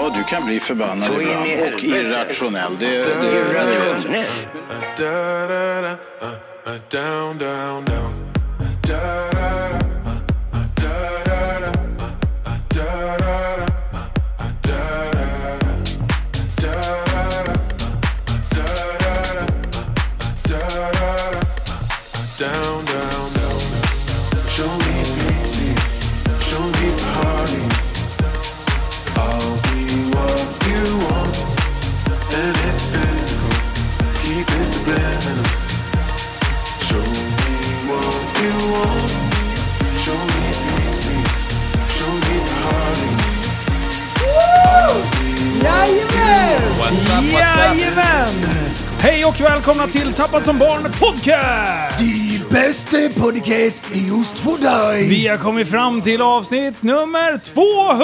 Ja, du kan bli förbannad ibland och irrationell. Det, det, det, det, Down, down, down. Da, da, da, uh, da, da, da, uh, da, da, da, uh, da, da, da. Down, down, down. Show me easy, show me party. I'll be what you want, and it's physical. Keep it subliminal. Show me what you want. Show me easy, show me party. I'll be Jajamän! What's up, what's up? Jajamän! Hej och välkomna till Tappad som barn podcast! Die beste podcast just för dig! Vi har kommit fram till avsnitt nummer 215!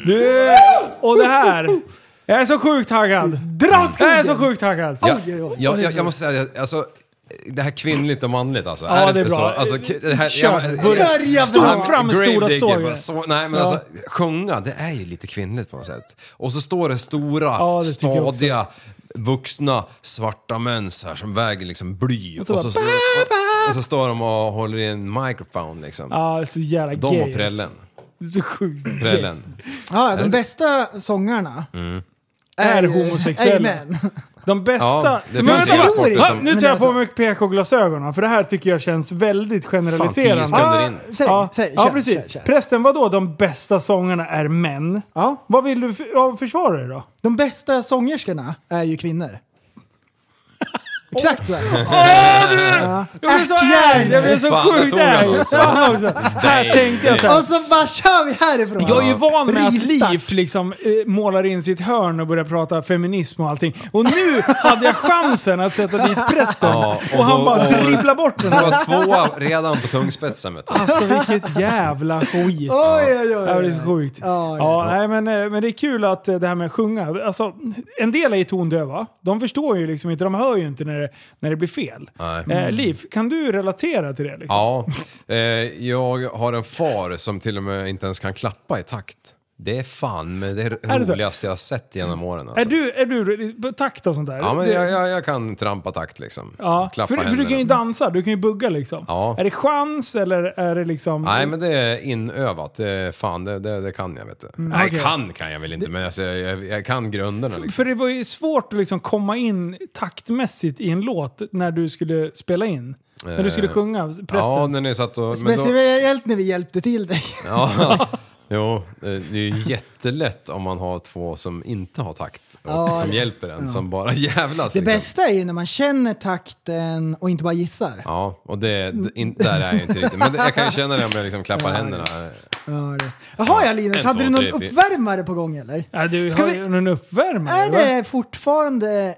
250! Du, och det här. Jag är så sjukt taggad. Dra åt Jag är så skogen! sjukt taggad. Ja, Oj, oj, oj. Jag, jag, jag måste säga, alltså, det här kvinnligt och manligt alltså. Ja, det är inte bra. Så? Alltså, k- det här, Kör, börja. Gör jävlar! Stor fram med stora Gravedigger, sågen. bara så, Nej men alltså, sjunga, det är ju lite kvinnligt på något sätt. Och så står det stora, Ja, det tycker jag också. stadiga, vuxna, svarta män så här som väger liksom bly. Och så så, bara, och, och så står de och håller i en microphone liksom. Ja, så jävla De gay. och prällen. alltså. Så sjukt gay. Prällen. Ja, de bästa sångarna Är homosexuella. Amen. De bästa... Ja, det Men finns vänta, ju va? sporter Va? som- Nu Men tar jag alltså- på mig PK-glasögonen, för det här tycker jag känns väldigt generaliserande. sekunder. Ah, in. Säg, ja, säg, ja kör, precis. kör, kör. Prästen, vadå de bästa sångarna är män? Ja, Vad vill du för, ja, försvara dig då? de bästa sångerskorna är ju kvinnor. Exakt så är det. Jag blev så arg! Jag blev så Fan, där sjukt tog jag alltså? arg! något. Fan också. Här tänkte jag så här. Och så bara kör vi härifrån! Jag är ju van med att Rivstart. Liv liksom eh, målar in sitt hörn och börjar prata feminism och allting. Och nu hade jag chansen att sätta dit prästen. Ja, och, han då- bara och- dribblar bort den. Det var tvåa redan på tungspetsen vet du. Alltså vilket jävla skit. Oj, oj, Ja, det oj. är så sjukt. Ja, Ja, nej, men, eh, men det är kul att eh, det här med att sjunga. Alltså, en del är ju tondöva. De förstår ju liksom inte, de hör ju inte när det, när det blir fel. Eh, Mm. Liv, kan du relatera till det? Liksom? Ja, eh, jag har en far som till och med inte ens kan klappa i takt. Det är fan men det är det så? roligaste jag har sett genom åren. Alltså. Är du, är du på takt och sånt där? Ja, men Du- jag, jag, jag kan trampa takt liksom. ja. Klappa för, för du händerna. kan ju dansa, du kan ju bugga liksom. Ja. Är det chans eller är det liksom... Nej, men det är inövat. Det är fan, det, det, det kan jag vet du. Nej, Mm, okej. kan kan jag väl inte, men alltså, jag, jag, jag kan grunderna liksom. För det var ju svårt att liksom komma in taktmässigt i en låt när du skulle spela in. När du skulle sjunga prästens. Eh, Ja, när ni satt och... men då- Speciellt när vi hjälpte till dig. Ja. Jo, eh, det är ju jättelätt om man har två som inte har takt och Ja, som det- hjälper en, som bara jävlas. Det liksom. bästa är ju när man känner takten och inte bara gissar. Ja, och det, d- in, där är jag inte riktigt. Men det, jag kan ju känna det om jag liksom klappar händerna. Ja, det. Jaha ja Linus, En, hade två, du någon tre, fyra. uppvärmare på gång eller? Ja, du Ska har vi- ju någon uppvärmare. Är va? det fortfarande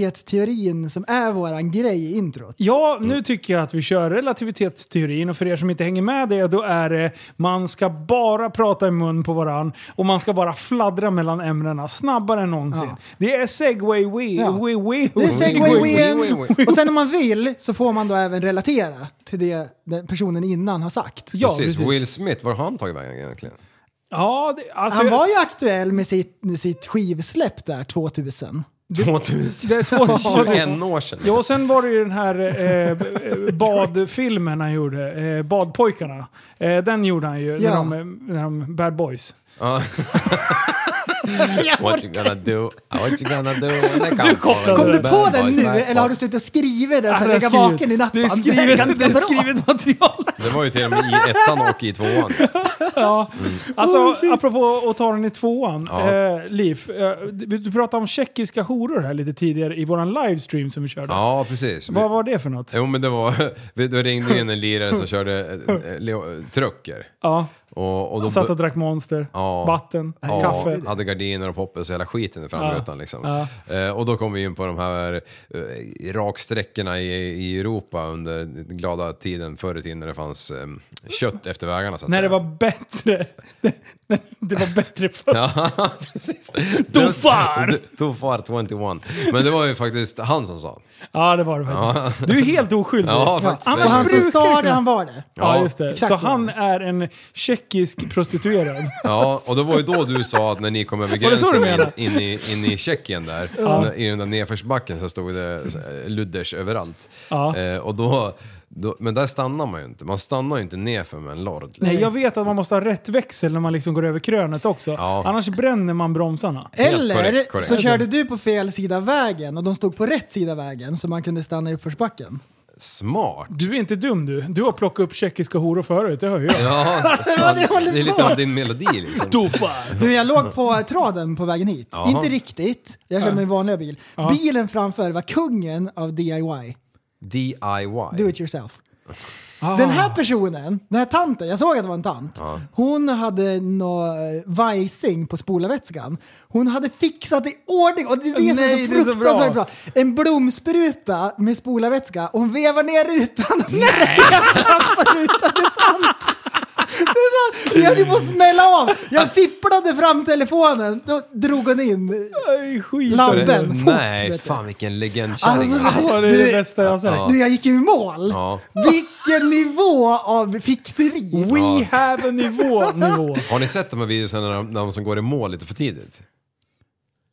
relativitetsteorin som är våran grej i introt? Ja, nu tycker jag att vi kör relativitetsteorin och för er som inte hänger med det då är det man ska bara prata i mun på varann och man ska bara fladdra mellan ämnena snabbare än någonsin. Ja. Det är segway we, Ja. we, we, Det är segway win, win, win. Och sen om man vill så får man då även relatera till det den personen innan har sagt. Ja, precis. precis. Will Smith, var har han tagit vägen egentligen? Ja, det, alltså, Han var ju aktuell med sitt, med sitt skivsläpp där 2000. 2000? det är två, två, 21 år sedan. Ja, Liksom. och sen var det ju den här eh, eh, badfilmen han gjorde, eh, Badpojkarna. Eh, den gjorde han ju, när, Ja. de, eh, när de, Bad Boys. What you gonna do? What you gonna do? when they come kopplade Kom for du the på bad den boys nu back? eller har du slutat att skriva den så det att är ligga skrivet- vaken i nattband? Äh, Det är Det är skrivet, det ganska är bra. skrivet material. Det var ju till och med i ettan och i tvåan. Alltså, Oh, apropå att ta den i tvåan. Ja. Eh, Liv, eh, du du pratade om tjeckiska horor här lite tidigare i våran livestream som vi körde. Ja, precis. Vad var det för något? Jo men det var, då ringde in en lirare som körde eh, Leo- trucker. Ja, Och, och då, satt och drack monster, Ja. vatten, Ja, kaffe. hade gardiner och poppers och hela skiten i framrutan liksom. Eh, och då kom vi in på de här eh, raksträckorna i, i Europa under den glada tiden förr i tiden när det fanns eh, kött efter vägarna så att När det säga. var bättre. Det, det var bättre förr. Ja, precis. Tofar! Tofar 21. Men det var ju faktiskt han som sa. Ja, det var det faktiskt. Du är helt oskyldig. Ja, faktiskt. Och Annars han brukar som sa jag det, kunna- han var det. Ja, just det. exakt Så så. han är en tjeckisk prostituerad. Ja, och det var ju då du sa att när ni kom över det så gränsen du menade? in, in, i, in i Tjeckien där, i den där nedförsbacken så stod det eh, ludders överallt. Ja. Eh, och då, då, men där stannar man ju inte, man stannar ju inte nedför med en lord. liksom. Nej, jag vet att man måste ha rätt växel när man liksom går över krönet också. Ja. Annars bränner man bromsarna. Helt Eller korrekt, korrekt. så körde du på fel sida av vägen och de stod på rätt sida av vägen så man kunde stanna i uppförsbacken. Smart! Du är inte dum du. Du har plockat upp tjeckiska horor förut, det hör jag. Ja, Vad du det är håller lite på! av din melodi liksom. Dofar! Du, jag låg på traden på vägen hit. Jaha. Inte riktigt. Jag körde min vanliga bil. Bilen framför var kungen av DIY. Do DIY. it yourself. Den här personen, den här tanten, jag såg att det var en tant. Hon hade nå eh, vajsing på spolarvätskan. Hon hade fixat i ordning, och det är Nej, det som är så fruktansvärt bra. bra. En blomspruta med spolarvätska och hon vevar ner rutan och Nej! rutan. Det är sant! Det är sant! Jag höll ju på att smälla av. Jag fipplade fram telefonen, då drog hon in. Aj, skit. Labb- Det- Ben Fort, Nej, vet du. fan vilken Alltså, legendkärring. Det var det bästa jag har sett. Du, jag gick ju i mål! Ja. Vilken nivå av fixeri! We have a nivå, nivå. Har ni sett de här videorna när de, när de som går i mål lite för tidigt?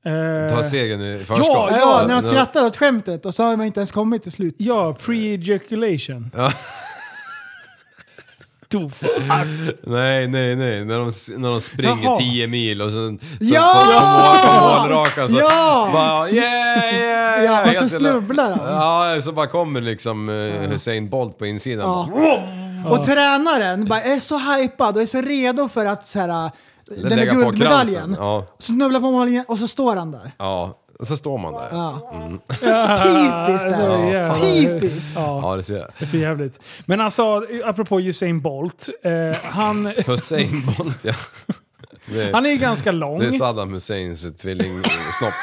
Ta Eh, segern i förskott. Ja, Ja, när de skrattar åt skämtet och så har man inte ens kommit till slut. ja, pre-ejaculation. Dofar! Nej, nej, nej. När de, när de springer Jaha. 10 mil och sen... Så Ja! folk som åker målraka så Ja! alltså. bara yeah, yeah, Ja, yeah. och så Jag skulle- snubblar de. Ja, så bara kommer liksom eh, Hussein Bolt på insidan. Ja. Ja. Och tränaren bara är så hypad och är så redo för att så här, den där lägga på guldmedaljen. kransen, ja. Så snubblar på mållinjen och så står han där. ja. Och så står man där. Ja, Typiskt där. så jävla- Typiskt! Ja, det ser jag. för jävligt. Men alltså, apropå Usain Bolt. Eh, han, Hussein Bolt, ja. Det är, han är ju ganska lång. det är Saddam Husseins tvillingsnopp.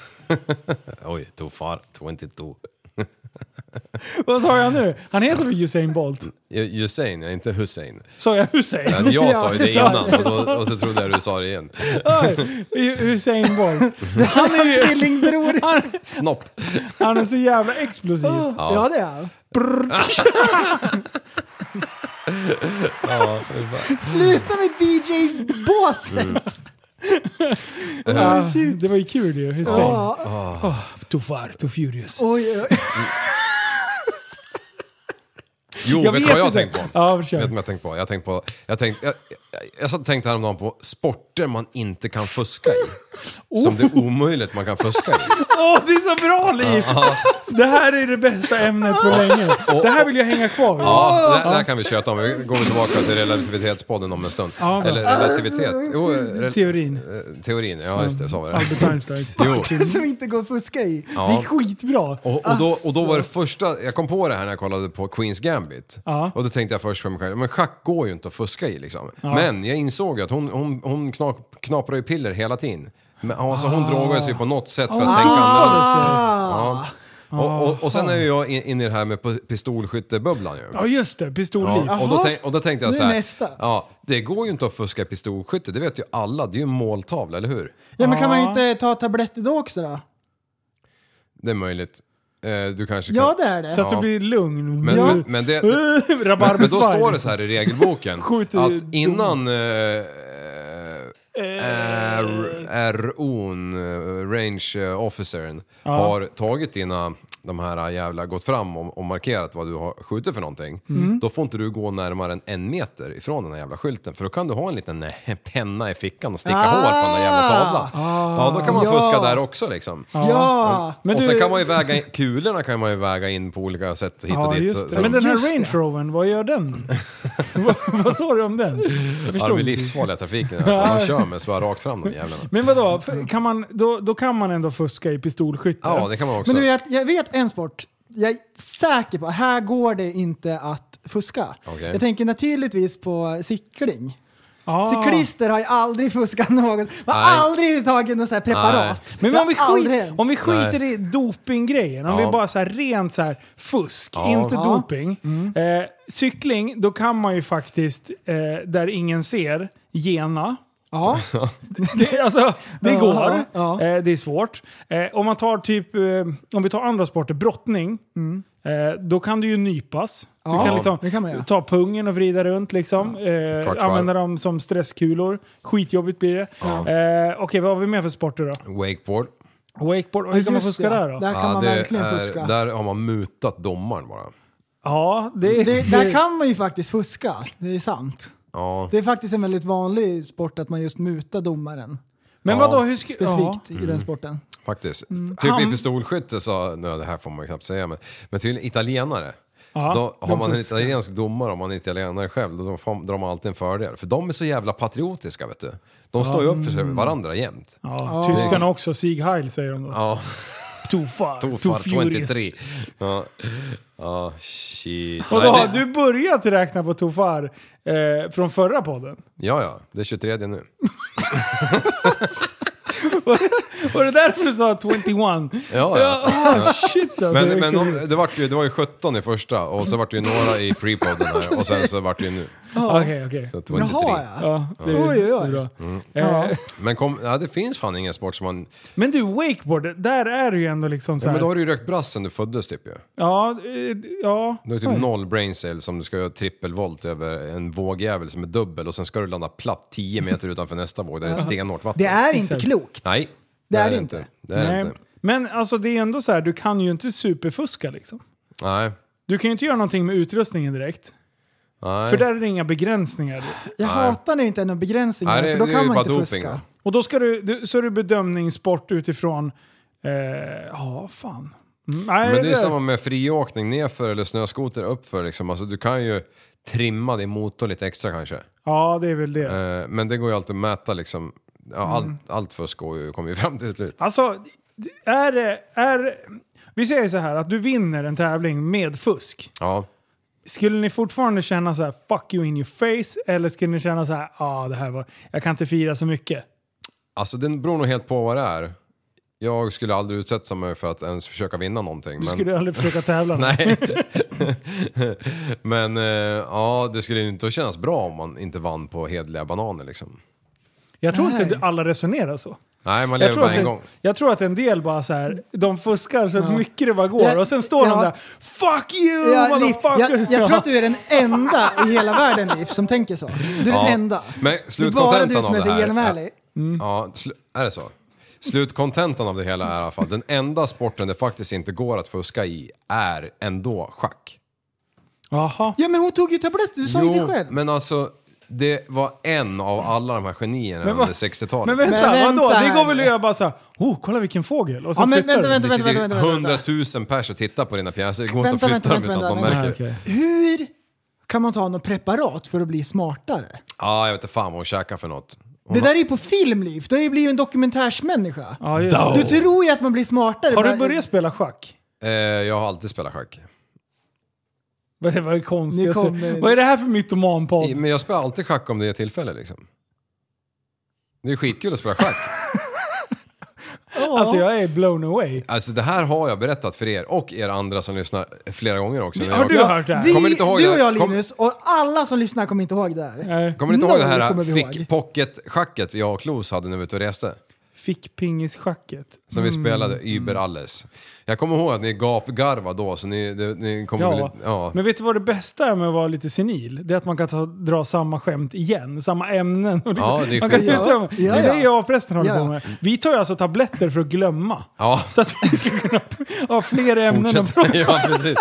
Oj, too far, 22. Vad sa jag nu? Han heter väl Usain Bolt? Ju- Hussein, ja, inte Hussein. Sa jag Hussein? Ja, Jag sa ju det Ja, innan och, då, och så trodde jag du sa det igen. Oj, Usain Bolt. Han är ju... Tvillingbror. Han, Snopp. han är så jävla explosiv. Ja det är han. Ja, det är bara- Sluta med Mm. DJ-båset! Ja, det var ju kul ju. Hussein. Ja. Too far, too furious. Oj, oj. Jo, vet du vad jag har tänkt på? Ja, Vet du kör. vad jag har tänkt på? Jag har tänkt på... Jag, tänkt, jag, jag, jag satt och tänkte häromdagen på sporter man inte kan fuska i. Som det är omöjligt man kan fuska i. Åh, det är så bra Liv! Det här är det bästa ämnet på länge. Det här vill jag hänga kvar vid. Ja, det, det här kan vi köta om. Vi går tillbaka till relativitetspodden om en stund. Ja, bra. Eller relativitet... Jo, re, Teorin. teorin, ja just det, så var det. Albert Einsteins. Jo. Som inte går att fuska i. Det är skitbra. Och, och, då, och då var det Alltså. första, jag kom på det här när jag kollade på Queens Gambit. Ja. Och då tänkte jag först för mig själv, men schack går ju inte att fuska i liksom. Men jag insåg ju att hon, hon, hon knak, knaprar ju piller hela tiden. Men, alltså, Ah. hon drogar sig på något sätt för att tänka annorlunda. Ja. Och, och, och sen är ju jag in- inne i det här med pi- pistolskyttebubblan ju. Ja, just det. Pistolliv. Ja, och, då tänk, och då tänkte jag nu så här, nästa. ja, det går ju inte att fuska i pistolskytte, det vet ju alla, det är ju en måltavla, eller hur? Ja, men kan man inte ta tabletter då också då? Det är möjligt. Eh, Du kanske kan... Ja det är Så det. att du blir lugn. Men, Ja. men, men det, Men då Rabarbersvaj. står det så här i regelboken liksom. Skjut i dom. att innan eh, eh, RO'n, eh, range eh, officern, har tagit dina, de här eh, jävla, gått fram och, och markerat vad du har skjutit för någonting. Mm. Då får inte du gå närmare än en meter ifrån den här jävla skylten för då kan du ha en liten eh, penna i fickan och sticka Ah. hål på den där jävla tavlan. ja, då kan man Ja. fuska där också liksom. Ja! Ah, Men och du- sen kan man ju väga in, kulorna kan man ju väga in på olika sätt hit och Ja, dit. just så- det. så- Men den här Just det. Range Rovern, vad gör den? vad, vad sa du om den? Jag Ja, de är inte. livsfarliga i trafiken. Alltså. De kör med svär rakt fram de jävlarna. Men vadå, F- kan man, då, då kan man ändå fuska i pistolskytte? Ja, det kan man också. Men du, jag, jag vet en sport. Jag är säker på här går det inte att fuska. Okej. Jag tänker naturligtvis på cykling. Ah. Cyklister har ju aldrig fuskat något. Har Nej. aldrig tagit något så här preparat. Men Det om vi, har aldrig skit, hänt. om vi skiter i dopinggrejen, om Ja. vi bara så här rent så här fusk, Ja. inte Ja. Mm. doping. Eh, cykling, då kan man ju faktiskt, eh, där ingen ser, gena. Ja. Det, alltså, det Ja, går. ja. Eh, det är svårt. Eh, om man tar typ, eh, om vi tar andra sporter, brottning. Eh, då kan du ju nypas. Mm. Ja, du kan, liksom det kan man göra. ta pungen och vrida runt liksom. Kvartsvarv. Eh, använda dem som stresskulor. Skitjobbigt blir det. Eh, Okej, vad har vi mer för sporter då? Wakeboard. Wakeboard, hur kan man fuska där då? Där kan Ja, man det verkligen är- fuska. Där har man mutat domaren bara. Ja, det, Det, där kan man ju faktiskt fuska. Det är sant. Ja. Det är faktiskt en väldigt vanlig sport att man just mutar domaren. Men Ja, vadå, hur ska... Ja. Mm. Specifikt i den sporten. Faktiskt. Typ i Han- pistolskytte sa, nej det här får man ju knappt säga men, men tydligen italienare. då, har de man en fuskar. italiensk domare, om man är italienare själv, då får, drar man alltid en fördel. För de är så jävla patriotiska vet du. De står ju upp för sig, varandra jämt. Ja, tyskarna också, Sieg Heil säger de då. Ja, Too far, too, Tofar furious. 23. Ja, ja shit. Och då Nej, har det, du börjat räkna på Tofar eh, från förra podden. ja, ja, det är 23 nu. Var det därför du sa 21? Ja, ja. Ah, shit alltså. Men, men de, det, vart ju, det var ju 17 i första och så vart det ju några i pre-podden här och sen så vart det ju nu. Okej, okej. Så 23. Jaha ja. Ja, det, Oj, oj, oj. det är bra. Mm. ja. Eh, Men kom, ja, det finns fan ingen sport som man... men du, wakeboard, där är du ju ändå liksom så Ja, här. men då har du ju rökt brass sen du föddes typ ju. Ja, eh, ja. Du har typ noll brain cell som du ska göra trippelvolt över en vågjävel som är dubbel och sen ska du landa platt 10 meter utanför nästa våg där det är stenhårt vatten. Det är inte Exakt. klokt. Nej, Det är det inte. Det är det Nej. inte. Men alltså det är ändå så här, du kan ju inte superfuska liksom. Nej. Du kan ju inte göra någonting med utrustningen direkt. Nej. För där är det inga begränsningar. Jag hatar när det inte är någon begränsning. Nej, det- för då det är kan ju man bara inte doping, fuska. va? Och då ska du, du, så är det bedömningssport utifrån... eh, Ja, fan. Mm, Nej, Men det är det- samma med friåkning nerför eller snöskoter uppför liksom. Alltså du kan ju trimma din motor lite extra kanske. Ja, det är väl det. Eh, Men det går ju alltid att mäta liksom. Ja, Mm. allt, allt fusk går ju- kommer ju fram till slut. Alltså, är det... Är, vi säger så här, att du vinner en tävling med fusk. Ja. Skulle ni fortfarande känna så här 'fuck you in your face' eller skulle ni känna så här ah, det här var... Jag kan inte fira så mycket'? Alltså den beror nog helt på vad det är. Jag skulle aldrig utsätta mig för att ens försöka vinna någonting. Du men... skulle aldrig försöka tävla. Nej. men eh, ja, det skulle ju inte kännas bra om man inte vann på hedliga bananer liksom. Jag tror Nej. inte alla resonerar så. Nej, man Jag lever tror, bara att en en, gång. jag tror att en del bara så här, de fuskar så mycket det bara går Ja, och sen står ja. de där Fuck you! Jag, li- motherfucker! jag, jag tror att du är den enda i hela världen Liv som tänker så. Du är Ja. den enda. Men det är bara du slutkontentan som är av det så här genomärlig. Mm. Ja, slu- är det så? Slutkontentan av det hela är i alla fall, den enda sporten det faktiskt inte går att fuska i är ändå schack. Jaha. Ja men hon tog ju tabletter, du sa ju det själv. men alltså det var en av alla de här genierna vad- under 60-talet. Men vänta, Men vänta vadå? Det går här väl nu. att göra bara såhär, oh kolla vilken fågel! Och sen Ja, men flyttar du. vänta, vänta, Det vänta, vänta, sitter vänta, ju vänta. 100 000 pers och tittar på dina pjäser. Det går inte Vänta, att flytta vänta, dem vänta, utan att de Nej, märker. vänta, det. okej. Hur kan man ta något preparat för att bli smartare? Ja, jag vet inte fan vad hon käkar för något. Det där är ju på film Liv, du har ju blivit en dokumentärsmänniska. Ja, just det. Du tror ju att man blir smartare. Har du men- börjat spela schack? Eh, jag har alltid spelat schack. Vad är det var konstigt? Nu Alltså, kommer- Vad är det här för mytomanpodd? I- Men jag spelar alltid schack om det är tillfälle liksom. Det är skitkul att spela schack. Alltså jag är blown away. Alltså det här har jag berättat för er och er andra som lyssnar flera gånger också. när Har jag- du hört det här? Vi, Kommer inte ihåg du det? och jag Kom- Linus och alla som lyssnar kommer inte ihåg det här. Nej. Kommer ni inte ihåg det här Noll kommer vi ihåg. fick pocket-schacket jag och Klos hade när vi var ute och reste? Fick pingisschacket. Som vi Mm. spelade Uber Alles. Jag kommer ihåg att ni gapgarvade då, så ni, det, ni kommer väl... Ja. Ja. men vet du vad det bästa är med att vara lite senil? Det är att man kan ta, dra samma skämt igen, samma ämnen. Och liksom, Ja, det är man kan skit. byta dem. Ja, det är ja. det jag och prästen håller Ja. på med. Vi tar ju alltså tabletter för att glömma. Ja. Så att vi ska kunna ha fler ämnen att prata ja, precis.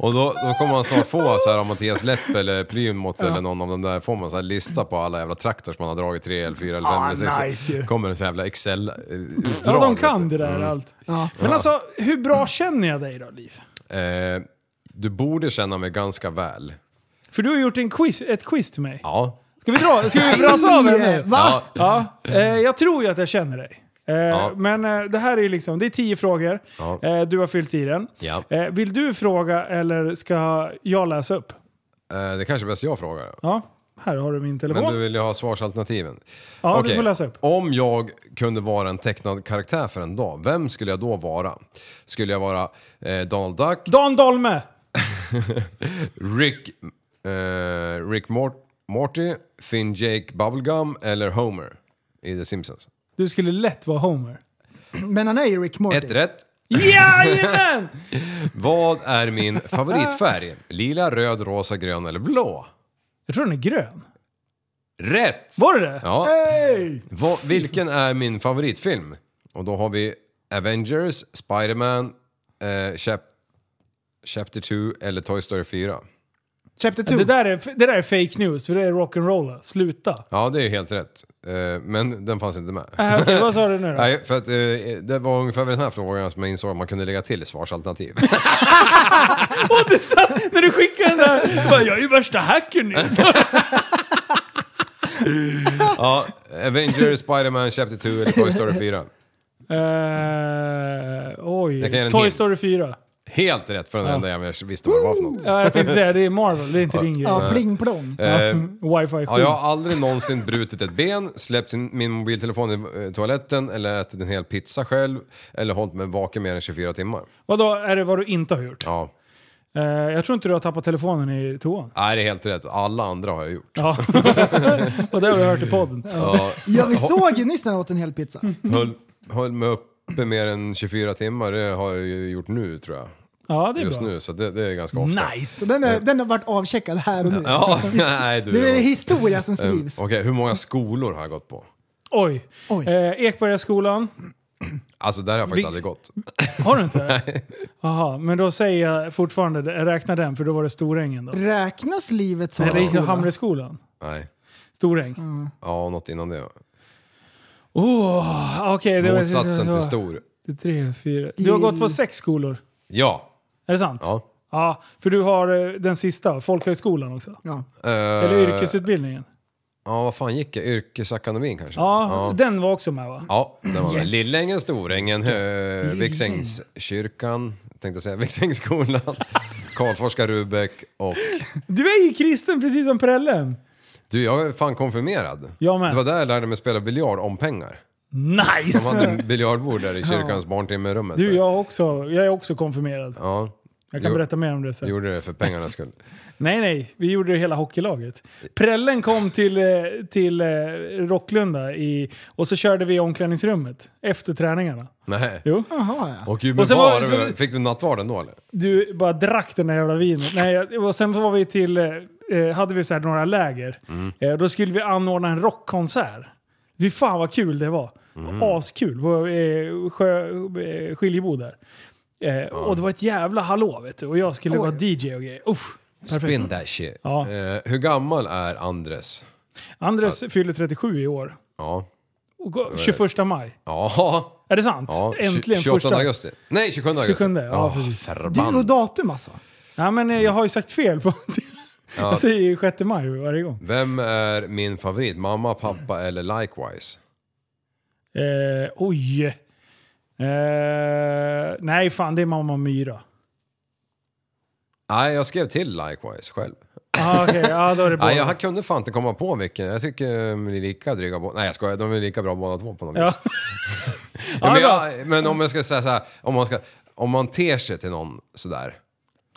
Och då, då kommer man snart få, så här, om Mattias Läpp eller Plymouth eller någon av de där, får man så här lista på alla jävla traktors man har dragit, tre eller fyra eller fem Ah, eller sex. nice ju. kommer en sån jävla eh, Excel-utdrag. Ja, de kan det där Mm. allt. Men alltså, hur bra känner jag dig då, Liv? Eh, du borde känna mig ganska väl. För du har gjort en quiz, ett quiz till mig. Ja. Ska vi dra? Ska vi brasa av den Nej, nu? Va? ja. Ja, eh, jag tror ju att jag känner dig. Eh, Men eh, det här är ju liksom, det är tio frågor. Ja. Eh, du har fyllt i den. Ja. Eh, vill du fråga eller ska jag läsa upp? Eh, det kanske är bäst jag frågar. Ja. Här har du min telefon. Men du vill ju ha svarsalternativen. Ja, du Okej. får läsa upp. Om jag kunde vara en tecknad karaktär för en dag, vem skulle jag då vara? Skulle jag vara eh, Donald Duck, Dan Dolme! Rick, eh, Rick Mort- Morty, Finn Jake Bubblegum eller Homer i The Simpsons? Du skulle lätt vara Homer. Men han är ju Rick Morty. Ett rätt. Jajamän! Vad är min favoritfärg? Lila, röd, rosa, grön eller blå? Jag tror den är grön. Rätt! Var det det? Ja. Vad- vilken är min favoritfilm? Och då har vi Avengers, Spiderman, eh, Chap- Chapter 2 eller Toy Story 4. Chapter 2. Det där, är, det där är fake news, för det är rock'n'roll. Sluta. Ja, det är ju helt rätt. Eh, men den fanns inte med. Äh, okej, vad sa du nu då? Nej, för att eh, det var ungefär den här frågan som jag insåg att man kunde lägga till svarsalternativ. Och du satt, när du skickade den där, bara, jag är ju värsta hackern nu. ja, Avengers, Spiderman, Chapter 2 eller Toy Story 4. Eh, Jag kan ge oj. en Toy hint. Story 4. Helt rätt för den enda jag visste vad det var för något. Ja, jag tänkte säga det är Marvel, det är inte din grej. ja, pling plong. Eh, Wifi 7. Ja, jag har aldrig någonsin brutit ett ben, släppt sin, min mobiltelefon i eh, toaletten eller ätit en hel pizza själv eller hållit mig vaken mer än 24 timmar. Vadå, är det vad du inte har gjort? Ja, Eh, jag tror inte du har tappat telefonen i toan. Nej, det är helt rätt. Alla andra har jag gjort. Ja. Och det har vi hört i podden. Ja, Mm. Ja, vi såg ju nyss när han åt en hel pizza. höll, höll mig uppe mer än 24 timmar, det har jag ju gjort nu tror jag. Ja, det är Just bra. nu, så det, det är ganska ofta. Så Nice! den, är, den har varit avcheckad här och nu. Ja, nej du. Det är Eh, historia som skrivs. Okej, hur många skolor har jag gått på? Oj. Oj. Eh, Ekbergaskolan. Alltså där har jag faktiskt Vi- aldrig gått. Har du inte? Jaha, men då säger jag fortfarande, räkna den för då var det Storängen då. Räknas livet som Nej, det är skola? Hamreskolan. Nej. Storäng. Ja, något innan det. Oh, okej. det var- Motsatsen det var- till stor. Tre, fyra. Du har gått på sex skolor. Ja. Är det sant? ja. Ja, för du har eh, den sista, folkhögskolan också. Ja. Eller Eh, yrkesutbildningen. Ja, vad fan gick jag? Yrkesakademin kanske? Ja, ja. den var också med va? Ja, det var yes. Lillängen, Storängen, Hö- Viksängskyrkan, tänkte säga Viksängsskolan, Karlforska, Rubäck och... Du är ju kristen precis som prällen! Du, jag är fan konfirmerad. Jag med. Det var där jag lärde mig spela biljard om pengar. De Nice! hade biljardbord där i kyrkans barntimmerummet. Du, jag, också, jag är också konfirmerad. Ja, Jag kan Jo. berätta mer om det sen. gjorde det för pengarnas skull. Nej, nej. Vi gjorde det hela hockeylaget. Prällen kom till, eh, till eh, Rocklunda i, och så körde vi i omklädningsrummet efter träningarna. Nej. Jo. Jaha, ja. Och gud Och sen var- bevare mig. så- Fick du nattvarden då eller? Du bara drack den där jävla vinet. Nej, jag- och sen var vi till, eh, eh, hade vi så här några läger. Mm. Eh, då skulle vi anordna en rockkonsert. Fy fan vad kul det var. Mm. Askul. På eh, sjö, eh, Skiljebo där. Eh, Och det var ett jävla hallå vet du. Och jag skulle vara DJ och grejer. Usch, perfekt. Spin that shit. Ja. Eh, hur gammal är Andres? Andres fyller 37 i år. Ja. Och går- 21 maj. Ja. Är det sant? ja. Äntligen 28 första. augusti. Nej, 27 augusti. 27, ja, Ah, precis. Det är förband. ju datum alltså. Ja, men eh, jag har ju sagt fel. på Jag säger ju 6 maj varje gång. Vem är min favorit? Mamma, pappa eller likewise? Eh, oj. Eh, nej, fan det är Mamma Myra. Nej, jag skrev till likewise själv. Ah, okej, ja, då är det båda. Nej, jag kunde fan inte komma på vilken. Jag tycker de är lika dryga båda. Nej, jag skojar. De är lika bra båda två på något Ja. vis. Ja, men, jag, men om jag ska säga så här, om man, ska, om man ter sig till någon sådär,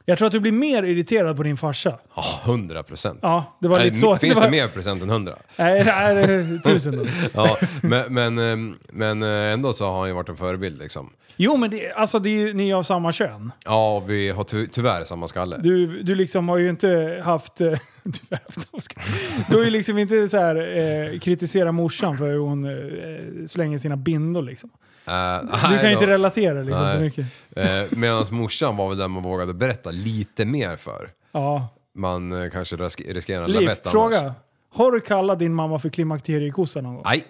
Jag tror att du blir mer irriterad på din farsa. ja, 100 procent. Ja, det var lite så. Alltså, Finns det det var, mer procent än 100? Nej, nej, det är tusen då. Ja, men, men, eh, men eh, ändå så har han ju varit en förebild liksom. Jo, men det, alltså, det är ju, ni är av samma kön. Ja, och vi har ty- tyvärr samma skalle. Du, du liksom har ju inte haft... eh, Du har, haft Oscar. du har ju liksom inte så här, eh, kritisera morsan för hur hon eh, slänger sina bindor liksom. Eh, Du nej kan ju inte då. relatera liksom, så Nej. mycket. Eh, Medan morsan var väl den man vågade berätta lite mer för. Ja. Man eh, kanske risk- riskerar en Liv, lavett annars. fråga. Har du kallat din mamma för klimakteriekossa någon gång? Nej.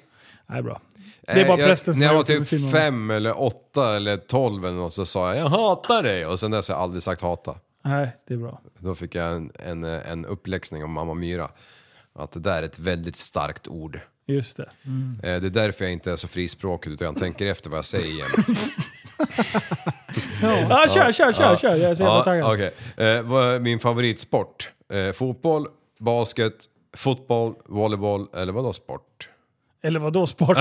Nej, bra. Det är Eh, bara jag- prästen som När jag har var gjort det med sin typ mamma. fem eller åtta eller tolv eller något så sa jag jag hatar dig och sen dess har jag aldrig sagt hata. Nej, det är bra. Då fick jag en, en, eh, en uppläxning om mamma Myra. Att det där är ett väldigt starkt ord. Just det. Eh, Det är därför jag inte är så frispråkig utan jag tänker efter vad jag säger jämt. Ja, kör, kör, kör, kör. Jag är så jävla Ja, taggad. okej. Eh, vad är min favoritsport? Eh, fotboll, basket, Fotboll, volleyboll eller vadå sport? Eller vad då sport?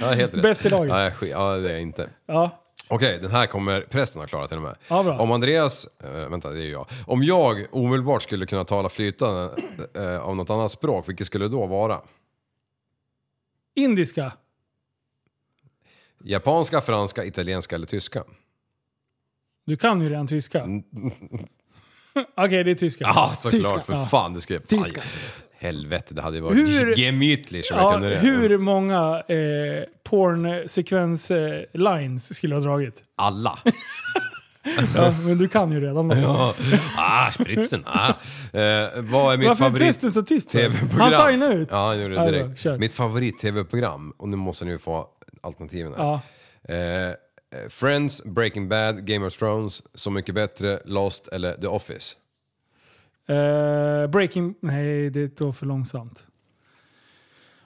Ja, helt rätt. Bäst i laget. Nej, sk- ja, det är jag inte. ja. Okej, den här kommer prästen ha klarat till och med. Ja, bra. Om Andreas, eh, vänta det är ju jag. Om jag omedelbart skulle kunna tala flytande eh, av något annat språk, vilket skulle det då vara? Indiska. Japanska, franska, italienska eller tyska? Du kan ju redan tyska. Okej, det är tyska. Mm. Ja, såklart Tyska. för Ja. fan, det skrev Tyska. Aj, helvete, det hade ju varit Hur- gemytlich som jag Ja, kunde det. hur många eh, pornsekvens-lines skulle jag ha dragit? Alla. Ja, men du kan ju redan dem. Ja. Ah, spritsen. Ah. Eh, vad är Varför mitt är favorit... prästen så tyst? för? TV-program. Han signade ut. Ja, han gjorde Ja, det bra. direkt. Kör. Mitt favorit-tv-program, och nu måste ni ju få alternativen här. Ja. Eh, eh, Friends, Breaking Bad, Game of Thrones, Så Mycket Bättre, Lost eller The Office? Eh, breaking... Nej, det går för långsamt.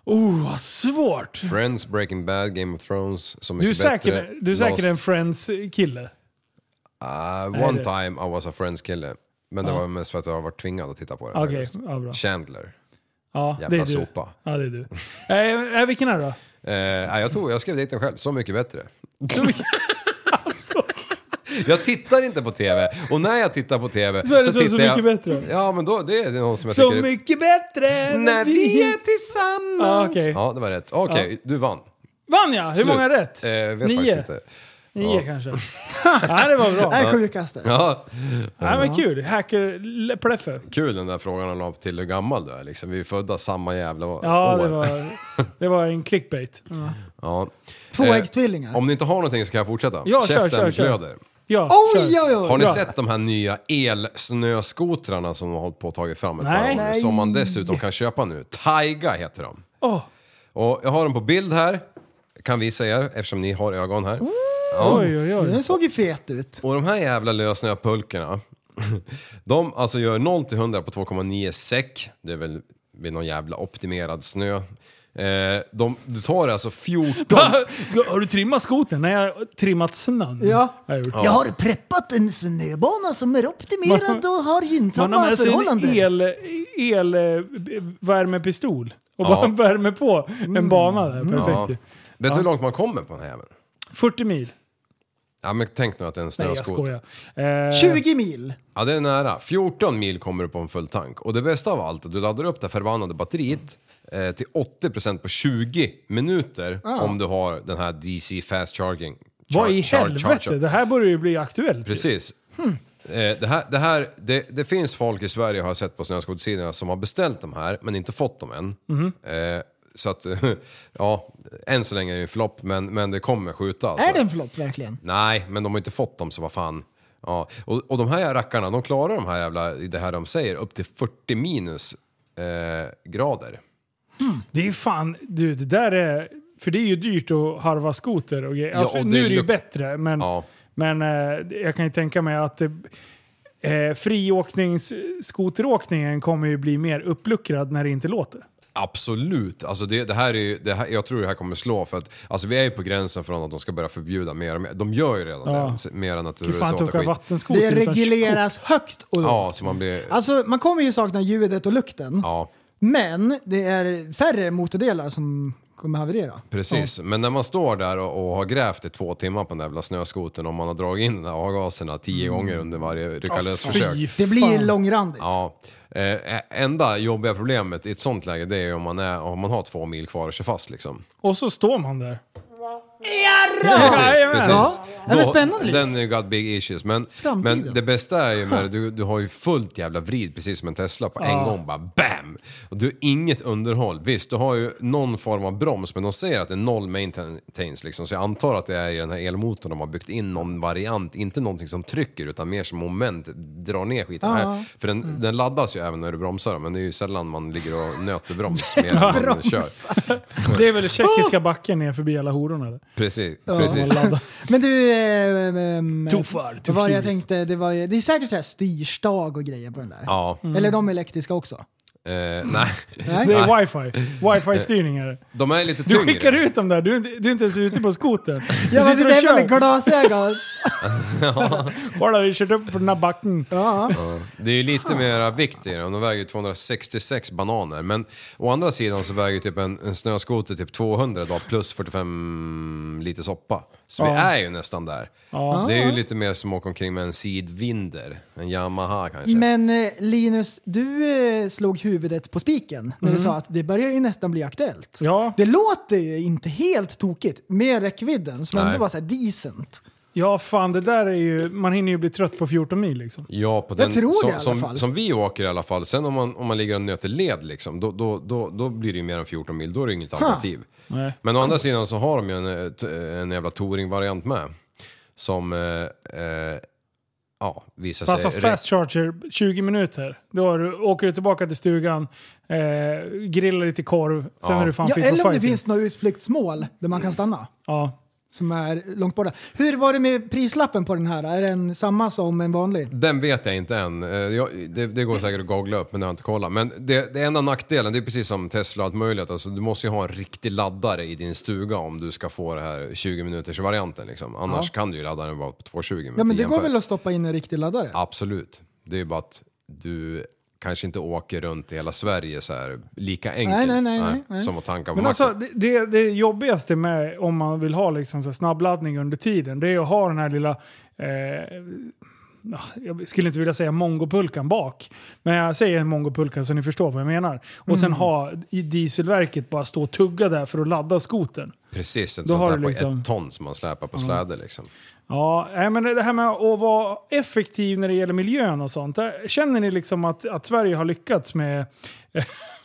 Oh, vad svårt! Friends, Breaking Bad, Game of Thrones, Så Du är Mycket Bättre, säker, du är Lost. säker en Friends-kille? Ah, Nej, one det- time I was a Friends-kille. Men det var mest för att jag har varit tvingad att titta på det. Okej, faktiskt. ja, bra. Chandler. Ja, Jävla det är du. sopa. Ja, det är du. Eh, eh, vilken är det då? Eh, nej, jag, tog, jag skrev dit den själv, Så Mycket Bättre. Så mycket, Alltså. Jag tittar inte på TV och när jag tittar på TV Så är det så- så tittar jag... mycket bättre. Ja men då, det är någon som jag så tycker är- mycket bättre än När vi är Ah, tillsammans! okej. Ja, det var rätt. Okej, du vann. Vann jag? Hur Slut. många rätt? Eh, jag vet Nio. faktiskt inte. Nio kanske. Nej, det var Det bra. är sjukaste. Ja, Nej, men kul. Hacker le- Pleffe. kul den där frågan han la upp till hur gammal du är liksom. Vi är födda samma jävla Ja, år. det var, det var en clickbait. Ja. Tvåäggstvillingar. Eh, Om ni inte har någonting så kan jag fortsätta. Ja, kör, kör, kör. glöder. Ja, Oj, kör. oj, oj! Har ni Bra. sett de här nya elsnöskotrarna som de har hållit på och tagit fram ett Nej. par år, Nej. Som man dessutom kan köpa nu. Taiga heter de. Åh, Och jag har dem på bild här. Kan visa er eftersom ni har ögon här. oj, oj, oj. Den såg ju fet ut. Och de här jävla lösnöpulkorna. De alltså gör 0 till 100 på 2,9 säck. Det är väl vid någon jävla optimerad snö. Eh, de, du tar alltså 14... Ska, har du trimmat skoten? Nej, jag har trimmat snön. Ja. Har jag gjort. Jag har preppat en snöbana som är optimerad och har Man har gynnsamma med sig en förhållanden. el, el, eh, värmepistol och bara värmer på Mm. en bana där. Ja. Perfekt ju. Vet du hur långt man kommer på den här jäveln? 40 mil. Ja men tänk nu att det är en Nej, jag snöskoter. skojar. Eh, 20 mil. Ja det är nära. 14 mil kommer du på en full tank. Och det bästa av allt, är att du laddar upp det förbannade batteriet eh, till 80% på 20 minuter om du har den här DC fast charging. Ah. Vad Char- i char- helvete? Hmm. char- char- Det här börjar ju bli aktuellt. ju. Precis. Eh, Det, här, det, här, det, det finns folk i Sverige har jag sett på snöskotersidorna som har beställt de här men inte fått dem än. Mhm. Eh, så att, ja, än så länge är det en flopp men, men det kommer skjuta alltså. Är det en flopp verkligen? Nej, men de har inte fått dem så vad fan. Ja. Och, och de här rackarna, de klarar de här jävla, det här de säger, upp till 40 minus eh, grader. Det är ju fan, du det där är... För det är ju dyrt att harva skoter och grejer. Alltså, och det Nu är det ju luk- bättre, men, Ja. men eh, jag kan ju tänka mig att eh, eh, friåkningsskoteråkningen kommer ju bli mer uppluckrad när det inte låter. Absolut. Alltså det, det här är ju, det här, jag tror det här kommer slå för att alltså vi är ju på gränsen från att de ska börja förbjuda mer och mer. De gör ju redan Ja. det, mer än Du fan inte naturreservat och åka skit. vattenskoter Det utan regleras högt och lågt. Ja, så man blir... Alltså man kommer ju sakna ljudet och lukten. Ja, Men det är färre motordelar som kommer haverera. precis. Men när man står där och, och har grävt i två timmar på den där jävla snöskotern och man har dragit in de där avgaserna tio gånger under varje rycka skit. lös-försök. Mm. Fy Det blir fan. långrandigt. Ja. Eh, enda jobbiga problemet i ett sånt läge det är ju om man, är, om man har två mil kvar och kör fast liksom. Och så står man där. Precis, jajamän. precis. Ja. Ja, men Då- spännande liv. Den är ju got big issues. Men, Framtiden. men det bästa är ju med det, du, du har ju fullt jävla vrid precis som en Tesla på en gång bara BAM! Och du har inget underhåll. Visst, du har ju någon form av broms men de säger att det är noll maintenance liksom. Så jag antar att det är i den här elmotorn de har byggt in någon variant. Inte någonting som trycker utan mer som moment drar ner skiten. Här. För den, den laddas ju även när du bromsar men det är ju sällan man ligger och nöter broms mer än man kör. Det är väl tjeckiska backen ner förbi alla hororna? eller? Precis, precis. Man laddar. Men du... Eh, ehm, Tuffar, vad var det jag tuffis. tänkte? Det, var, ju- det är säkert så här styrstag och grejer på den där. Mm. Ja, Eller de elektriska också. eh, nej. Det är wifi. Wifi-styrning är det. De är lite Du tyngre. skickar ut dem där, du, är inte- du är inte ens ute på skotern. Du Jag sitter var och sitter kör. hemma med glasögon. Kolla, vi kört upp på den här backen. Ja. Det är ju lite mera vikt i den, de väger ju 266 bananer. Men å andra sidan så väger ju typ en, en snöskoter typ 200 idag plus 45 liter soppa. Så vi är ju nästan där. Det är ju lite mer som att åka omkring med en sidvinder, en Yamaha kanske. Men eh, Linus, du eh, slog huvudet på spiken när du sa att det börjar ju nästan bli aktuellt. Mm. Ja. Det låter ju inte helt tokigt med räckvidden som Nej. ändå var så här decent. Ja, fan det där är ju... Man hinner ju bli trött på 14 mil liksom. Ja, på den, Jag tror som, det i alla som, fall. som vi åker i alla fall. Sen om man, om man ligger och nöter led liksom, då, då, då, då blir det ju mer än 14 mil. Då är det inget alternativ. Nej. Men å andra sidan så har de ju en, eh, t- en jävla touring-variant med. Som, eh, eh, ja, visar Passa sig... fast charger 20 minuter. Då har du, åker du tillbaka till stugan, eh, grillar lite korv, sen Ja. är du fan Ja, fit for eller om det fighting. finns några utflyktsmål där man kan stanna. Ja. Som är långt borta. Hur var det med prislappen på den här? Är den samma som en vanlig? Den vet jag inte än. Eh, Jag, det, det går säkert att googla upp men det har jag inte kollat. Men det, det enda nackdelen, det är precis som Tesla och allt möjligt. Alltså, du måste ju ha en riktig laddare i din stuga om du ska få det här 20 minuters varianten liksom. Annars kan du ju ladda den bara på 2,20 minuter. Ja men det går Jämför- väl att stoppa in en riktig laddare? Absolut. Det är ju bara att du kanske inte åker runt i hela Sverige så här lika enkelt. Nej, nej, nej, nej, nej. Som att tanka på Men macken. alltså, det, det, det jobbigaste med om man vill ha liksom så här snabbladdning under tiden, det är att ha den här lilla... Eh, ja, jag skulle inte vilja säga mongopulkan bak, men jag säger en mongopulka så ni förstår vad jag menar. Och Mm. sen ha i dieselverket bara stå och tugga där för att ladda skotern. Precis, ett då har sånt där du på liksom- ett ton som man släpar på släde liksom. Ja, nej, men det här med att vara effektiv när det gäller miljön och sånt. Där, känner ni liksom att, att Sverige har lyckats med,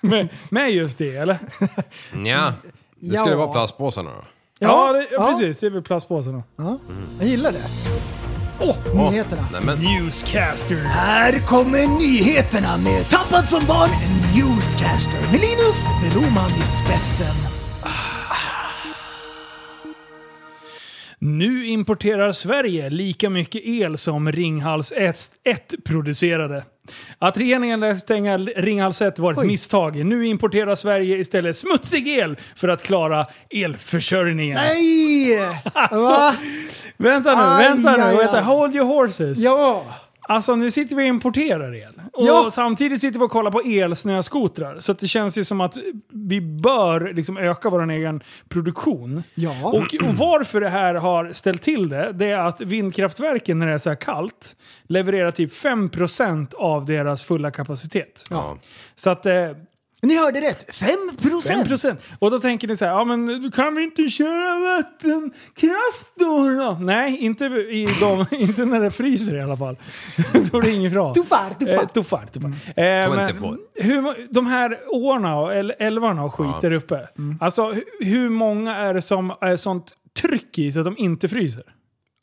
med, med just det, eller? Ja, Nja, det skulle Ja. vara plastpåsarna då. det, precis. Det är väl plastpåsarna. Ja. Jag gillar det. Åh, oh, nyheterna! Nej, men, Newscaster. Här kommer nyheterna med Tappad som barn, en newscaster med Linus Broman i spetsen. Nu importerar Sverige lika mycket el som Ringhals 1 producerade. Att regeringen lät stänga Ringhals 1 var ett misstag. Nu importerar Sverige istället smutsig el för att klara elförsörjningen. Nej! Va? Vänta nu, Aj, vänta nu, aj, vänta. aj. Hold your horses. Ja! Alltså nu sitter vi och importerar el. Och Ja. samtidigt sitter vi och kollar på elsnöskotrar. Så att det känns ju som att vi bör liksom öka vår egen produktion. Ja. Och, och varför det här har ställt till det, det är att vindkraftverken när det är så här kallt levererar typ 5% av deras fulla kapacitet. ja. Så att... Eh, Ni hörde rätt, 5 procent! 5%. Och då tänker ni så här, ja men då kan vi inte köra vattenkraft då? då? Nej, inte, i de, inte när det fryser i alla fall. då är det inget bra. Tuffar, tuffar. Eh, tuffar, tuffar. Mm. Eh, men 24. hur, må- de här åarna och el- älvarna och skit där uppe. Mm. Alltså hu- hur många är det som är sånt tryck i så att de inte fryser?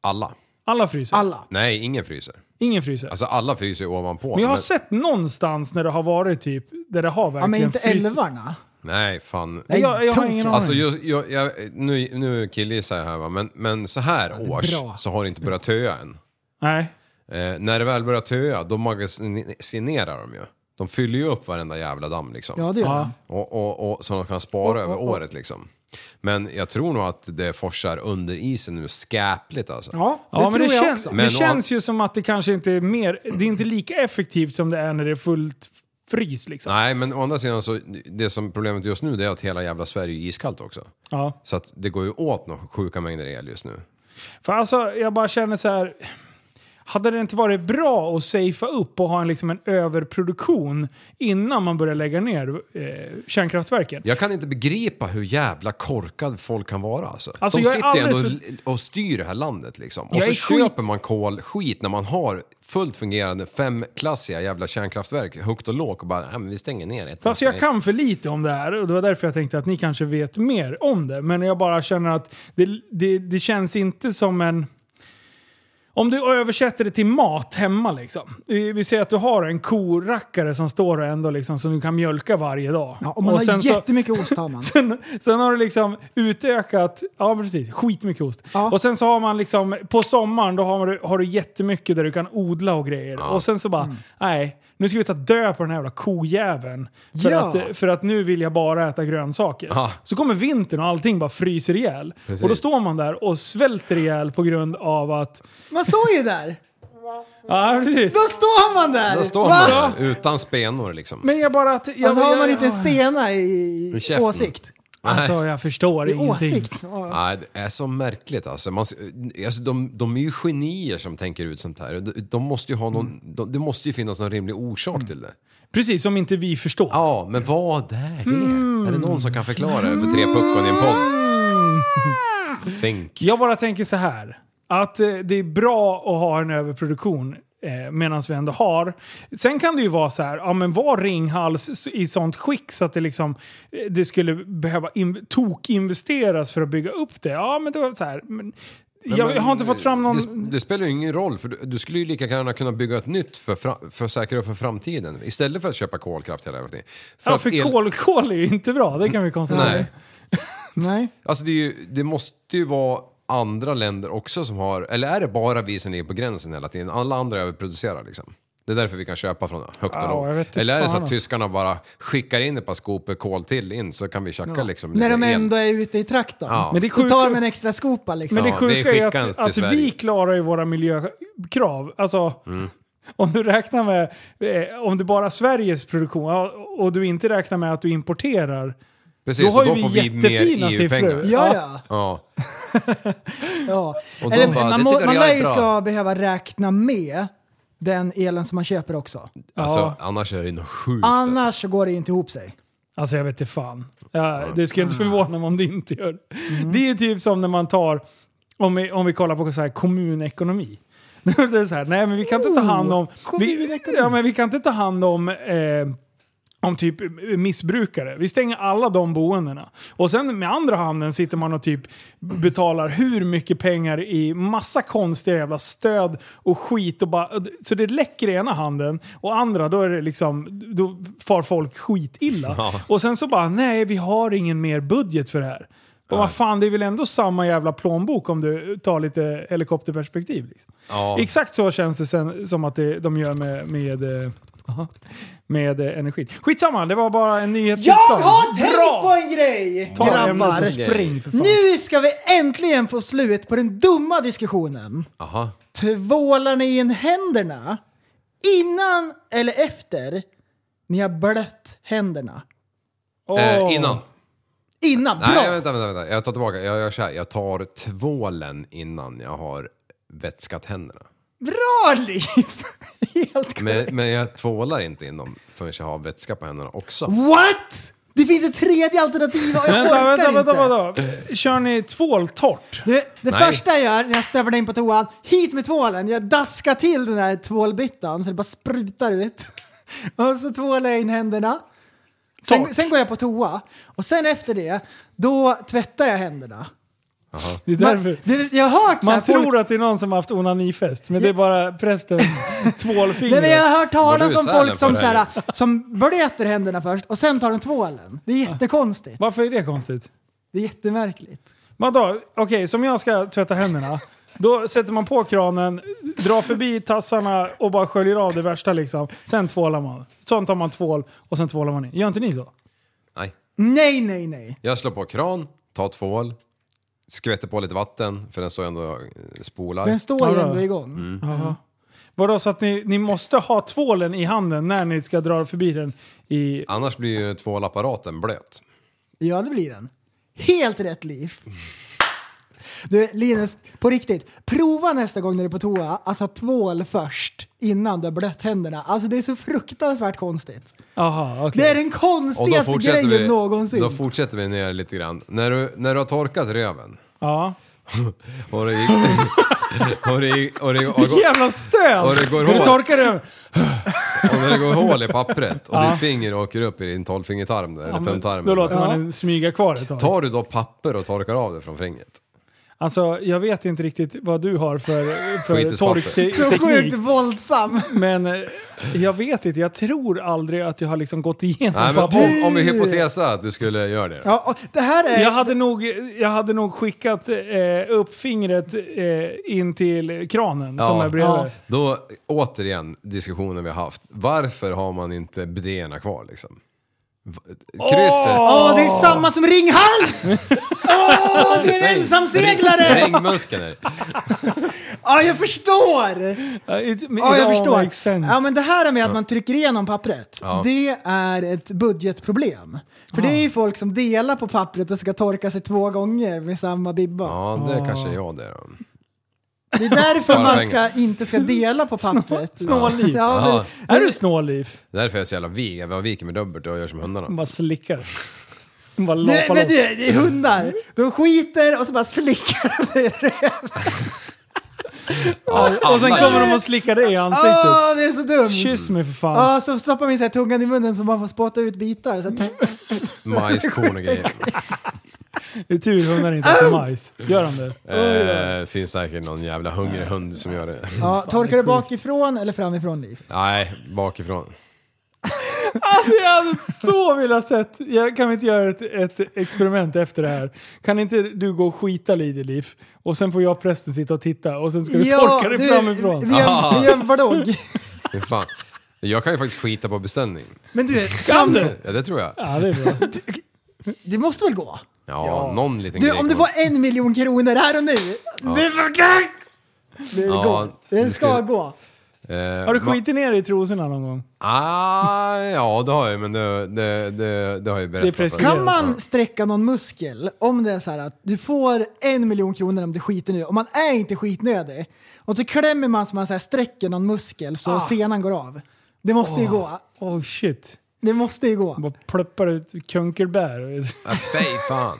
Alla. Alla fryser. Alla. Nej, ingen fryser. Ingen fryser. Alltså alla fryser ju ovanpå. men jag har sett någonstans när det har varit typ, där det har Ja, verkligen men inte fryst. älvarna. Nej, fan. Nej, jag, jag har Tungt. ingen aning. Alltså just, jag, jag, nu, nu killgissar jag här va, men, men så här års bra. så har det inte börjat töa än. Nej. Eh, när det väl börjar töa, då magasinerar de ju. De fyller ju upp varenda jävla damm liksom. Ja, det gör Ja. de. och, och, och, så de kan spara över året liksom. Men jag tror nog att det forsar under isen nu skapligt alltså. Ja, det Ja, tror men det, jag kän- också. det Men å- känns ju som att det kanske inte är mer, det är inte lika effektivt som det är när det är fullt frys liksom. Nej, men å andra sidan så, det som problemet just nu det är att hela jävla Sverige är iskallt också. Ja. Så att det går ju åt några sjuka mängder el just nu. För alltså, jag bara känner så här. Hade det inte varit bra att safea upp och ha en, liksom en överproduktion innan man börjar lägga ner eh, kärnkraftverken? Jag kan inte begripa hur jävla korkad folk kan vara alltså. Alltså, De jag är sitter ju ändå alldeles och styr det här landet liksom. Och Jag så är skit- köper man kolskit när man har fullt fungerande femklassiga jävla kärnkraftverk högt och lågt och bara, nej men vi stänger ner ett. För Alltså jag kan för lite om det här och det var därför jag tänkte att ni kanske vet mer om det. Men jag bara känner att det, det, det känns inte som en... Om du översätter det till mat hemma liksom. Vi vi säger att du har en korackare som står och ändå liksom som du kan mjölka varje dag. Ja, om man har så- jättemycket ost har man. Sen, sen har du liksom utökat, ja precis, skitmycket ost. Ja. Och sen så har man Mm. liksom, på sommaren då har du, har du jättemycket där du kan odla och grejer. Och sen så bara, nej, nu ska vi ta död på den här jävla kojäveln. För, Ja. att, eh, för att nu vill jag bara äta grönsaker. Ja. Så kommer vintern och allting bara fryser ihjäl. Precis. Och då står man där och svälter ihjäl på grund av att... Man står ju där. Ja, precis. Då står man där! Då står man där utan spenor liksom. Men jag bara... Att, jag, Och så Alltså, har jag, man inte en spena i, I i käften. åsikt. Alltså jag förstår I ingenting. åsikt. Ja. Nej, det är så märkligt alltså. Man, alltså de, de är ju genier som tänker ut sånt här. De, de måste ju ha någon, de, det måste ju finnas någon rimlig orsak till det. Precis, som inte vi förstår. Ja, men vad är det? Mm. Är det någon som kan förklara det för tre puckon i en podd? Mm. Think. Jag bara tänker så här. Att eh, det är bra att ha en överproduktion eh, medan vi ändå har. Sen kan det ju vara så här, ja men var Ringhals s- i sånt skick så att det liksom eh, det skulle behöva in, tokinvesteras för att bygga upp det. Ja men det var så här. Men, jag Men- har inte fått fram någon... Det, det spelar ju ingen roll, för du, du skulle ju lika gärna kunna bygga ett nytt för, fra- för att säkra upp för framtiden. Istället för att köpa kolkraft hela tiden. För ja, att för el- kol, kol är ju inte bra, det kan vi konstatera. Nej. Nej. Alltså det, är ju, det måste ju vara andra länder också som har, eller är det bara vi som ligger på gränsen hela tiden? Alla andra överproducerar liksom. Det är därför vi kan köpa från högt Ja, och lågt. jag vet inte Eller är det så fan, att alltså. tyskarna bara skickar in ett par skopor kol till in så kan vi tjacka liksom När de el? ändå är ute i traktorn. Ja. Men det är Så tar de sjukt- en extra skopa liksom. Men det Ja, sjuka det är skickas att, till att Sverige. Mm. vi klarar ju våra miljökrav. Alltså, om du räknar med, eh, om det bara är Sveriges produktion ja, och du inte räknar med att du importerar, Precis, då har och ju vi jättefina siffror. Ja. Ja, Ja. ja. ja. ja. Och de Eller, bara, man "Det må, tycker man jag lär är ju bra." ska behöva räkna med den elen som man köper också. Alltså, Ja. annars är det nog sjukt. Ah. Alltså. Annars så går det inte ihop sig. alltså jag vet inte fan. Ja, det ska inte förvåna mig om det inte gör det. är typ som när man tar, om vi, om vi kollar på så här kommunekonomi. Då är det så här, nej men vi kan inte ta hand om... Vi, kommunekonomi. ja, men vi kan inte ta hand om... Eh, om typ missbrukare. Vi stänger alla de boendena. Och sen med andra handen sitter man och typ betalar hur mycket pengar i massa konstiga jävla stöd och skit. Och bara, så det läcker i ena handen och andra då är det liksom, då far folk skitilla. Och sen så bara, nej vi har ingen mer budget för det här. Och vad fan, det är väl ändå samma jävla plånbok om du tar lite helikopterperspektiv. Liksom. Ja. Exakt så känns det sen, som att det, de gör med, med, eh, aha, med eh, energin. Skitsamma, det var bara en Jag nyhetstillstånd. har tänkt Bra! på en grej! Ta ämnet och grabbar! spring för fan. Nu ska vi äntligen få slut på den dumma diskussionen. Aha. Tvålar ni in händerna innan eller efter ni har blött händerna? Åh. Eh, innan. Innan, bra! Nej, vänta, vänta, vänta. Jag tar tillbaka. Jag gör så här. Jag tar tvålen innan jag har vätskat händerna. Bra liv! Helt Men, korrekt. men jag tvålar inte in dem förrän jag har vätska på händerna också. What? Det finns ett tredje alternativ och jag Vänta, orkar vänta, inte. vänta, vänta. Kör ni tvåltorrt? Du, det Nej. första jag gör när jag stövlar in på toan, hit med tvålen. Jag daskar till den här tvålbyttan så det bara sprutar ut. Och så tvålar jag in händerna. Sen, Torrt. sen går jag på toa. Och sen efter det, då tvättar jag händerna. Det är Man, därför. du, jag har hört så här Man folk- tror att det är någon som har haft onanifest, men det är bara prästens Nej, tvålfinger. men jag har hört Var du talas i om Sälen folk som, förra så här, som blöter händerna först och sen tar de tvålen. Det är jättekonstigt. Varför är det konstigt? Det är jättemärkligt. Vadå? Okej, som jag ska tvätta händerna. Då sätter man på kranen, drar förbi tassarna och bara sköljer av det värsta liksom. Sen tvålar man. Sen tar man tvål och sen tvålar man in. Gör inte ni så? Mm. Nej. Nej, nej, nej. Jag slår på kran, tar tvål, skvätter på lite vatten för den står ändå och eh, spolar. Den står ju Vadå? ändå igång. Mm. Vadå, så att ni, ni måste ha tvålen i handen när ni ska dra förbi den i... Annars blir ju tvålapparaten blöt. Ja, det blir den. Helt rätt liv. Du, Linus, på riktigt. Prova nästa gång när du är på toa att ha tvål först innan du har blött händerna. Alltså det är så fruktansvärt konstigt. Aha, okej. Det är den Och då konstigaste fortsätter, grejen vi, någonsin. då fortsätter vi ner lite grann. När du, när du har torkat röven Ja. och det gick... Och det, gick- och, det, och, och, Jävla stön! Och det går När du hårt. torkar över... när det går hål i pappret och Ja. ditt finger åker upp i din tolvfingertarm där, eller Då tunntarmen. låter man den smyga kvar ett tag. Tar du då papper och torkar av det från fingret? Alltså, jag vet inte riktigt vad du har för, för Skitens papper. Så sjukt torkteknik. våldsam. Men eh, jag vet inte, jag tror aldrig att jag har liksom gått igenom Nej, men papper. om, om vi hypotesar att du skulle göra det. Ja, och det här är... Jag hade, nog, jag hade nog skickat eh, upp fingret eh, in till kranen som Ja. är bredvid. Ja. Då återigen diskussionen vi har haft. Varför har man inte bidéerna kvar liksom? V- Krysset. Åh, det är samma som ringhals! Åh, du är en ensamseglare! Ringmuskeln. Ja, jag förstår! Ja, it's- it Ja, jag all förstår. makes sense. Ja, men det här med att man trycker igenom pappret, Ja. det är ett budgetproblem. För det är ju folk som delar på pappret och ska torka sig två gånger med samma bibba. Ja, det kanske är jag det då. Det är därför Spara man pengar. ska, inte ska dela på pappret. snålliv. Ja, Ja. Är du snål, Liv? Därför är jag så jävla veg. Jag viker mig dubbelt och gör som Hon hundarna. bara slickar. Hon bara men, lapar du, men du, loss. det är hundar. De skiter och så bara slickar de sig i röven. Och sen kommer de och slickar dig i ansiktet. Åh, det är så dumt! Kyss mig för fan. Ja, så stoppar man in så här tungan i munnen så man får spotta ut bitar. Så Majskorn och grejer. Det är tur hundar inte Ah. äter majs. Gör de det? Eh, finns säkert någon jävla hungrig hund som gör det. ja, torkar du bakifrån eller framifrån, Liv? Nej, bakifrån. Alltså jag hade så velat sett. Jag kan vi inte göra ett, ett experiment efter det här? Kan inte du gå och skita lite i Liv? Och sen får jag och prästen sitta och titta och sen ska du torka dig du, framifrån. Vi gör, vi gör en vlogg. Fy fan. Jag kan ju faktiskt skita på beställning. Men du, Kan du? Ja, det tror jag. Ja, Ja det är bra. det måste väl gå? någon liten Du, grej. om du kommer- får en miljon kronor här och nu. Det, är- det, Ja, går. det det ska skulle- gå. Eh, Har du ma- skitit ner dig i trosorna någon gång? Ah, ja, det har jag ju, men det, det, det, det har jag Det ju berättat. är precis- för dig. Kan man sträcka någon muskel om det är så här att du får en miljon kronor om du skiter nu och man är inte skitnödig och så klämmer man så man så här sträcker någon muskel så senan går av. Det måste ju gå. Oh shit. Det måste ju gå. Bara pluppar ut kunkelbär. Ah, fy fan.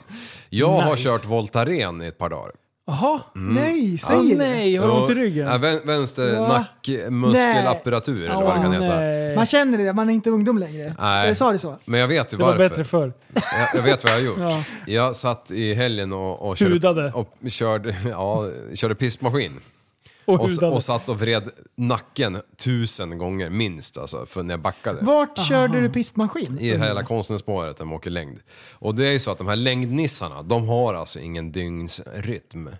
Jag har kört Voltaren i ett par dagar. Jaha. Nej, säg Åh det. nej, har du ont i ryggen? Mm. Ja, Äh, vän, vänster Va? nackmuskelapparatur eller vad det kan heta. Nej. Man känner det, man är inte ungdom längre. Nej. Jag sa det så? Men jag vet ju Det var varför. bättre förr. Jag, jag vet vad jag har gjort. Ja. Jag satt i helgen och, och, körde, Hudade. och körde, ja, körde pissmaskin. Och Och, s- hudade. och satt och vred nacken tusen gånger minst alltså, för när jag backade. Vart körde du pistmaskin? I det här hela Mm. konstnärsspåret där de åker längd. Och det är ju så att de här längdnissarna, de har alltså ingen dygnsrytm.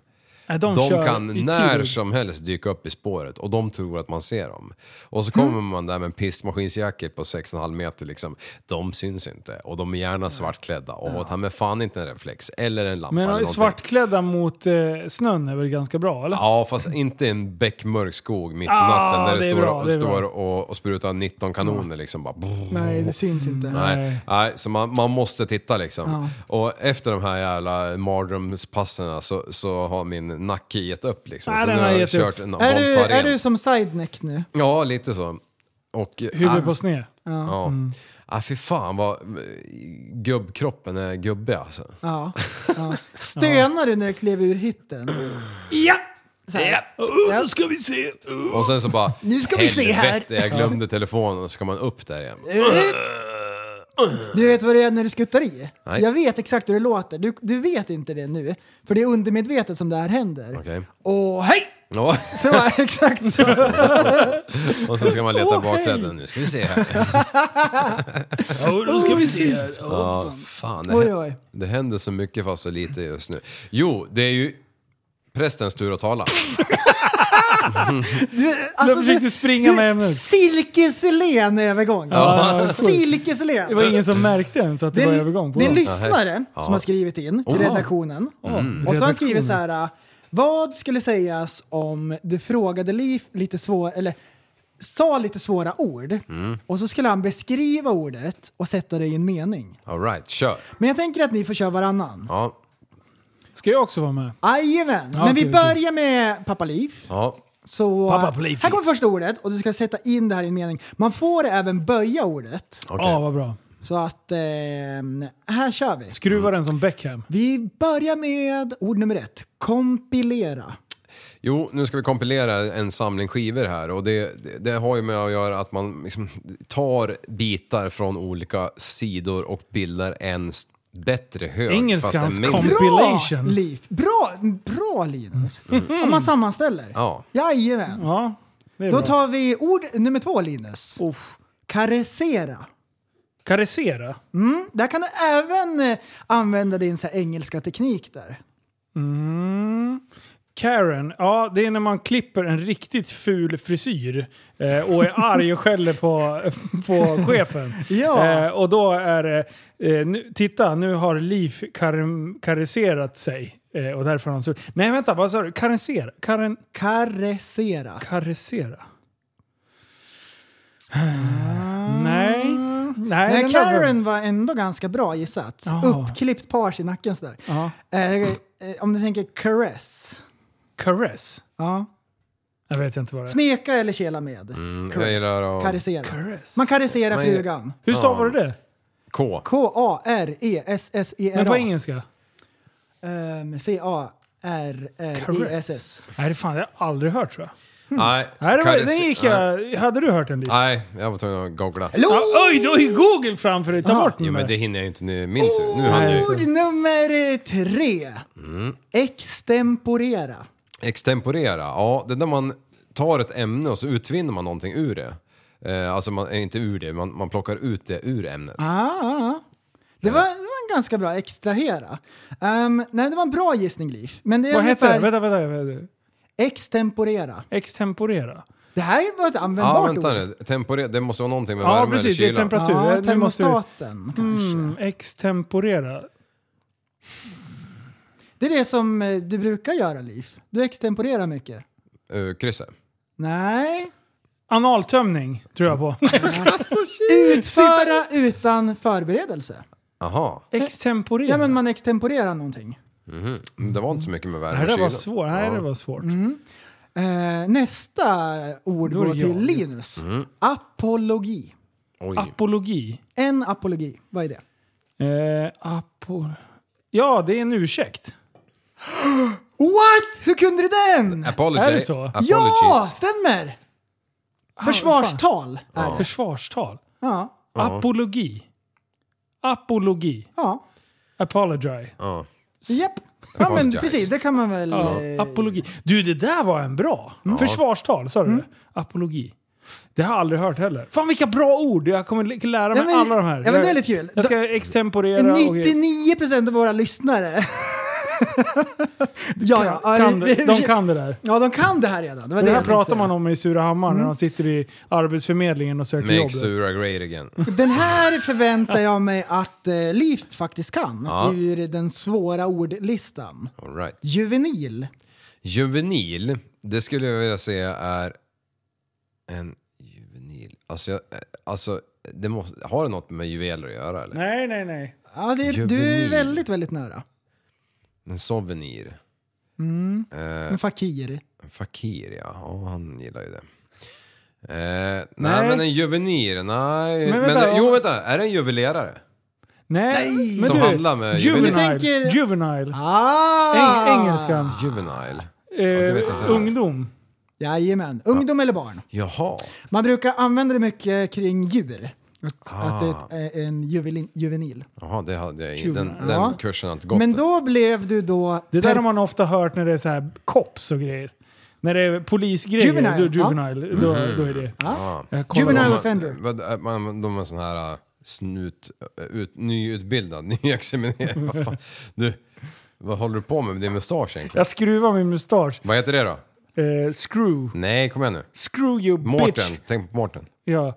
Nej, De, kör kan i när tid. som helst dyka upp i spåret och de tror att man ser dem. Och så kommer Mm. man där med en pistmaskinsjacket på 6,5 meter liksom. De syns inte och de är gärna svartklädda och har ta med fan inte en reflex eller en lampa eller Men någonting. svartklädda mot eh, snön är väl ganska bra eller? Ja, fast inte en bäckmörk skog mitt i Ah, natten där det, det är står, bra, det är bra. står och, och sprutar 19 kanoner liksom. Bara, Nej, det syns inte. Nej, nej så man, man måste titta liksom. Och efter de här jävla mardrömspassen så, så har min nacke gett upp liksom. Nej, så den nu har har jag gett upp. kört en Är du, Voltaren. är du som sideneck nu? Ja, lite så. Och, Huvud ah, på sned. Ja. Mm. Ah, fy fan vad gubbkroppen är gubbig alltså. Ja. ja. Stönar du när du klev ur hytten? Ja! Så här. Ja. ska vi se. Och sen så bara, Nu ska vi se här. helvete, jag glömde telefonen och så ska man upp där igen. Du vet vad det är när du skuttar i? Nej. Jag vet exakt hur det låter. Du, du vet inte det nu, för det är undermedvetet som det här händer. Okej. Åh, hej! Ja, Så, exakt så. och så ska man leta Åh, oh, hej. baksätet. Nu ska vi se här. Då ska vi se här. Ja, fan, det, Oj, oj. det händer så mycket fast så lite just nu. Jo, det är ju prästens tur att tala. Alltså, Jag försökte springa med ämnet. Silkeslen övergång. Ja, det var sjukt. Silkeslen. Det var ingen som märkte ens att det, är var en- övergång på det är en dem. lyssnare Ja. Mm. som har skrivit in till redaktionen. Mm. Och så har han skrivit så här. Vad skulle sägas om du frågade Liv lite svår, eller sa lite svåra ord Mm. och så skulle han beskriva ordet och sätta det i en mening. All right, kör. Men jag tänker att ni får köra varannan. Ja, Ska jag också vara med? Jajamän! Ja, Men vi okej, börjar med pappa Liv. ja. Så Pappa Liv. här kommer första ordet och du ska sätta in det här i en mening. Man får även böja ordet. Okej. Ja, vad bra. Så att ehm, här kör vi. Skruva den som Beckham. Vi börjar med ord nummer ett. Kompilera. Jo, nu ska vi kompilera en samling skivor här och det, det, det har ju med att göra att man liksom tar bitar från olika sidor och bildar en s- bättre hög fast en Engelskans mindre. kompis. Bra, Compilation. Mm. Liv. Bra, bra Linus. Om man sammanställer. Ja. Jajamän. Ja, det är Då bra. tar vi ord nummer två Linus. Uff. Karessera. Karessera. Där kan du även eh, använda din så här, engelska teknik där. Karen, ja det är när man klipper en riktigt ful frisyr eh, och är arg och skäller på, på chefen. Ja. Eh, och då är det, eh, nu, titta nu har Liv kar- kariserat sig. Eh, och därför har han sur. Nej vänta, vad sa du? Karensera? Karen, Karessera. karessera? Nej. Nej, Ah. Nej, den där var- Karen var ändå ganska bra gissat. Ja. Uppklippt page i nacken sådär. Ja. Eh, eh, om du tänker caress. Caress? Ja. Jag vet inte vad det är. Smeka eller kela med. Mm, Jag gillar att- Karessera. Caress. Man karesserar Man gillar- frugan. Hur stavar du det? K. E K-A-R-E-S-S-E-R-A. Men på engelska? Ehm, E C-A-R-R-E-S-S. Nej, det fan, jag har aldrig hört tror jag. Nej, Nej, det var, Karis- den gick Nej. jag... Hade du hört den dit? Nej, jag var tvungen att googla. Ja, oj, du har ju Google framför dig. Ta bort den Jo, men där. det hinner jag ju inte nu. Min tur. Nu hann jag ju. Ord nummer tre. Mm. Extemporera. Extemporera. Ja, det är när man tar ett ämne och så utvinner man någonting ur det. Eh, alltså, man, eh, inte ur det, man, man plockar ut det ur ämnet. Ah, ah, ah. det, var, det var en ganska bra extrahera. Ehm, nej, det var en bra gissning, Liv. Men det är Vad heter det? ungefär Vänta, vänta, vänta. extemporera. Extemporera. Det här var ett användbart Ja, vänta ord. nu. Temporera, det måste vara någonting med Ja, värme precis. Det eller är kyla. temperatur. Ja, Nu måste vi- termostaten kanske. Mm, extemporera. Det är det som eh, du brukar göra, Liv. Du extemporerar mycket. Eh, krysset. Nej. Analtömning tror jag på. Alltså, Utföra utan förberedelse. Jaha, extemporera. Ja, men man extemporerar någonting. det var inte så mycket med det värme här och där kyla. var svårt. Det här Ja. där var svårt. Mm. Eh, nästa ord Då är går det till jag. Linus. Apologi. Ah, Oj. Apologi. En apologi, vad är det? Eh, apo... Ja, det är en ursäkt. What? Hur kunde du den? Apology. Är det så? Ja, Apologies. stämmer! Ah, Försvarstal. Ja. Försvarstal. Ja. Apologi. Apologi. ja. Apology. Ja. Japp. Ja men Apologize. precis, det kan man väl... Ja. eh, Apologi. Du, det där var en bra. Försvarstal, sa du Mm. det? Apologi. Det har jag aldrig hört heller. Fan vilka bra ord! Jag kommer li- lära mig Ja, men- alla de här. ja, men det är lite kul. Jag ska extemporera och... 99% av våra lyssnare. ja, ja. Kan, vi- det- de kan det där. Ja, de kan det här redan. Det, var Det det här jag tänkte pratar säga. man om i Surahammar Mm. när de sitter vid Arbetsförmedlingen och söker Make jobb. Sura great again. Den här förväntar jag mig att eh, Liv faktiskt kan. Ur den svåra ordlistan. All right. Juvenil. Juvenil, det skulle jag vilja säga är en juvenil. Alltså, jag, alltså det måste, har det något med juveler att göra eller? Nej, nej, nej. Ja, det, du är Juvenil. väldigt, väldigt nära. En souvenir. Eh. En fakir. En fakir ja, ja han gillar ju det. Eh, nej, men en juvenir, nej. Men vänta, om- jo vänta, är det en juvelerare? Nej! Men Som du, handlar med juvenile. juvenil. Du tänker- Juvenile. Ah! Eng- engelskan. Juvenile. det vet jag inte. Eh, ungdom. Jajamän. Ungdom eller barn. Jaha. Man brukar använda det mycket kring djur. Att, Ah. att det är ett- en juvelin, juvenil. Jaha, det hade jag, den, Juvenile. den Ja. kursen har inte gått. Men än. då blev du då... Det där per- har man ofta hört när det är så här cops och grejer. När det är polisgrejer, Juvenile, då, ja. juvenile, då, då Mm-hmm. är det. Ah. Jag kollar Juvenile om- Man- offender. vad- äh, Man, de är sån här äh, snut, äh, ut, nyutbildad, nyexaminerad. vad fan? Du, vad håller du på med med din mustasch egentligen? Jag skruvar min mustasch. Vad heter det då? Eh, screw. Nej, kom igen nu. Screw you Mårten, bitch. tänk på Mårten. Ja.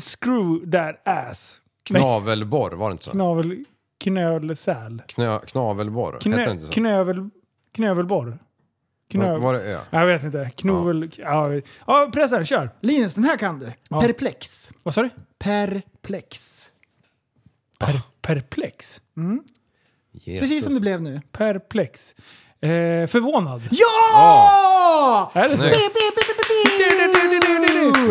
Screw that ass. Nej, Knavelborr, var det inte så? Knavel... Knölsäl. Knö, knavelborr, hette det Knö, inte så? knövel... Knövelborr. Var, Knövel... var det ö? Jag vet inte. Knovel... Ja, ja. pressen, kör. Linus, den här kan du. Perplex. Vad sa du? Perplex. Per, perplex. Jesus. Precis som det blev nu. Perplex. Eh, förvånad. Ja! Är det så? Snyggt.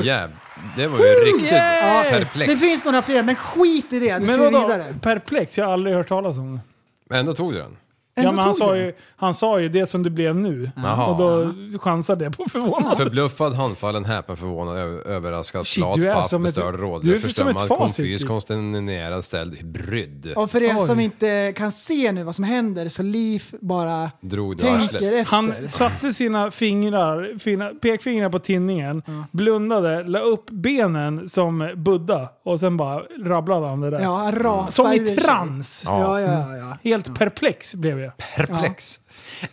Yeah, det var ju riktigt Yeah! perplex. Det finns några fler, men skit i det. Nu Men ska vi vadå? vidare. Perplex? Jag har aldrig hört talas om det. Men ändå tog du den. Ja, Ändå men han, tog sa den. ju, han sa ju det som det blev nu. Jaha. Och då chansade jag på förvånad. Förbluffad, handfallen, häpen, förvånad, över, överraskad, Shit, glad, du är paff, som ett- bestörd, du rådlig, är som ett förströmmad, facit, konfys, typ. konsternerad, ställd, brydd. Och för er Oj. som inte kan se nu vad som händer så Liv bara Drog det i tänker arslet. efter. Han satte sina fingrar, fina, pekfingrar på tinningen, blundade, la upp benen som Buddha och sen bara rabblade han det där. ja, han rapar som ur sig. i trans! Ja, ja, ja, ja. Helt perplex blev jag. Mm. Perplex.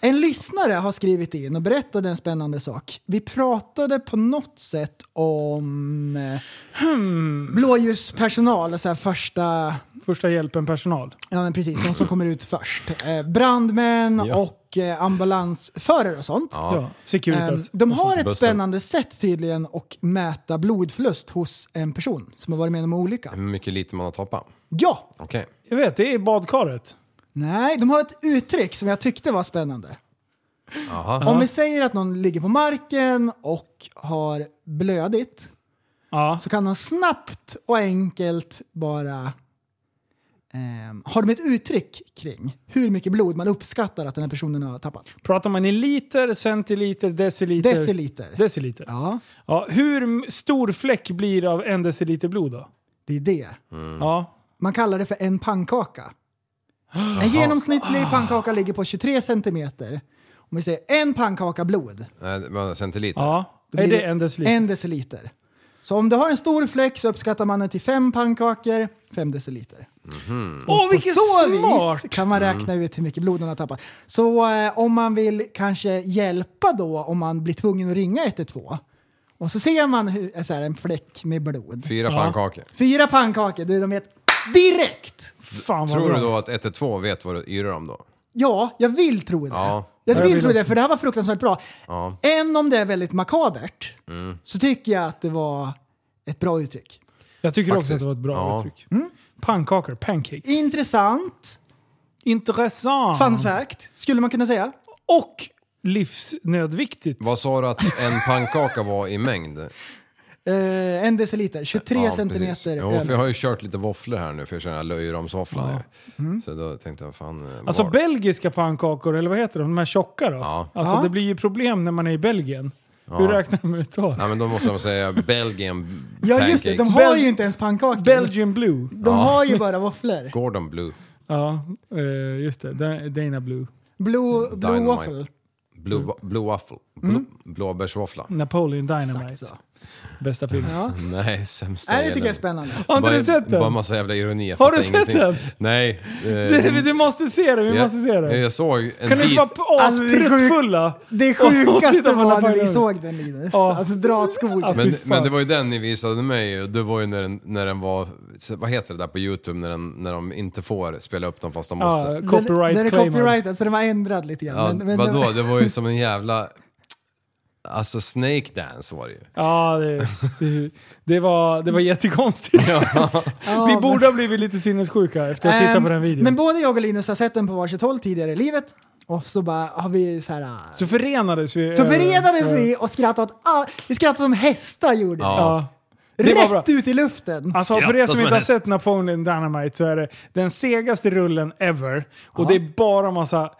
En lyssnare har skrivit in och berättade en spännande sak. Vi pratade på något sätt om eh, Hmm. blåljuspersonal, alltså här första Första hjälpen-personal. Ja men precis, de som kommer ut först. Eh, brandmän Ja. och eh, ambulansförare och sånt. Ja. Ehm, Securitas. de har ett bussen. spännande sätt tydligen att mäta blodförlust hos en person som har varit med om en olycka. Hur mycket lite man har tappat. Ja! Okej. Jag vet, det är badkaret. Nej, de har ett uttryck som jag tyckte var spännande. Aha. Om vi säger att någon ligger på marken och har blödigt Ja. så kan de snabbt och enkelt bara... ehm, har de ett uttryck kring hur mycket blod man uppskattar att den här personen har tappat? Pratar man i liter, centiliter, deciliter? Deciliter. Deciliter. Ja. Ja, hur m- stor fläck blir det av en deciliter blod då? det är det. Mm. Ja. Man kallar det för en pannkaka. En Ah. genomsnittlig pannkaka ligger på 23 centimeter. Om vi säger en pannkaka blod, Nej, Eh, det var centiliter. ja. då Är blir det en deciliter? en deciliter. Så om du har en stor fläck så uppskattar man den till fem pannkakor, fem deciliter. Åh, På så smart! Mm. vis kan man räkna ut hur mycket blod man har tappat. Så eh, om man vill kanske hjälpa då, om man blir tvungen att ringa 112, och så ser man hur, så här, en fläck med blod. Fyra pannkakor. Fyra pannkakor, du, de vet direkt! Fan vad Tror bra. du då att 112 vet vad du yrar om då? Ja, jag vill tro det. Ja. Jag Ja, jag vill vill tro det, också. för det här var fruktansvärt bra. Ja. Mm. Än om det är väldigt makabert, så tycker jag att det var ett bra uttryck. Jag tycker också Faktiskt. att det var ett bra Ja. uttryck. Mm. Pannkakor, pancakes. Intressant, Intressant! fun fact, skulle man kunna säga. Och livsnödviktigt. Vad sa du att en pannkaka var i mängd? Eh, en deciliter, 23 centimeter. Jo, över. för jag har ju kört lite våfflor här nu för jag känner att jag löjer om sofflan. ju. Så då tänkte jag, fan... eh, Alltså var- belgiska pannkakor, eller vad heter de? De här tjocka då? Ja. Alltså Ja. det blir ju problem när man är i Belgien. Hur räknar man ut då? Nej men då måste de säga Belgian Ja just det, de pancakes. har ju inte ens pannkakor. Belgian Blue. de har ju bara våfflor. Gordon Blue. Ja, eh, just det. Da- Dana Blue. Blue, blue Dynamite. waffle. Blue, blue waffle. Blå, Blåbärsvåffla. Mm. Napoleon Dynamite. Exakt så. Bästa filmen. Ja. Nej, sämsta Nej, det tycker delen. jag är spännande. Har inte bara, du sett Bara den? massa jävla ironi. jag Har du fattar sett den? Nej. eh, Du, du måste se den, vi jag- måste se Jag, den. jag såg en Kan du bit- inte vara p- Alltså, det är sjukt. asprutfulla? Det Titta sjukaste på var alla när vi färger. såg den Linus. Ja. Alltså dra åt skogen. Ja, men, Fy fan. men det var ju den ni visade mig och det var ju när den, när den var, vad heter det där på Youtube när, den, när de inte får spela upp dem fast de måste? Ja, den, den är copyright claimad. copyrightad så den var ändrad lite grann. Ja, men, men det vadå? var- Det var ju som en jävla... Alltså Snake Dance var det ju. Ja, det, det, det, var, det var jättekonstigt. vi borde ha blivit lite sinnessjuka efter att ha tittat Ehm, på den videon. Men både jag och Linus har sett den på varsitt håll tidigare i livet. Och så bara har vi så här... äh, så förenades vi. eh, Så över- förenades över- vi och skrattade åt all, Vi skrattade som hästar gjorde vi. Ja. det var Rätt bra. ut i luften. Alltså för Skratta er som som en inte har häst. sett Napoleon Dynamite så är det den segaste rullen ever. Och det är bara massa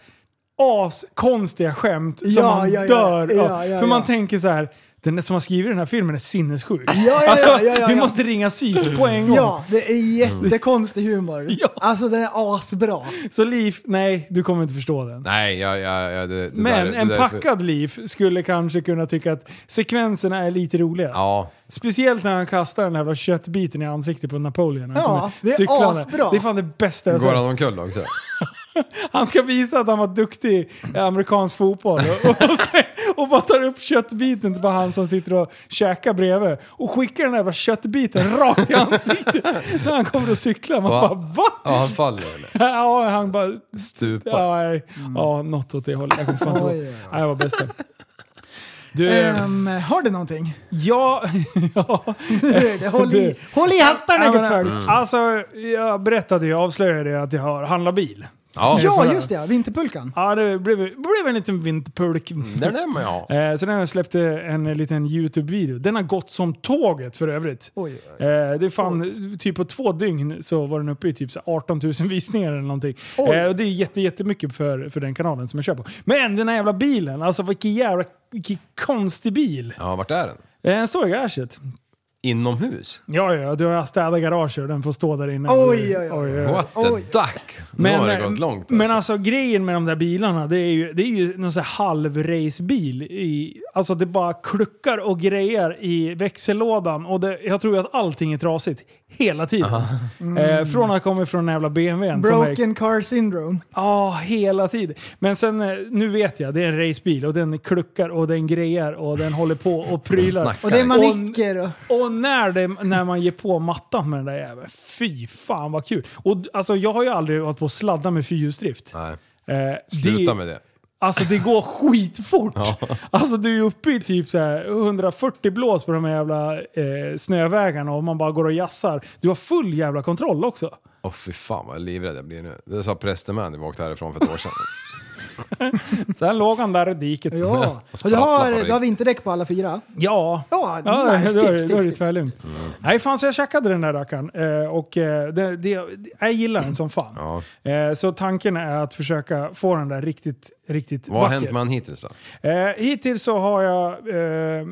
askonstiga skämt som Ja, man ja, ja. dör Ja, av. ja, För man ja. tänker så här, den som har skrivit den här filmen är sinnessjuk. ja, ja, alltså, ja, ja, ja. Vi måste ringa psyk på en gång. ja, det är jättekonstig humor. Ja. Alltså den är asbra. Så Liv, nej du kommer inte förstå den. Nej, jag... jag, jag det, det där, Men det en där är för- packad Liv skulle kanske kunna tycka att sekvenserna är lite roliga. Ja. Speciellt när han kastar den här jävla köttbiten i ansiktet på Napoleon. när han Ja, kommer det är cyklande. asbra. Det är fan det bästa jag Går sett. han omkull också? Han ska visa att han var duktig i amerikansk fotboll och, och, och bara tar upp köttbiten till han som sitter och käkar bredvid och skickar den där jävla köttbiten rakt i ansiktet när han kommer att cykla. Man Va? bara va? Ja, han faller eller? Ja, han bara... Stupa. Ja, nej. ja något åt det hållet. Jag kommer fan inte Mm. Oj, ihåg. oj, oj. Nej, jag var bäst där. Du, ehm, Ehm, har du någonting? ja... ja. Håll i, håll i hattarna Ja, ditt Mm. men, Mm. folk. Alltså, jag berättade ju, avslöjade ju att jag har handlat bil. Ja. Ja, just det. Vinterpulkan. Ja, det blev, blev en liten vinterpulk. Där nämner jag. Eh, så den här släppte en liten YouTube-video. Den har gått som tåget för övrigt. Oj. Eh, det är fan, typ på två dygn så var den uppe i typ så här 18 000 visningar eller någonting. Oj. Eh, och det är jätte, jättemycket för, för den kanalen som jag kör på. Men den här jävla bilen, alltså vilken jävla vilken konstig bil. Ja, vart är den? Eh, Den står i garaget. Inomhus? Ja, ja, du har städat garaget och den får stå där inne. Oj, oj, oj. What the Oj. duck? Nu har det gått långt. men alltså grejen med de där bilarna, det är ju, det är ju någon sån här halvracebil. i- Alltså det bara kluckar och grejer i växellådan och det, jag tror ju att allting är trasigt. Hela tiden. Eh, från att komma från den jävla BMWn. som är- Broken car syndrome. Ja, hela tiden. Men sen, eh, nu vet jag, det är en racebil och den kluckar och den grejer och den håller på och prylar. snackar. Och det är manicker och... Och när, det, när man ger på mattan med den där jäveln, fy fan vad kul. Och alltså jag har ju aldrig varit på att sladda med fyrhjulsdrift. Nej, Eh, sluta med det. Alltså det går skitfort. Alltså du är uppe i typ så här 140 blås på de här jävla eh, snövägarna och man bara går och jassar. Du har full jävla kontroll också. Åh fy fan vad livrädd jag blir nu. Det sa prästen med när vi åkte härifrån för ett år sedan. Sen låg han där i diket. Ja. Och du sprattlar på har, dig. du har vinterdäck på alla fyra? Ja. Ja, Ja, nice. då är det- Tips, då är det tips, tips. tvärlugnt. Mm. Nej, fan så jag checkade den där rackaren. Eh, och eh, det, det, jag gillar den som fan. Eh, så tanken är att försöka få den där riktigt, riktigt Vad har vacker. hänt med han hittills då? Eh, hittills så har jag eh,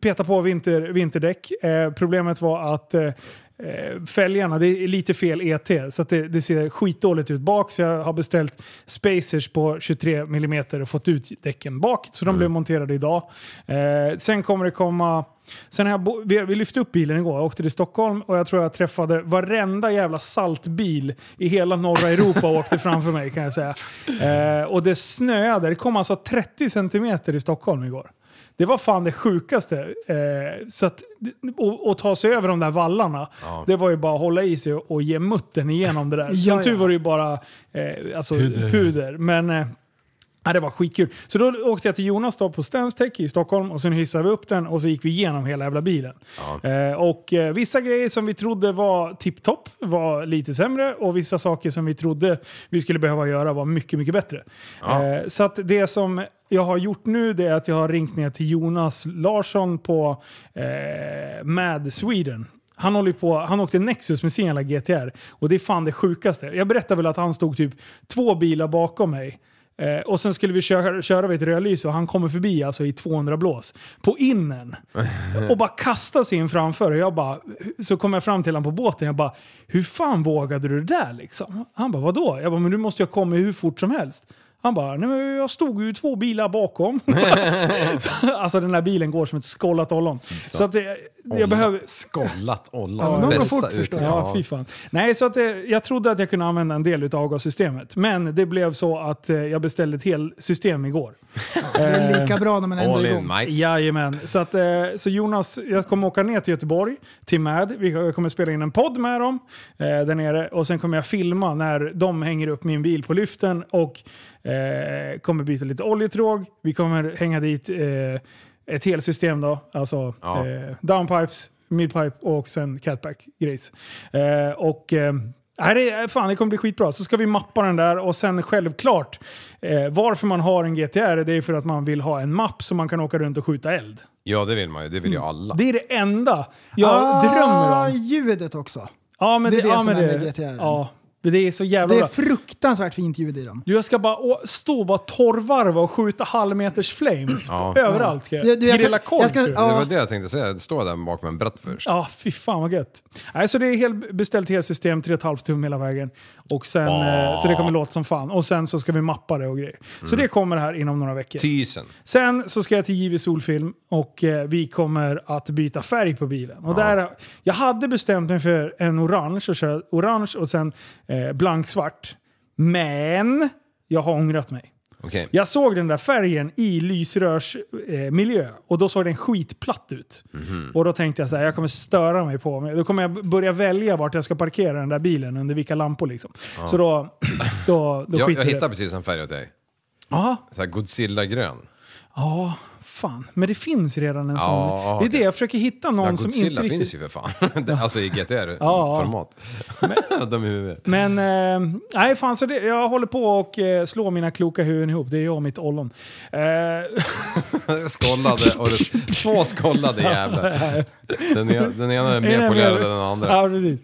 petat på vinter, vinterdäck. Eh, problemet var att eh, eh, fälgarna, det är lite fel ET, så att det, det ser skitdåligt ut bak. Så jag har beställt spacers på 23 mm och fått ut däcken bak. Så de blev monterade idag. Eh, sen kommer det komma... Sen har jag, bo- vi, vi lyfte upp bilen igår, jag åkte till Stockholm och jag tror jag träffade varenda jävla saltbil i hela norra Europa och åkte framför mig kan jag säga. Eh, och det snöade, det kom alltså 30 centimeter i Stockholm igår. Det var fan det sjukaste. Eh, så att, och, och ta sig över de där vallarna, det var ju bara att hålla i sig och, och ge muttern igenom det där. Ja, Som tur ja. var det ju bara eh, alltså, puder. Men eh, Ja, det var skitkul. Så då åkte jag till Jonas då på Stenstek i Stockholm och sen hissade vi upp den och så gick vi igenom hela jävla bilen. Eh, och eh, vissa grejer som vi trodde var tipptopp var lite sämre och vissa saker som vi trodde vi skulle behöva göra var mycket, mycket bättre. Eh, så att det som jag har gjort nu det är att jag har ringt ner till Jonas Larsson på eh, Mad Sweden. Han, håller ju på, han åkte Nexus med sin jävla GTR och det är fan det sjukaste. Jag berättade väl att han stod typ två bilar bakom mig. Eh, och sen skulle vi köra, köra vid ett rödlys och han kommer förbi alltså i 200 blås på innen. Och bara kastar sig in framför och jag bara, så kom jag fram till honom på båten jag bara “Hur fan vågade du det där liksom?” Han bara “Vadå?” Jag bara “Men du måste ju ha kommit hur fort som helst”. Han bara “Nej men jag stod ju två bilar bakom”. så, alltså den där bilen går som ett skållat ollon. Så att det, jag behöver... Skollat Ja, ollon. de går fort, Bästa förstår uttryck. jag. Ja, fy fan. Nej, så att eh, jag trodde att jag kunde använda en del av avgassystemet. Men det blev så att eh, jag beställde ett helt system igår. Det är lika bra när man ändå All är in igång. Mike. Jajamän. Så, att, eh, så Jonas, jag kommer åka ner till Göteborg, till MAD. Vi- Jag kommer spela in en podd med dem eh, där nere. Och sen kommer jag filma när de hänger upp min bil på lyften och eh, kommer byta lite oljetråg. Vi kommer hänga dit eh, ett helsystem då, alltså Ja. eh, downpipes, midpipe och sen catback grejs. Eh, och eh, nej, det, är- fan, det kommer bli skitbra. Så ska vi mappa den där och sen självklart eh, varför man har en GTR det är för att man vill ha en mapp som man kan åka runt och skjuta eld. Ja, det vill man ju. Det vill ju alla. Mm. Det är det enda jag drömmer om. ljudet också. Ja, men Ah, det är det ja, som men är med GTR. Ja, men det är så jävla Det är bra. fruktansvärt fint ljud i dem. Du, Jag ska bara å- stå och bara torrvarva och skjuta halvmeters flames Ja. överallt. Ska jag. Ja, du, jag kan- Grilla korv jag ska- ska jag. ja. Det var det jag tänkte säga. Stå där bakom en brett först. Ja, fy fan vad gött. Nej, så det är helt beställt helsystem, 3,5 tum hela vägen. Och sen, eh, så det kommer låta som fan. Och sen så ska vi mappa det och grejer. Så det kommer här inom några veckor. Tysen. Sen så ska jag till JW Solfilm och eh, vi kommer att byta färg på bilen. Och där, jag hade bestämt mig för en orange och köra orange och sen eh, blanksvart. Men jag har ångrat mig. Okej. Jag såg den där färgen i lysrörsmiljö eh, miljö, och då såg den skitplatt ut. Mhm. Och då tänkte jag så här, jag kommer störa mig på mig. Då kommer jag börja välja vart jag ska parkera den där bilen under vilka lampor liksom. Så då, då, då skiter Jag, jag vi i hittade det. precis en färg åt dig. Ja, Så här Godzilla-grön. fan, men det finns redan en sån. Ja, det är okej. det jag försöker hitta någon Ja, som Godzilla inte riktigt... finns ju för fan. Det- alltså i ja. GTR-format. De är huvudet. Men eh, nej, fan, så det, jag håller på och eh, slår mina kloka huvuden ihop. Det är jag och mitt ollon. Eh, Skållade och det, två skållade jävlar. Den, e- den ena är är mer det polerad än med- den andra. Ja, precis.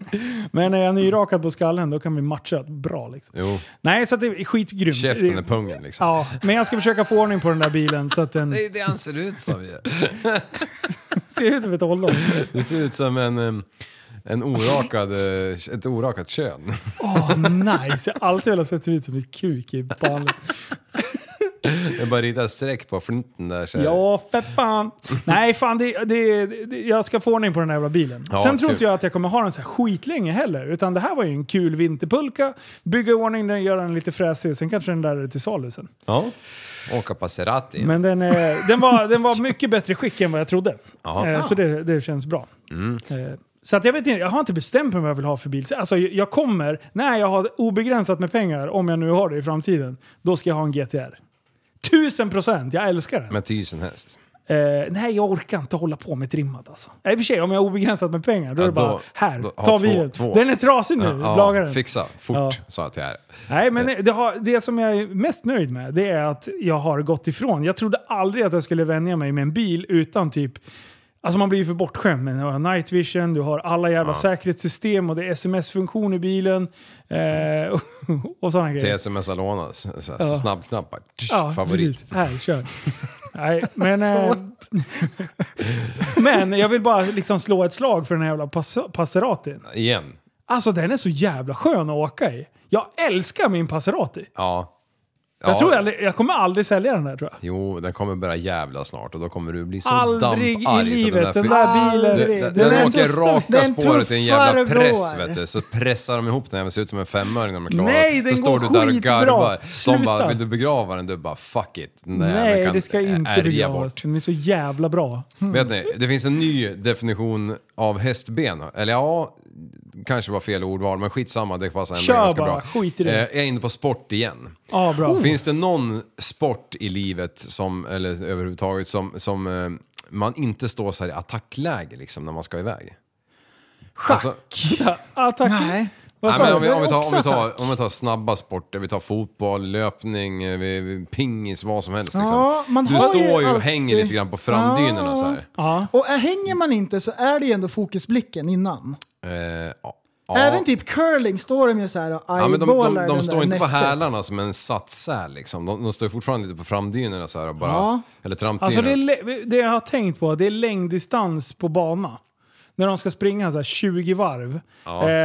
Men är jag nyrakad på skallen då kan vi matcha bra liksom. Jo, Nej, så att det är skitgrymt. käften är Det- pungen liksom. Ja, men jag ska försöka få ordning på den där bilen så att den Det är det han ser ut som ju. ser ut som ett ollon. Det ser ut som en, em, en orakad, eh, ett orakat kön. Åh, nice! Jag har alltid velat se ut som ett kuk i ballen. Jag bara ritar streck på flinten där. Så här. Ja, för fan. Nej, fan. Det, det, det, jag ska få ordning på den här jävla bilen. Ja, Sen tror kul. inte jag att jag kommer ha den så här skitlänge heller. Utan det här var ju en kul vinterpulka. Bygga i ordning den, göra den lite fräsig. Sen kanske den där är till salu sen. ja. Åka Passerati. Men den, eh, den, var, den var mycket bättre skick än vad jag trodde. Ja. Mm. Eh, så det, det känns bra. Eh, så att jag vet inte, jag har inte bestämt mig vad jag vill ha för bil. Alltså jag- jag kommer, när jag har obegränsat med pengar, om jag nu har det i framtiden, då ska jag ha en GTR. Tusen procent, jag älskar den. Med tusen häst. Eh, nej, jag orkar inte hålla på med trimmat alltså. I och för sig, om jag har obegränsat med pengar, då Ja, är det bara då- här, då- ha ta två- bilen. två. Den är trasig nu, laga den. fixa fort, Ja. sa jag till er. Nej, men det, har, det som jag är mest nöjd med det är att jag har gått ifrån. Jag trodde aldrig att jag skulle vänja mig med en bil utan typ... Alltså man blir ju för bortskämd. Men du har night vision, du har alla jävla säkerhetssystem och det är sms-funktion i bilen. Eh, och, och sådana Till grejer. sms Alona, så, så, Ja. så snabbknappar. Tsch, Ja, favorit. precis. Här, kör. Nej, men, eh, men jag vill bara liksom slå ett slag för den här jävla pass, Passeratin. Igen. Alltså den är så jävla skön att åka i. Jag älskar min Passerati. Ja. Jag, Ja. tror jag, jag kommer aldrig sälja den där tror jag. Jo, den kommer börja jävla snart och då kommer du bli så Aldrig i damparg. så livet. fi- Den där bilen. Aldrig. Den, Den den, är så åker stor. raka Den spåret i en tuffar jävla och press går. vet du. Så pressar de ihop den, den ser ut som en femöring när de är klara. Nej, den så står går du där och skitbra. garvar. Sluta. De bara, vill du begrava den? Du bara, fuck it. Den där jäveln Nej, kan det ska inte ärja begravas. bort. Den är så jävla bra. Vet ni, det finns en ny definition av hästben. Eller ja, kanske var fel ordval, men skitsamma. Det passar ändå Kör ganska bara, bra. skit i det. Eh, jag är inne på sport igen. Ja, bra. Finns det någon sport i livet, som, eller överhuvudtaget, som, som eh, man inte står så här i attackläge liksom, när man ska iväg? Schack! Alltså, Attack. Nej. ah, Vad nej, sa men du? om, vi, om, vi tar, om, vi Oxattack. tar, om vi tar snabba sporter, vi tar fotboll, löpning, eh, vi, vi, pingis, vad som helst. Liksom. Ja, man du har ju står ju och alltid- hänger lite grann på framdynorna så här. Ja. Och äh, hänger man inte så är det ju ändå fokusblicken innan. Eh, ja. Även typ curling står de ju såhär och Ja, men de, de, eyeballar de, den står där inte på nästet. hälarna som en satssäl liksom. De, de står fortfarande lite på framdynorna så här och bara... Ja. Eller trampdynorna. Alltså det, är, lä- det jag har tänkt på, det är längddistans på bana. När de ska springa så här 20 varv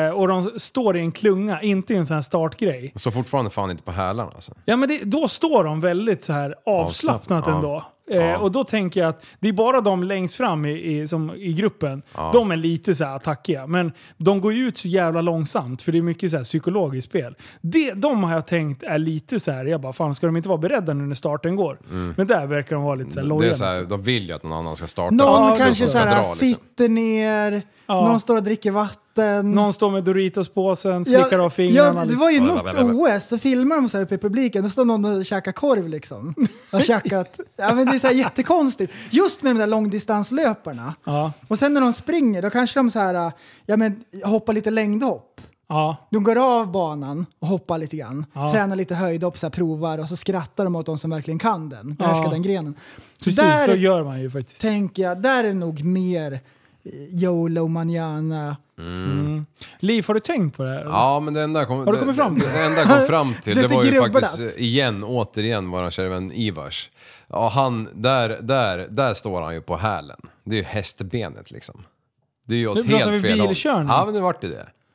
eh, och de står i en klunga, inte i en sån här startgrej. Så fortfarande fan inte på hälarna alltså. Ja, men det, då står de väldigt så här avslappnat Avslappnat, ändå. ja. Eh, Ja. Och då tänker jag att det är bara de längst fram i, i, som, i gruppen. De är lite så här attackiga. Men de går ju ut så jävla långsamt för det är mycket så här psykologiskt spel. Det, de har jag tänkt är lite så här, jag bara fan ska de inte vara beredda nu när starten går? Men där verkar de vara lite så här Mm. Det är loja. så här, nästan. de vill ju att någon annan ska starta. Någon De ska kanske ska såhär dra, liksom. sitter ner, Ja. någon står och dricker vatten. Någon står med Doritos-påsen, slickar av fingrarna. Ja, det liksom. var ju Ja, något blablabla. OS, så filmar de så här uppe i publiken, då står någon och käkar korv liksom. Har käkat. Ja, men det är så här jättekonstigt. Just med de där långdistanslöparna. Ja, Och sen när de springer, då kanske de så här, ja, men, hoppar lite längdhopp. ja. De går av banan och hoppar lite grann, Ja. tränar lite höjdhopp, så här, provar och så skrattar de åt de som verkligen kan den, behärskar Ja. den grenen. Så Precis, där så gör man ju faktiskt. tänker jag, där är nog mer eh, YOLO manana. Liv, har du tänkt på det här? Ja, men det enda jag kom, Har du kommit fram till? det, det enda jag kom fram till det Sitter var ju grubblat. faktiskt eh, igen, återigen, våran kära vän Ivars. Ja, han, där, där, där står han ju på hälen. Det är ju hästbenet liksom. Det är ju åt Nu pratar vi helt fel håll. bilkörning. Ah, Ja, men nu vart det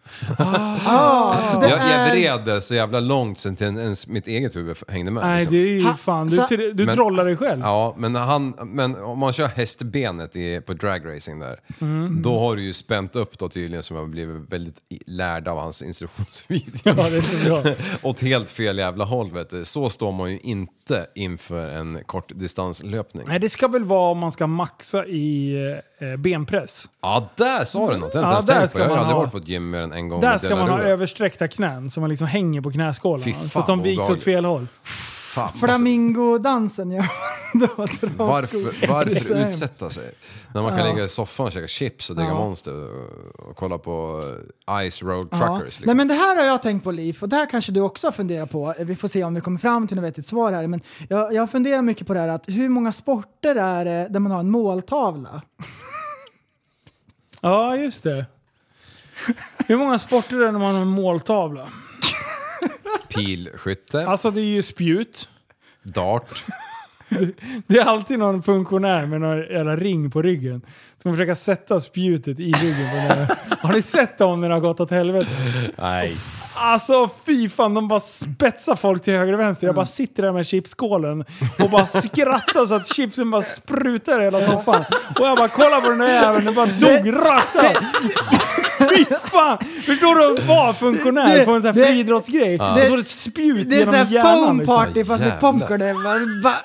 det. så Jag, jag vred det så jävla långt sen till en, ens mitt eget huvud hängde med. Nej, liksom. det är ju Ha, fan, du, så- du, du Men- trollar dig själv. Ja, men, han, men om man kör hästbenet i, på dragracing där, Mm. då har du ju spänt upp då tydligen som jag blivit väldigt i- lärd av hans Ja, instruktionsvideo. det är så bra. Åt helt fel jävla håll vet du. Så står man ju inte inför en kortdistanslöpning. Nej, det ska väl vara om man ska maxa i eh, benpress. Ja, där sa du något! Jag Ja, har inte där ens tänkt ska på. Jag man har aldrig ha- varit på ett gym mer än en gång Där med ska Della man ha Rua. översträckta knän så man liksom hänger på Fy knäskålarna. fan, Så att de viks åt obehagligt. fel håll. fan. Flamingodansen jag då drar Varför, skor. varför Så hemskt. utsätta sig? När man kan ligga i soffan och käka chips och digga monster och- och kolla på eh, Ice Road Ja. Truckers. Liksom. Nej men det här har jag tänkt på Liv och det här kanske du också funderar på. Vi får se om vi kommer fram till något vettigt svar här. Men jag, jag funderar mycket på det här att hur många sporter är det där man har en måltavla? Ja, just det. Hur många sporter är det när man har en måltavla? liksom. Pilskytte, Alltså det är ju spjut. dart. Det är alltid någon funktionär med någon jävla ring på ryggen. Som försöker sätta spjutet i ryggen. på den här. Har ni sett dem när det har gått åt helvete? Nej. Alltså fy fan, de bara spetsar folk till höger och vänster. Jag Mm. bara sitter där med chipskålen och bara skrattar så att chipsen bara sprutar i hela soffan. Och jag bara kollar på den där jäveln, den bara dog rakt av. Fy fan! Förstår du att vara funktionär Det- på en sån här det- friidrottsgrej? Och så är det ett spjut Det är genom såhär hjärnan. foam liksom. party fast med Jävlar. popcorn. Det är bara- bara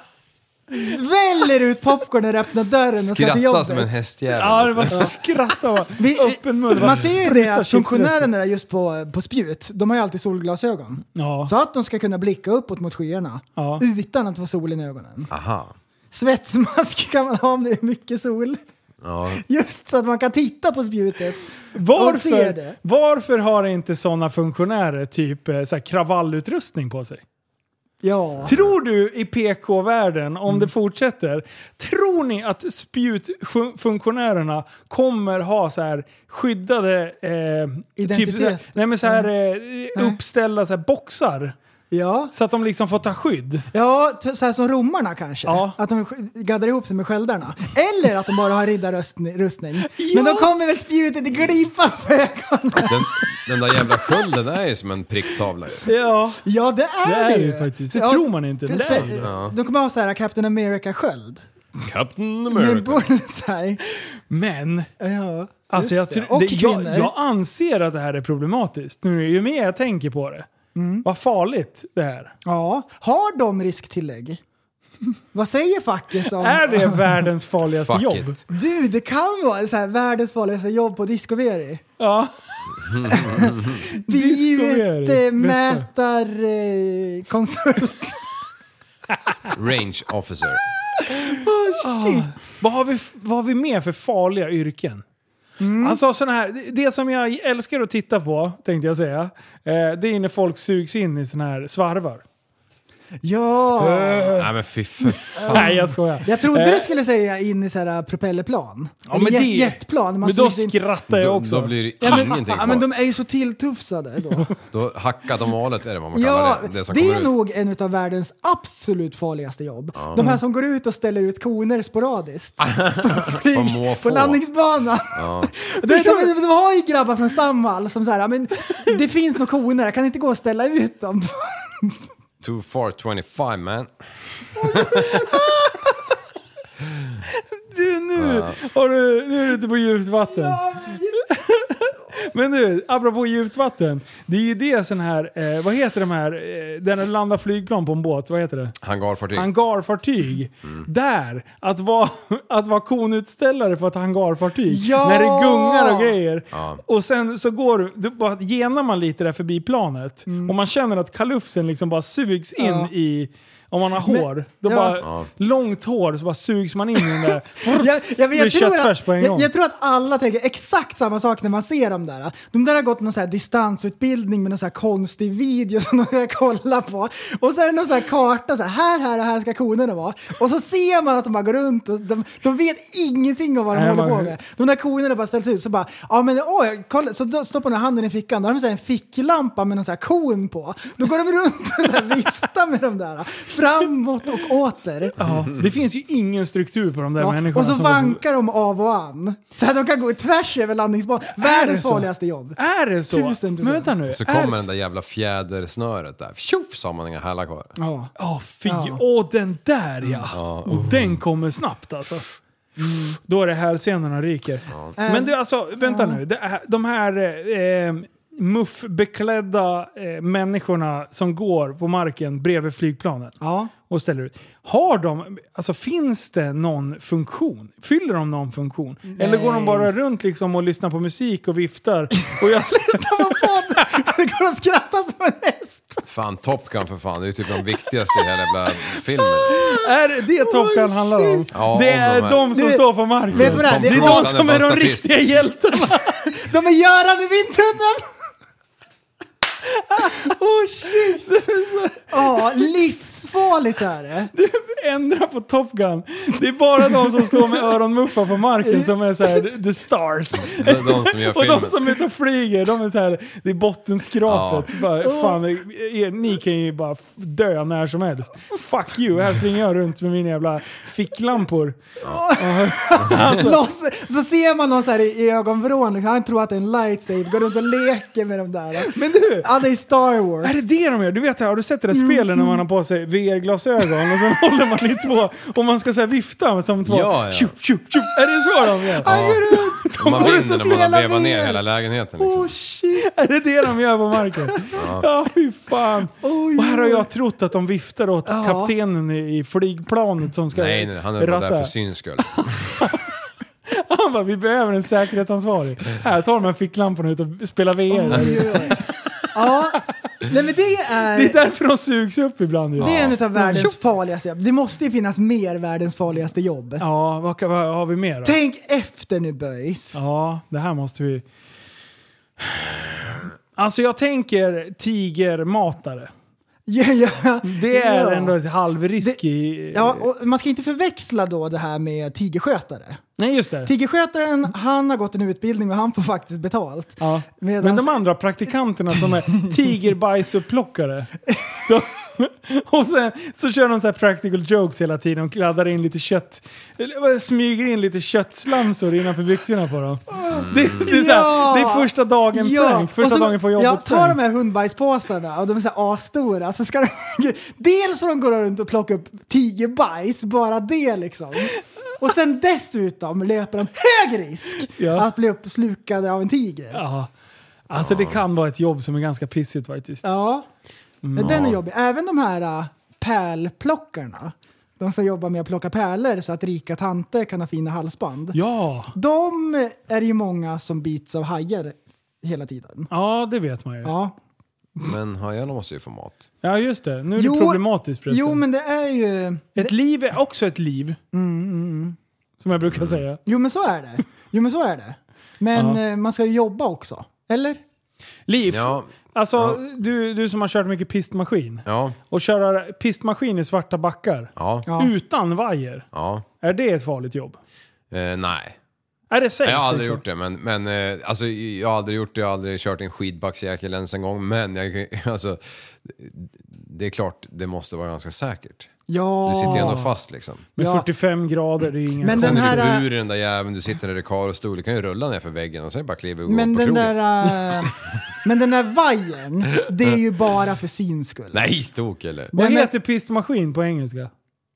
väller ut popcorn när du öppnar dörren och ska till Skratta jobbet. som en hästjävel. Ja, det var skratta bara. Vi- vi- Öppen mun. bara man ser ju det sprutar liksom. att chipsen. funktionärerna där just på, på spjut, de har ju alltid solglasögon. Ja. Så att de ska kunna blicka uppåt mot skyarna Ja. utan att få solen i ögonen. Aha. Svetsmask kan man ha om det är mycket sol. Ja. Just så att man kan titta på spjutet. De ser Varför, det. varför har inte sådana funktionärer typ eh, så här kravallutrustning på sig? Ja. Tror du i PK-världen, om Mm. det fortsätter, tror ni att spjutfunktionärerna kommer ha så här skyddade... Eh, Identitet. Mm. så här, nej men så här, eh, uppställda så här boxar. Ja, Så att de liksom får ta skydd. ja t- så här som romarna kanske. Ja. Att de sk- gaddar ihop sig med sköldarna. Eller att de bara har riddarrustning. Men då kommer väl spjutet i glipan på ögonen. Den, den där jävla skölden är ju som en pricktavla ju. Ja. Ja, det är Det är det ju. ju faktiskt. Det tror man inte, men det är ju det. spe- De kommer ha så här Captain America-sköld. Captain Med America. bullseye. Men... Ja, Alltså jag, just tror- det. Och det, jag, kvinnor. jag anser att det här är problematiskt. Nu, ju mer jag tänker på det. Mm. Vad farligt det här. Ja, har de risktillägg? Vad säger facket om... Är det världens farligaste Fuck jobb? it. Du, det kan vara så här världens farligaste jobb på discoveri. Ja. Discoveri, eh, bästa. Spjutmätarkonsult. Range officer. Oh, shit. Vad har, vi, vad har vi mer för farliga yrken? Alltså såna här, det- det som jag älskar att titta på, tänkte jag säga, eh, det är när folk sugs in i såna här svarvar. Ja. Eh. Nej men fy för fan. Nej, jag skojar. Jag trodde du Eh, skulle säga in i så här eh, propellerplan. ja, Eller men jet, det- jetplan. Man Men då smyger in- skrattar jag Då, också. då blir det Ja, men, ingenting ja, men kvar. de är ju så tilltufsade då. Då hackar de valet är det vad man kallar ja, det. Det som det kommer är ut. nog en av världens absolut farligaste jobb. De här som går ut och ställer ut koner sporadiskt. på, må flyg, få. på landningsbanan. Du vet, de, de, de har ju grabbar från Samhall som så här, "Ja, men det finns nog koner, jag kan inte gå och ställa ut dem. Too far 25 man. Du, nu, har du, nu är du ute på djupt vatten. Men du, apropå djupt vatten. Det är ju det sån här, eh, vad heter de här, eh, där det landar flygplan på en båt, vad heter det? Hangarfartyg. Hangarfartyg. Mm. Där, att vara, att vara konutställare på ett hangarfartyg. Ja! När det gungar och grejer. Och sen så går du- du, bara genar man lite där förbi planet. Och man känner att kalufsen liksom bara sugs in Mm. Ja. i, om man har Men- hår, då ja. bara, långt hår så bara sugs man in i den där. Jag, jag, vet- Det är jag, tror köttfärs att, på en gång. jag, jag tror att alla tänker exakt samma sak när man ser dem där. De där har gått någon så här distansutbildning med någon så här konstig video som de ska kolla på. Och så är det någon så här karta, så här, här, här och här ska konerna vara. Och så ser man att de bara går runt och de, de vet ingenting om vad de Nej, håller man- på med. De där konerna bara ställs ut så bara, ja men oj, kolla, så då stoppar de handen i fickan. Då har de så här en ficklampa med någon så här kon på. Då går de runt och så här viftar med de där. Framåt och åter. Ja, det finns ju ingen struktur på de där Ja, människorna. och så som- vankar de av och an. Så att de kan gå tvärs över landningsbanan. Världens så? farligaste jobb. Är det så? Tusen procent. Men vänta nu. Så är... Äh. kommer den där jävla fjädersnöret där. Tjoff så har man inga hälar kvar. Ja. Åh fy, Ja. Mm. åh den där ja! Och den kommer snabbt alltså. Då är det här scenerna ryker. Men du alltså, vänta nu. Det är, de här eh, eh, muffbeklädda eh, människorna som går på marken bredvid flygplanet Ja. och ställer ut. Har de, alltså finns det någon funktion? Fyller de någon funktion? Eller går de bara runt liksom och lyssnar på musik och viftar? Och jag, Lyssna på podd! Det går att skratta som en häst. Fan, Top Gun för fan. Det är ju typ de viktigaste i hela jävla filmen. är det Top Gun handlar om? det Ja, om de är här. de som Du, står på marken. vet du vad det är? Det Det är är de Tom som är de Hansen är riktiga hjältarna. De är Göran i vindtunneln! oh shit! Ja, livsfarligt är det. Ändra på Top Gun. Det är bara de som står med öronmuffar på marken som är så här, the stars. Det är de som gör Och filmen. de som är ute och flyger, de är så här, det är bottenskrapet. Så Bara, fan, er, ni kan ju bara f- dö när som helst. Fuck you, här springer jag runt med mina jävla ficklampor. alltså- Loss, så ser man någon så här i ögonvrån, han tror att det är en lightsaber, går runt och leker med dem där. Men du! Han är i Star Wars. Är det det de gör? Du vet, har du sett det där spelet Mm. när man har på sig VR-glasögon och sen håller man i två och man ska så här vifta som två? Ja, ja. Tjup, tjup, tjup. Är det så de gör? Han går runt! Man går vinner när ut och man har spelar vevat ner VR. hela lägenheten Oh liksom. shit! Är det det de gör på marken? Ja, fy fan. Oj, och här har oj. jag trott att de viftar åt Ja. kaptenen i i flygplanet som ska Nej, nej, han är bara där för syns skull. Han bara, vi behöver en säkerhetsansvarig. Här, tar de här ficklamporna ut och spelar VR. Ja, nej men det är... det är därför de sugs upp ibland ju. Det är en utav världens Tjoff. farligaste jobb. Det måste ju finnas mer världens farligaste jobb. Ja, vad, kan- vad har vi mer då? Tänk efter nu böjs. Ja, det här måste vi... Alltså jag tänker tigermatare. Ja, ja. Det är Ja. ändå ett halvrisk i... Ja, och man ska inte förväxla då det här med tigerskötare. Nej, just det. Tigerskötaren, han har gått en utbildning och han får faktiskt betalt. Ja. Medans- Men de andra praktikanterna som är tigerbajsupplockare. De, och sen så kör de så här practical jokes hela tiden. De kladdar in lite kött... eller, eh, Smyger in lite köttslamsor innanför byxorna på dem. Det, det, är så här, Ja. det är första dagen prank. Första och så- dagen på jobbet Ja, ta de prank. här hundbajspåsarna och de är så här asstora. Så ska de, dels får de gå runt och plocka upp tigerbajs, bara det liksom. Och sen dessutom löper de hög risk Ja. att bli uppslukade av en tiger. Ja. Alltså det kan vara ett jobb som är ganska pissigt faktiskt. Ja, men den är jobbig. Även de här äh, pärlplockarna, de som jobbar med att plocka pärlor så att rika tanter kan ha fina halsband. Ja, De är det ju många som bits av hajar hela tiden. ja det vet man ju. Ja, Men hajarna måste ju få mat. Ja just det, nu är Jo, det problematiskt förresten. Jo, men Mm, det är ju... Ett liv är också ett liv. Som jag Mm. brukar säga. Jo, men så är det. Jo, men så är det. Men eh, man ska ju jobba också. Eller? Liv, Ja, Alltså, Ja. du, du som har kört mycket pistmaskin. ja, Och köra pistmaskin i svarta backar. ja, ja. Ja. Utan vajer. Är det ett farligt jobb? Eh, nej. Är det safe? Jag har aldrig liksom? gjort det, men, men eh, alltså, jag har aldrig gjort det. Jag har aldrig kört en skidbacksjäkel ens en gång. Men jag, alltså, det är klart, det måste vara ganska säkert. Ja. Du sitter ju ändå fast liksom. Med Ja. 45 grader, det är inga... Men Sen den är här, eh, du bur i den där jäveln, du sitter där i karostol, du kan ju rulla ner för väggen och sen bara kliva och gå Men på den krogen. där, eh, men den där vajern, det är ju bara för syns skull. Nej, tok eller? Vad Nej, men- heter pistmaskin på engelska?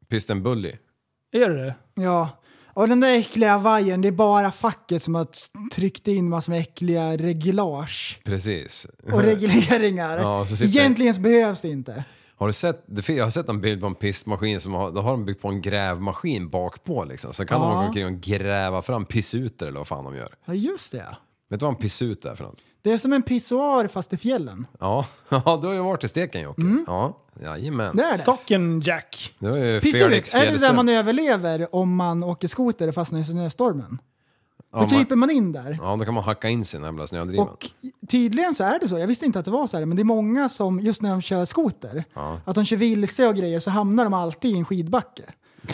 Piston Bully. Är det det? Ja. Och den där äckliga vajern, det är bara facket som har tryckt in massor med äckliga reglage Precis. och regleringar. Ja, så sitter- Egentligen så behövs det inte. Har du sett, det- jag har sett en bild på en pistmaskin som har, då har de byggt på en grävmaskin bakpå liksom. Så kan de Ja. åka omkring och gräva fram pissuter eller vad fan de gör. Ja, just det. Vet du vad en pissut är för något? Det är som en pissoar fast i fjällen. Ja, ja du har ju varit i Stekenjokk. Mm. Ja, jajamän. Det är det. Stockenjack. Det var ju Felix Pissolyck, är det där Fjäderström. man överlever om man åker skoter och fastnar i snöstormen? Då man- kryper man in där. Ja, då kan man hacka in sig i den jävla snödrivan. Och tydligen så är det så. Jag visste inte att det var så här, men det är många som just när de kör skoter, att de kör vilse och grejer så hamnar de alltid i en skidbacke.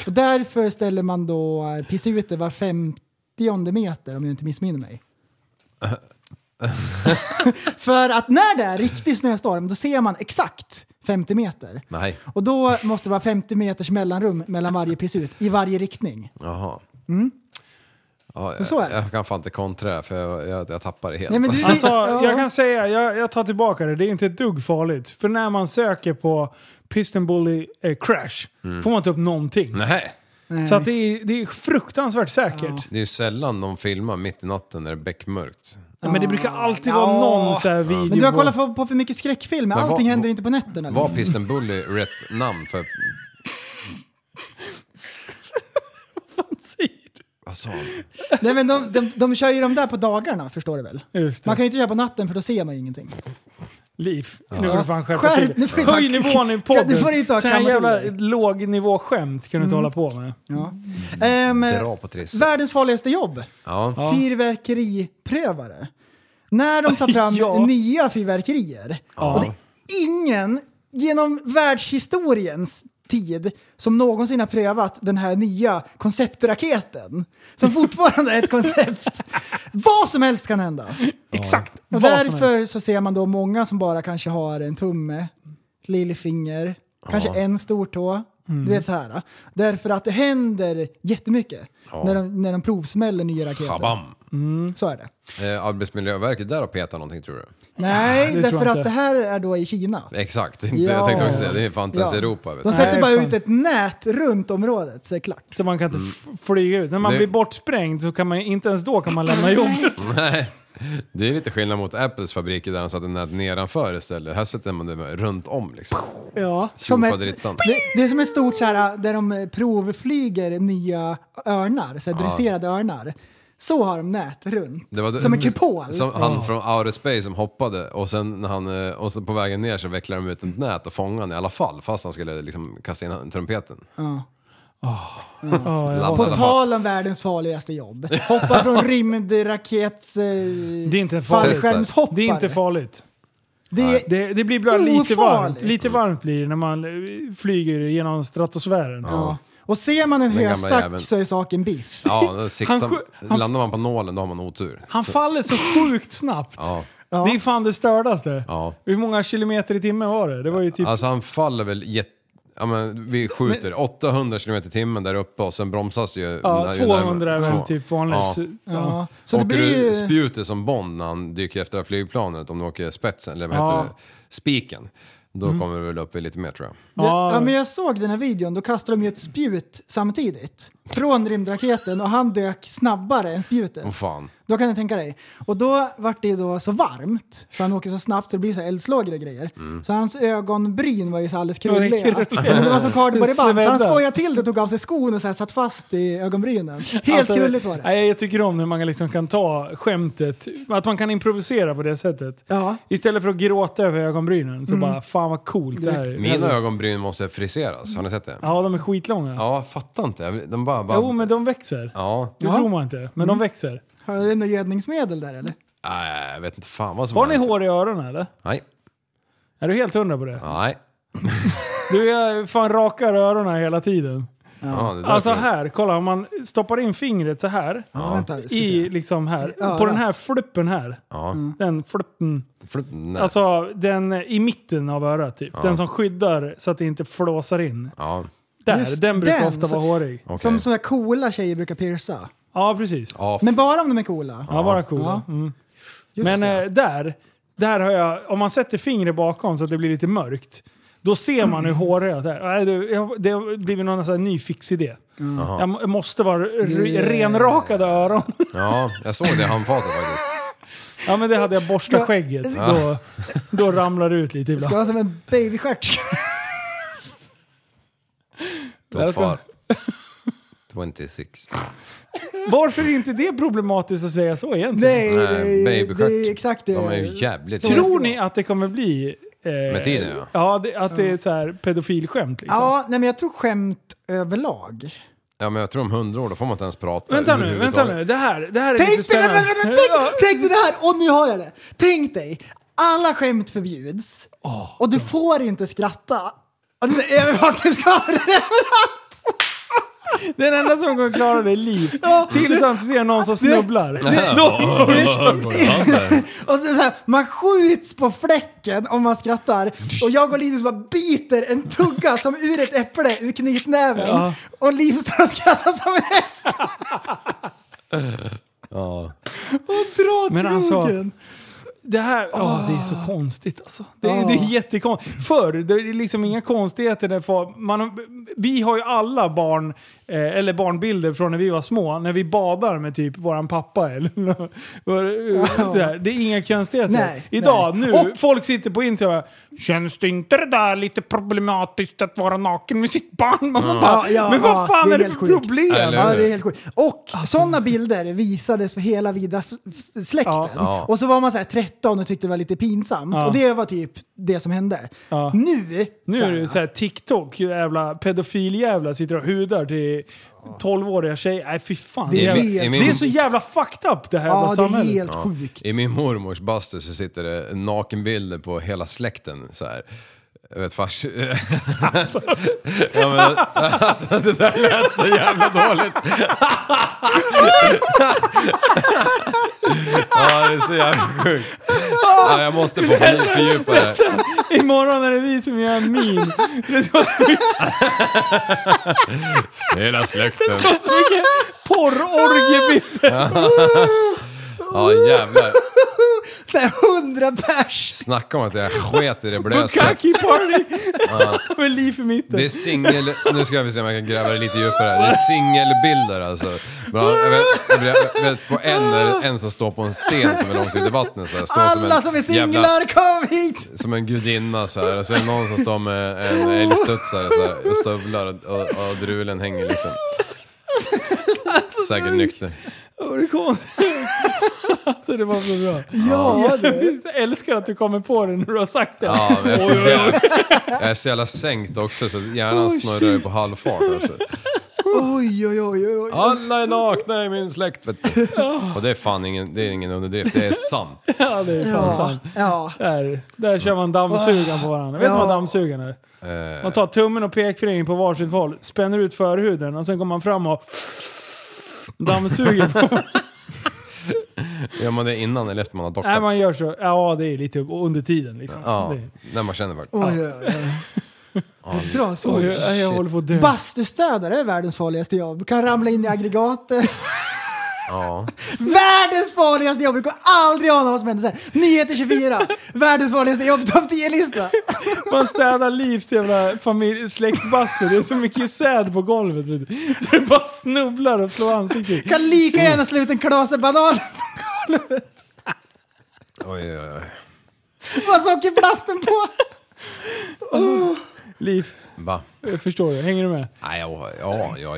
Och därför ställer man då eh, pissuter var 50 meter om jag inte missminner mig. För att när det är riktig snöstorm då ser man exakt 50 meter. Nej, Och då måste det vara 50 meters mellanrum mellan varje pissut i varje riktning. jaha. Ja, Mm. så är jag, det. jag kan fan inte kontra det för jag, jag, jag tappar det helt. Nej, men du- Alltså, Ja. jag kan säga, jag, jag tar tillbaka det, det är inte ett dugg farligt. För Mm. när man söker på Piston Bully eh, Crash får man inte upp någonting. Nej. Så att det, är, det är fruktansvärt säkert. Det är ju sällan de filmar mitt i natten när det är beckmörkt. Men det brukar alltid vara Ja. någon så här video. Men du har på- kollat på, på för mycket skräckfilmer. Men vad- Allting händer vad- inte på nätterna. liksom. Var Piston Bully rätt namn för... Vad sa han? Nej, men de, de, de kör ju de där på dagarna, förstår du väl? Just det. Man kan ju inte köra på natten för då ser man ju ingenting. Liv, nu får du fan skärpa Skärp, till nu får du inte Höj ha- nivån i podden. Du får inte Mm. ha så här kammat till jävla dig. lågnivåskämt kan du inte hålla på med. Ja. Ehm, Dra på trissen. världens farligaste jobb. Ja. Fyrverkeriprövare. När de tar fram Ja. nya fyrverkerier. Och det är ingen genom världshistoriens tid som någonsin har prövat den här nya konceptraketen. Som fortfarande är ett koncept. Vad som helst kan hända. Exakt Och vad som helst. därför så ser man då många som bara kanske har en tumme, lillfinger, kanske en stortå. Mm. Du vet så här. Därför att det händer jättemycket när, de, när de provsmäller nya raketer. Kabam! Så är det. Eh, Arbetsmiljöverket där har petat någonting tror du? Nej, det tror därför jag att inte. det här är då i Kina. Exakt, inte, Ja. jag tänkte också säga det. är fan inte ens Ja. Europa. Vet De du. sätter Nej, bara fan. ut ett nät runt området så är det klart. Så man kan Mm. inte f- flyga ut. När man Det- blir bortsprängd så kan man inte ens då kan man lämna jobbet. Nej. Det är lite skillnad mot Apples fabriker där de satte nät nedanför istället. Här sätter man det runt om liksom. Ja, som ett, faderittan. det, det är som ett stort så här, där de eh, provflyger nya örnar, så här, dresserade örnar. Så har de nät runt. Det var- som en kupol. Som han från Outer Space som hoppade och sen när han, eh, och så på vägen ner så vecklade de ut ett nät och fångade honom i alla fall fast han skulle liksom kasta in trumpeten. Ja, ja. Labbade i På alla fall. tal om världens farligaste jobb. Hoppa från rymdrakets... Eh, Det är inte farligt. fallskärmshoppare. Det är inte farligt. Det- Det, det blir bara lite Ofarligt. varmt. Lite varmt blir det när man eh, flyger genom stratosfären. ja. Och ser man en gamla höstack jäveln. så är saken biff. Ja, då siktar, Han skj- han- landar man på nålen då har man otur. Han faller så sjukt snabbt. Ja. Det är fan det stördaste. Ja. Hur många kilometer i timmen var det? Det var ju typ... Alltså han faller väl jätte... Ja, men vi skjuter 800 km i timmen där uppe och sen bromsas ju... Ja, ju 200 är närmare- väl två. typ vanligt. Ja. Ja. Så Så det åker blir du ju... spjutet som Bond när han dyker efter det här flygplanet, om du åker spetsen, eller vad Ja. Mm. heter det? Spiken. Då kommer du väl upp i lite mer tror jag. Ja, Ja. men jag såg den här videon, då kastade de ju ett spjut samtidigt. Från rymdraketen och han dök snabbare än spjutet. Åh fan. Då kan du tänka dig. Och då vart det ju då så varmt, för han åker så snabbt så det blir så här eldslågor och grejer. Så hans ögonbryn var ju så alldeles krulliga. Men det var som kardborreband, så han Svedda. skojade till det, tog av sig skon och så här satt fast i ögonbrynen. Helt Alltså, krulligt var det. Nej, jag tycker om när man liksom kan ta skämtet, att man kan improvisera på det sättet. Ja. Mm. Istället för att gråta över ögonbrynen så bara fan vad coolt det här är. Mina ögonbryn måste friseras, har ni sett det? Ja, Ja, de är skitlånga. fattar inte. Jag vill- De bara... bara Jo, men de växer. Ja. Det Ja. Mm. tror man inte, men de växer. Har du något gödningsmedel där eller? Nej, jag vet inte fan vad som Har ni hänt. hår i öronen eller? Nej. Är du helt hundra på det? Nej. Du jag fan rakar öronen hela tiden. Ja, det är Alltså därför- här, kolla om man stoppar in fingret så här. Ja, vänta, vi ska I se. liksom här. Ja, Mm. på den här rätt. fluppen här. Ja. Den fluppen. Flytt- nej. Alltså den i mitten av örat typ. Den som skyddar så att det inte flåsar in. Ja. Där, Just den brukar den, ofta så- vara hårig. Okej. Som sådana coola tjejer brukar pierca. Ja, precis. Ja, Ja, f- Men bara om de är coola. bara cool. Ja. Mm. Just Men det. eh, där, där har jag, om man sätter fingret bakom så att det blir lite mörkt. Då ser man hur håriga det är. Nej, det- jag- Det har blivit någon sån här ny fix idé. Mm. Jag må- måste vara r- renrakade öron. ja, jag såg det i handfatet faktiskt. Ja men det hade jag borstat Ja. skägget. Då, då ramlar det ut lite Ska ibland. vara som en babystjärt. Då far. 26. Varför är inte det problematiskt att säga så egentligen? Nej, det är- Nej, Eh, det är babystjärt. exakt det. De är ju jävligt... Tror ni att det kommer bli... eh, Med tiden, ja. Ja, det, att det är ett så här pedofilskämt liksom. Ja, nej men jag tror skämt överlag. Ja men jag tror om hundra år då får man inte ens prata Vänta nu, vänta överhuvudtaget. nu. Det här, det här är lite Tänk dig, vänta, spännande. vänta, vänta, tänk, tänk dig det här! Och nu har jag det! Tänk dig, alla skämt förbjuds och du får inte skratta. Och det är övervakningskameror överallt! Den enda som kommer klara det är Liv. Tills han ser någon som snubblar. Då- Och så, är det så här, man skjuts på fläcken om man skrattar och jag och Linus bara biter en tugga som ur ett äpple ur knytnäven Ja. och Liv står och skrattar som en häst. Ja. Och drar Men alltså, trogen. Det här, åh, det är så konstigt alltså. Det, det är jättekonstigt. Förr, det är liksom inga konstigheter. Där far, man, vi har ju alla barn, eh, eller barnbilder från när vi var små, när vi badar med typ våran pappa eller något. det, där. det är inga konstigheter. Nej, Idag, nej. nu, Och- folk sitter på Instagram och bara, Känns det inte det där lite problematiskt att vara naken med sitt barn? Man bara, Ja, ja, men ja, vad fan det är är det helt för sjukt." problem? Alltså- Eller Ja, hur? det är helt sjukt. Och sådana bilder visades för hela vida f- f- släkten. Ja. Ja. Och så var man så här 13 och tyckte det var lite pinsamt. Ja. Och det var typ det som hände. Ja. Nu, Nu så är här, det såhär TikTok, jävla pedofiljävla sitter och hudar till 12-åriga tjejer. Nej fy fan. Det Det är är, helt jävla, det är så jävla fucked up det här jävla ja, det är samhället. helt sjukt. I min mormors bastu så sitter det nakenbilder på hela släkten så här. Jag vet fars... ja, men, alltså, det där lät så jävla dåligt. ja, det är så jävla sjukt. Ja, jag måste få fördjupa det. Imorgon är det vi som gör en meme. Det ska vara så mycket, Hela släkten. så mycket porrorgiebilder. Ja, jävlar. Så här 100 pers! Snacka om att jag sket i det blöset. Bukkaki party! Med liv i mitten. Det är singel... Nu ska vi se om jag kan gräva det lite djupare. här. Det är singelbilder alltså. Bra, jag vet, jag vet, på en är det en som står på en sten som är långt ute i vattnet. Så här, står Alla som är singlar, kom hit! som en gudinna så här. Och så är det någon som står med en älgstudsare så här, och stövlar och, och, och drulen hänger liksom. Alltså, Säkert nykter. Vad är det konstigt? Alltså det var så bra. Ja, du. Jag älskar att du kommer på det när du har sagt det. Ja, men jag, är så jävla, jag är så jävla sänkt också så hjärnan Oh, snurrar ju på halvfart alltså. Oj, oj, oj, oj. oj. Alla är nakna i min släkt vet du. Och det är fan ingen, det är ingen underdrift, det är sant. Ja, det är fan Ja, sant. ja. Där, där kör man dammsugaren på varandra. Vet du Ja. vad dammsugaren är? Eh. Man tar tummen och pekfingret på varsitt håll, spänner ut förhuden och sen går man fram och dammsuger. på- Gör man det innan eller efter man har Nej, dockat? man gör så. Ja, det är lite under tiden liksom. Ja, Det- när man känner för det. Oj, oj, oj. Dra så. Oj, jag, jag shit. håller på att dö. Bastustädare är världens farligaste jobb. Du kan ramla in i aggregatet. Ja. Världens farligaste jobb! Vi kommer aldrig ana vad som händer sen. Nyheter 24. Världens farligaste jobb, topp 10-lista. Man städar Livs jävla familj, släktbastu. Det är så mycket säd på golvet. Vet du. Så det bara snubblar och slår ansiktet. Kan lika gärna slå ut en klase banan. Oj, oj, oj. Vad sockerplasten på. Liv, Va? jag förstår du? Hänger du med? Nej, ja, ja, ja,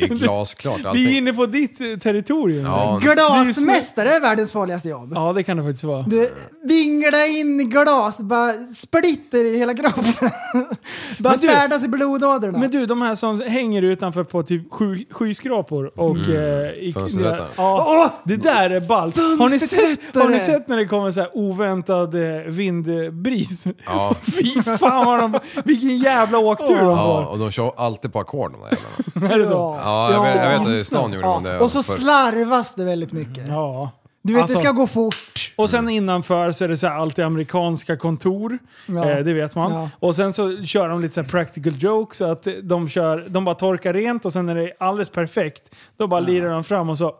det är glasklart Vi är allting. inne på ditt eh, territorium. Ja, Glasmästare är världens farligaste jobb. ja, det kan det faktiskt vara. Du vingla in i glas, bara splitter i hela kroppen. Bara Men du- färdas i blodådrorna. Men du, de här som hänger utanför på typ sky, skyskrapor och... Eh, i, Fönsterrutan. ja, det där är ballt. Har ni, sett, Fönsterrutan! har ni sett när det kommer så här oväntad eh, vindbris? Ja. Fy fan vad de... Vilken jävla åktur de ja, får. och de kör alltid på ackord de där jävlarna. Är det så? Ja, jag vet, jag vet att i stan gjorde Ja, man det. och så förr. slarvas det väldigt mycket. Ja. Du vet, Alltså- det ska gå fort. Och sen innanför så är det så här alltid amerikanska kontor. Ja. Eh, det vet man. Ja. Och sen så kör de lite så här practical jokes. Så att de, kör, de bara torkar rent och sen när det är alldeles perfekt, då bara lirar de fram och så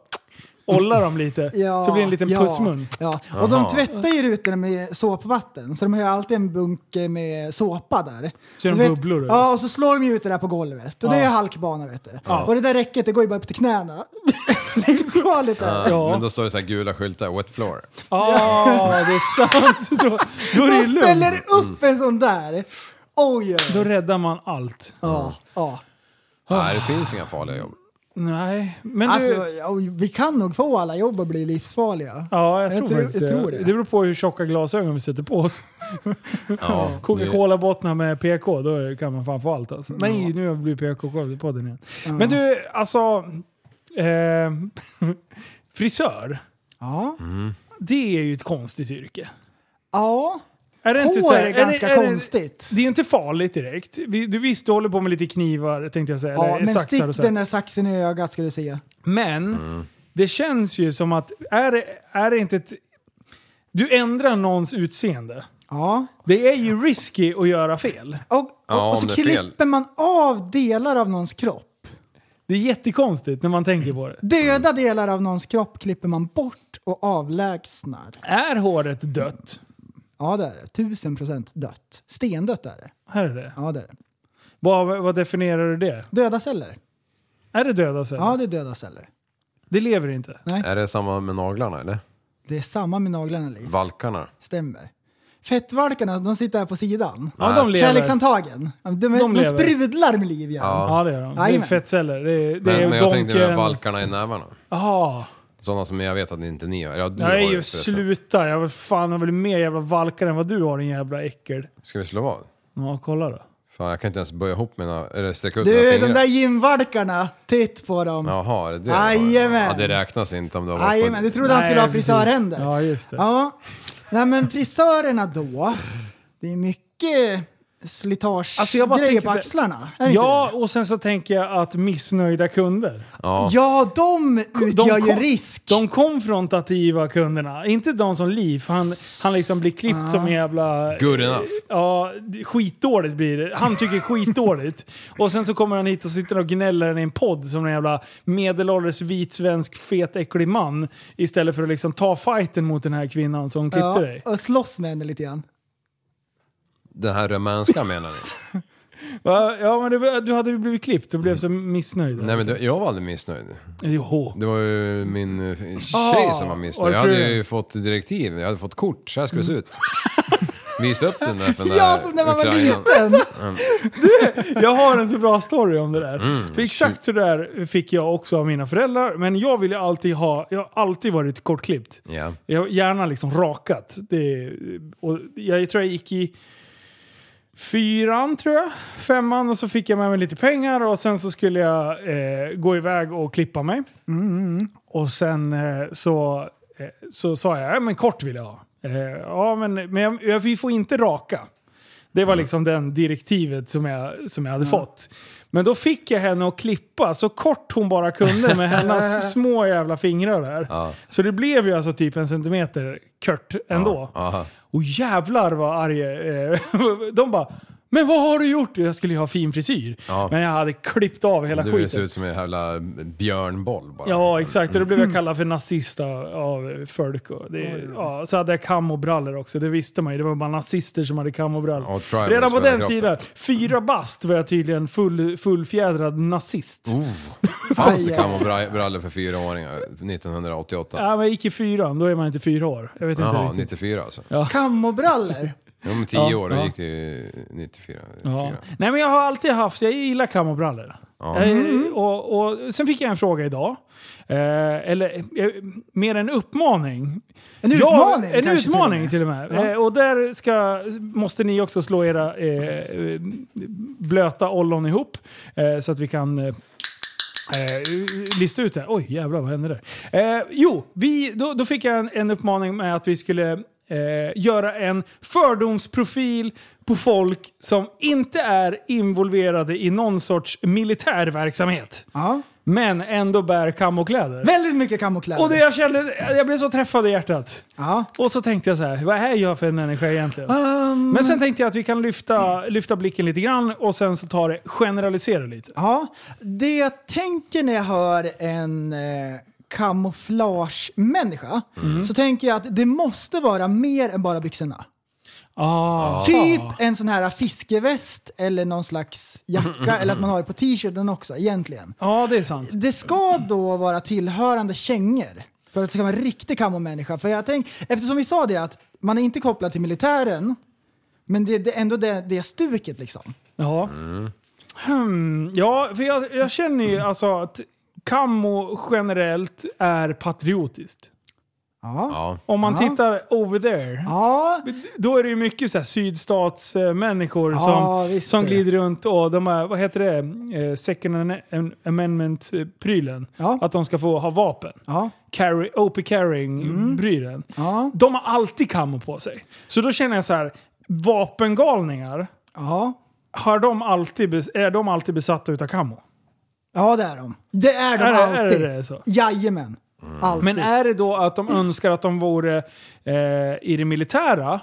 ollar de lite. Ja, så blir det en liten ja, pussmun. Ja. Och de tvättar ju rutorna med såpvatten, så de har ju alltid en bunk med såpa där. Så är de Du vet- bubblor, eller? Ja, och så slår de ju ut det där på golvet. Och det Ja. är halkbana vet du. Ja. Och det där räcket det går ju bara upp till knäna. Liksom Livsfarligt är det. Ja. Men då står det så här gula skyltar, wet floor. Ah, det är sant! Då, då är det De ju lugnt. Mm. ställer upp en sån där. Oj! Då räddar man allt. Ja, ja. Nej, det finns inga farliga jobb. Nej, men du... Alltså, ja, vi kan nog få alla jobb att bli livsfarliga. Ja, jag, jag tror, tror- faktiskt jag det. tror det. det. beror på hur tjocka glasögon vi sätter på oss. Ja, Coca-Cola-bottnar med PK, då kan man fan få allt alltså. Nej, nu har jag blivit PK-podden igen. Men du, alltså... Eh, frisör, Ja. det är ju ett konstigt yrke. ja. Är det Hår är ganska det- konstigt. Det, är ju inte farligt direkt. Vi, du visst, du håller på med lite knivar tänkte jag säga. Ja, eller men saxar stick och så. den där saxen i ögat ska du se. Men det känns ju som att, är, det- är det inte ett... Du ändrar någons utseende. Ja. Det är ju risky att göra fel. Och, och, Ja, och om så det är fel. klipper man av delar av någons kropp. Det är jättekonstigt när man tänker på det. Mm. Döda delar av någons kropp klipper man bort och avlägsnar. Är håret dött? Ja, det är det. Tusen procent dött. Stendött är det. Här är det. Ja, det är det. Vad, vad definierar du det? Döda celler. Är det döda celler? Ja, det är döda celler. Det lever inte. Är det samma med naglarna eller? Det är samma med naglarna, Liv. Valkarna? Stämmer. Fettvalkarna, de sitter här på sidan. Ja, de lever. Kärleksantagen. Ja, De, de, de lever. sprudlar med liv igen. Ja. Ja, det gör de. Det är Jajamän. fettceller. Det är, det Men, är men jag tänkte de donken. här valkarna i nävarna. Jaha. Sådana som jag vet att inte ni har. Ja, du har Nej, ju ju förresten. sluta. Jag fan har väl mer jävla valkar än vad du har din jävla äckel. Ska vi slå vad? Ja, kolla då. Fan, jag kan inte ens böja ihop mina, eller sträcka ut mina Du, fingrar. de där gymvalkarna. Titt på dem. Jaha, är det det du har? Jajamän. Ja, det räknas inte om du har varit på... Jajamän, du trodde han Nej, skulle ha precis. frisörhänder? Ja, just det. Ja. Nej men frisörerna då, det är mycket slitage Alltså, jag bara grejer tänker på så här- axlarna. Är det Ja, inte och sen så tänker jag att missnöjda kunder. det? ja, de utgör ju kom- risk. De konfrontativa kunderna. Inte de som Liv. Han, han liksom blir klippt Ah. som en jävla... Good enough. Ja, det- skitdåligt blir det. Han tycker skitdåligt. Och sen så kommer han hit och sitter och gnäller i en podd som en jävla medelålders vit svensk fet äcklig man. Istället för att liksom ta fighten mot den här kvinnan som klippte ja, dig. och slåss med henne lite grann. Den här rumänska menar ni? Va? Ja, men det, var- du hade ju blivit klippt och blev så missnöjd. Nej men det, jag var aldrig missnöjd. Jo. Det var ju min eh, tjej Ah, som var var missnöjd. det Jag hade fru? ju fått direktiv, jag hade fått kort, så här skulle det se ut. Visa upp den där för den Ja, där som när man var ukrainaren. liten. Jag har en så bra story om det där. För exakt så där fick jag också av mina föräldrar. Men jag vill ju alltid ha, jag har alltid varit kortklippt. Ja. Jag har gärna liksom rakat. Det, och jag tror jag gick i fyran, tror jag. Femman. Och så fick jag med mig lite pengar och sen så skulle jag eh, gå iväg och klippa mig. Och sen eh, så, eh, så sa jag, "Ja, men kort vill jag ha. Eh, ja, men, men jag, jag, vi får inte raka. Det var liksom den direktivet som jag, som jag hade fått. Men då fick jag henne att klippa så kort hon bara kunde med hennes små jävla fingrar där. Så det blev ju alltså typ en centimeter kort ändå. Aha. Och jävlar vad arg eh, De bara “Men vad har du gjort?” Jag skulle ju ha fin frisyr. Ja. Men jag hade klippt av hela Du ser skiten. ut som en jävla björnboll bara. Ja, exakt. Och då blev Mm. jag kallad för nazist av, av folk. Och det, ja, så hade jag kam och brallor också. Det visste man ju. Det var bara nazister som hade kam och brallor. Ja, och tribals Redan på på hela den tiden, fyra bast, var jag tydligen full, fullfjädrad nazist. Oh. Fanns det kamobrallor för fyraåringar 1988? Ja, men jag gick i fyran, då är man inte fyra år. Jag vet inte Jaha, riktigt. 94 alltså. Kamobrallor. Ja, men 10 Ja, år, då ja. gick det ju 94. Ja. fyra. Nej men jag har alltid haft, jag gillar kam och brallor. Eh, och, och, sen fick jag en fråga idag. Eh, eller eh, mer en uppmaning. En Ja, utmaning En kanske utmaning till till och med. Eh, och där ska, måste ni också slå era eh, eh, blöta ollon ihop eh, så att vi kan eh, Eh, lista ut det här. Oj, jävlar vad hände där? Eh, jo, vi, då, då fick jag en, en uppmaning med att vi skulle eh, göra en fördomsprofil på folk som inte är involverade i någon sorts militär verksamhet. Ja. Men ändå bär kamokläder. Väldigt mycket kamokläder. Och det jag kände, jag blev så träffad i hjärtat. Ja. Och så tänkte jag så här, vad är jag för en människa egentligen? Um. Men sen tänkte jag att vi kan lyfta, lyfta blicken lite grann och sen så tar det, generalisera lite. Ja, det jag tänker när jag hör en eh, kamouflage-människa så tänker jag att det måste vara mer än bara byxorna. Ah. Typ en sån här fiskeväst eller någon slags jacka eller att man har det på t-shirten också egentligen. Ja, det är sant. Det ska då vara tillhörande kängor för att det ska vara en riktig kamomänniska. För jag tänk, eftersom vi sa det att man är inte kopplad till militären men det är ändå det, det stuket liksom. Ja. Hmm, ja, för jag, jag känner ju alltså att Kammo generellt är patriotiskt. Ja. Ja. Om man Ja. tittar over there, Ja, då är det ju mycket så här sydstatsmänniskor Ja, som, visst är som det. glider runt och de här, vad heter det, Eh, second an- amendment-prylen. Ja. Att de ska få ha vapen. ja, Carry, open Mm. carrying-prylen. ja, De har alltid kammo på sig. Så då känner jag så här, vapengalningar, ja. har de alltid, bes- är de alltid besatta utav kammo? Ja, det är de. Det är de Är det- är alltid. det det så? Jajamän. Mm. Alltid. Men är det då att de önskar att de vore eh, i det militära?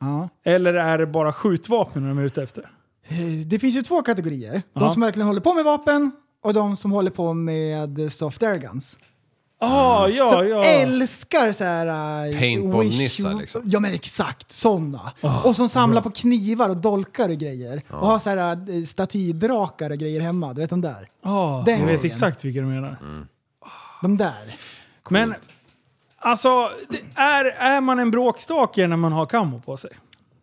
ja. Eller är det bara skjutvapen de är ute efter? Eh, Det finns ju två kategorier. Ja. De som verkligen håller på med vapen och de som håller på med soft air guns. Ah, ja, Som ja. älskar så här... eh, Paintball-nissar, wish- liksom. Ja men exakt, sådana. Ah, och som samlar på knivar och dolkar och grejer. Och har så här eh, statydrakar och grejer hemma. Du vet de där? Ah, Den jag vet grejen. exakt vilka du menar. De där. Men alltså, det- är, är man en bråkstake när man har kammo på sig?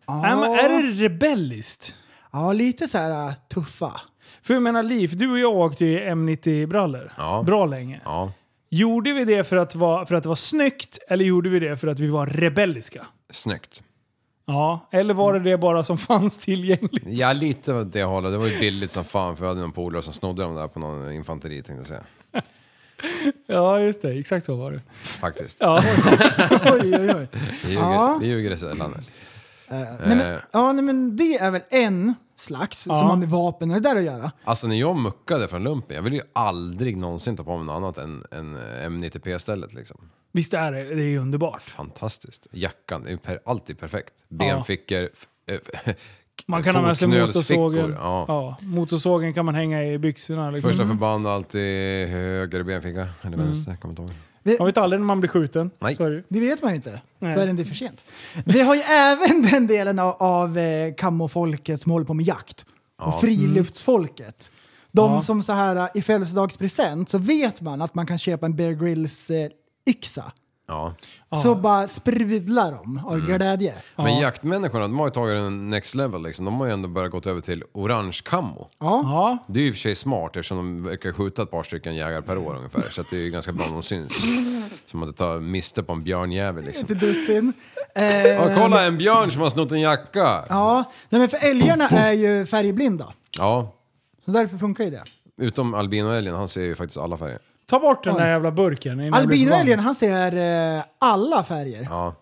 Är, man, är det rebelliskt? Ja, lite så här eh, tuffa. För jag menar Liv, du och jag åkte ju M90-brallor Ja. bra länge. Ja. Gjorde vi det för att, vara, för att det var snyggt eller gjorde vi det för att vi var rebelliska? Snyggt. Ja, eller var det det bara som fanns tillgängligt? Ja, lite åt det hållet. Det var ju billigt som fan för jag hade någon polare som snodde dem där på någon infanteri tänkte jag säga. Ja, just det. Exakt så var det. Faktiskt. Ja. Oj, oj, oj. Vi ljuger, Ja. vi ljuger i sällan. Nej, Eh, men, ja, nej, men det är väl en slags som har med vapen och det där att göra. Alltså när jag muckade från lumpen, jag ville ju aldrig någonsin ta på mig något annat än, än M90P-stället liksom. Visst är det, det är ju underbart. Fantastiskt. Jackan, det är ju per, alltid perfekt. Benfickor, f- eh, Man kan ha med sig motorsågen. fotknölsfickor, Ja. Ja, motorsågen kan man hänga i byxorna. Liksom. Mm. Första förband alltid höger benficka, eller vänster, kommer inte ihåg. Man vet aldrig när man blir skjuten. Nej. Så är det ju. Det vet man ju inte Nej. förrän det är för sent. Vi har ju även den delen av, av eh, kammofolket som håller på med jakt. Och friluftsfolket. De Mm. Ja. som så här eh, i födelsedagspresent så vet man att man kan köpa en Bear Grylls eh, yxa. Ja. Så bara sprudlar de Mm. av glädje. Men jaktmänniskorna, de har ju tagit en next level liksom. De har ju ändå börjat gått över till orange kammo. Ja. Ja. Det är ju i och för sig smart eftersom de verkar skjuta ett par stycken jägare per år ungefär. Så att det är ju ganska bra om de syns. Som att ta miste på en björnjävel liksom. Till dussin. Eh, Ja, kolla en björn som har snott en jacka! Ja. ja. Nej, men för älgarna är ju färgblinda. Så därför funkar ju det. Utom albinoälgen, han ser ju faktiskt alla färger. Ta bort den där jävla burken. innan jag blir Albinoälgen förbannad. han ser eh, alla färger. Ja.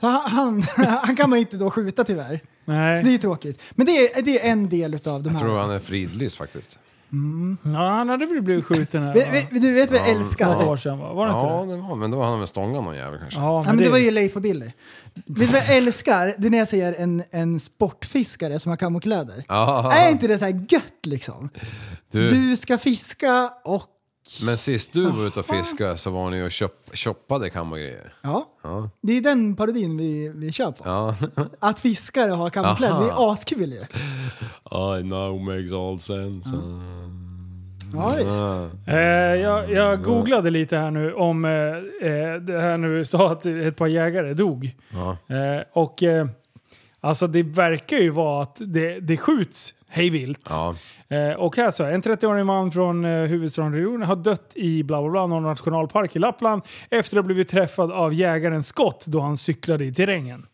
Så han, han, han kan man inte då skjuta tyvärr. Så det är Nej. ju tråkigt. Men det är, det är en del utav de Jag här. tror han är fridlyst faktiskt. Ja, han hade väl blivit skjuten här. Vi, vi, du vet vad jag älskar? Något Ja, år sedan va? Var det Ja, inte det? det var, men då har han väl stångat någon jävel kanske. Ja, men det, var ju Leif och Billy. Vet du vad jag älskar? Det är när jag ser en, en sportfiskare som har kamokläder. Ja. Är inte det så här gött liksom? Du, Du ska fiska och... Men sist du var ute och fiskade så var ni ju och köp, shoppade kam och grejer. Ja. Det är den parodin vi, vi kör på. Ja. Att fiskare har kamokläder, det är askul ju. I know makes all sense. Ah. Ja, visst. Eh, jag, jag googlade lite här nu om eh, eh, det här nu sa att ett par jägare dog. Eh, och eh, alltså det verkar ju vara att det, det skjuts hej vilt. Ja. Eh, och här så här, en 30-årig man från eh, huvudstaden regionen har dött i bla bla bla någon nationalpark i Lappland efter att ha blivit träffad av jägarens skott då han cyklade i terrängen.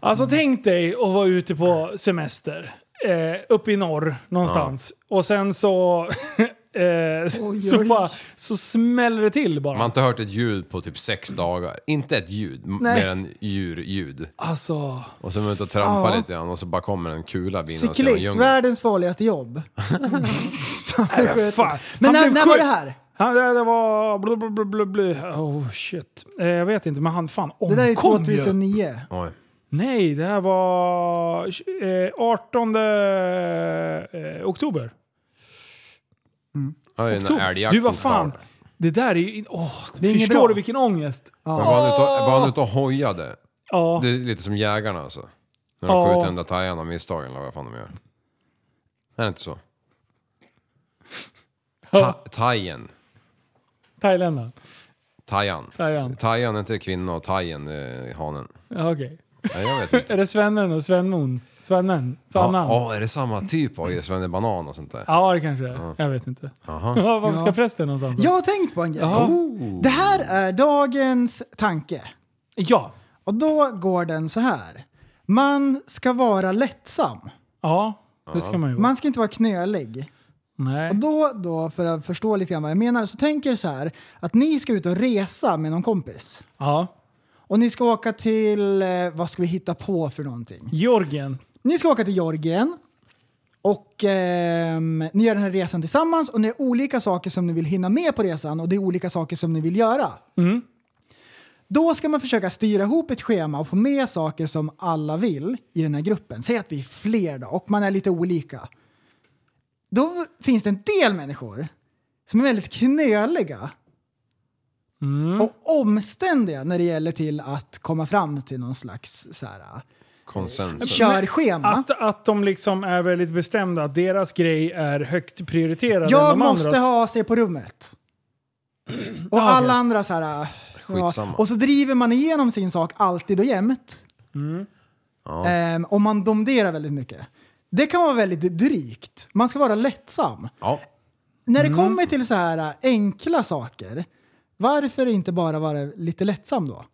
Alltså Mm. tänk dig att vara ute på semester. Eh, uppe i norr någonstans. Och sen så... eh, så, oj. Bara, så smäller det till bara. Man har inte hört ett ljud på typ sex dagar. Inte ett ljud, m- Nej. mer än djurljud. Alltså... Äh, Och så är man ute och trampar Ja. lite grann och så bara kommer en kula vinnande genom Cyklist, djungeln. världens farligaste jobb. Äh, Fan. Men Han när, blev när var sjuk. det här? Han, det, det var... Blu, blu, blu, blu, blu. Oh shit. Eh, jag vet inte men han fan Det omkom där är ju. 2009. Oj. Nej, det här var eh, 18 eh, oktober. Ja, det är när oktober. älgjakten Du, vad fan. startar. Det där är ju... Åh, är inget förstår bra. du vilken ångest? Men var han ute och, var han ute och hojade? Ja. Det är lite som jägarna alltså. När de Ja. skjuter den där tajan av misstag eller vad fan de gör. Är det inte så? Ta, tajen. Thailändaren. Tajan. Tajan. Tajan är inte kvinna och tajen är hanen. Ja, okej. Nej, jag vet inte. Är det Svennen och Svennon? Svennen? Svannan? Ja, Ja, ja, är det samma typ av Svenne Banan och sånt där? det kanske det är. Jag vet inte. Ja, Varför ska prästen någonstans? Jag har tänkt på en grej. Jaha. Det här är dagens tanke. Ja. Och då går den så här. Man ska vara lättsam. Ja, det ska man ju vara. Man ska inte vara knölig. Nej. Och då, då, för att förstå lite grann vad jag menar, så tänker jag så här. Att ni ska ut och resa med någon kompis. Ja. Och ni ska åka till, eh, vad ska vi hitta på för någonting? Georgien. Ni ska åka till Georgien. Och ehm, ni gör den här resan tillsammans och det är olika saker som ni vill hinna med på resan och det är olika saker som ni vill göra. Då ska man försöka styra ihop ett schema och få med saker som alla vill i den här gruppen. Säg att vi är fler då och man är lite olika. Då finns det en del människor som är väldigt knöliga och omständiga när det gäller till att komma fram till någon slags så här, Konsensus. körschema. Att, att de liksom är väldigt bestämda att deras grej är högt prioriterad än Jag de måste andras. ha sig på rummet. Och Ja, alla okej. andra så här... äh, Ja, Skitsamma. och så driver man igenom sin sak alltid och jämt. Mm. Ehm, och man domderar väldigt mycket. Det kan vara väldigt drygt. Man ska vara lättsam. Ja. När det Mm. kommer till så här äh, enkla saker, varför inte bara vara lite lättsam då?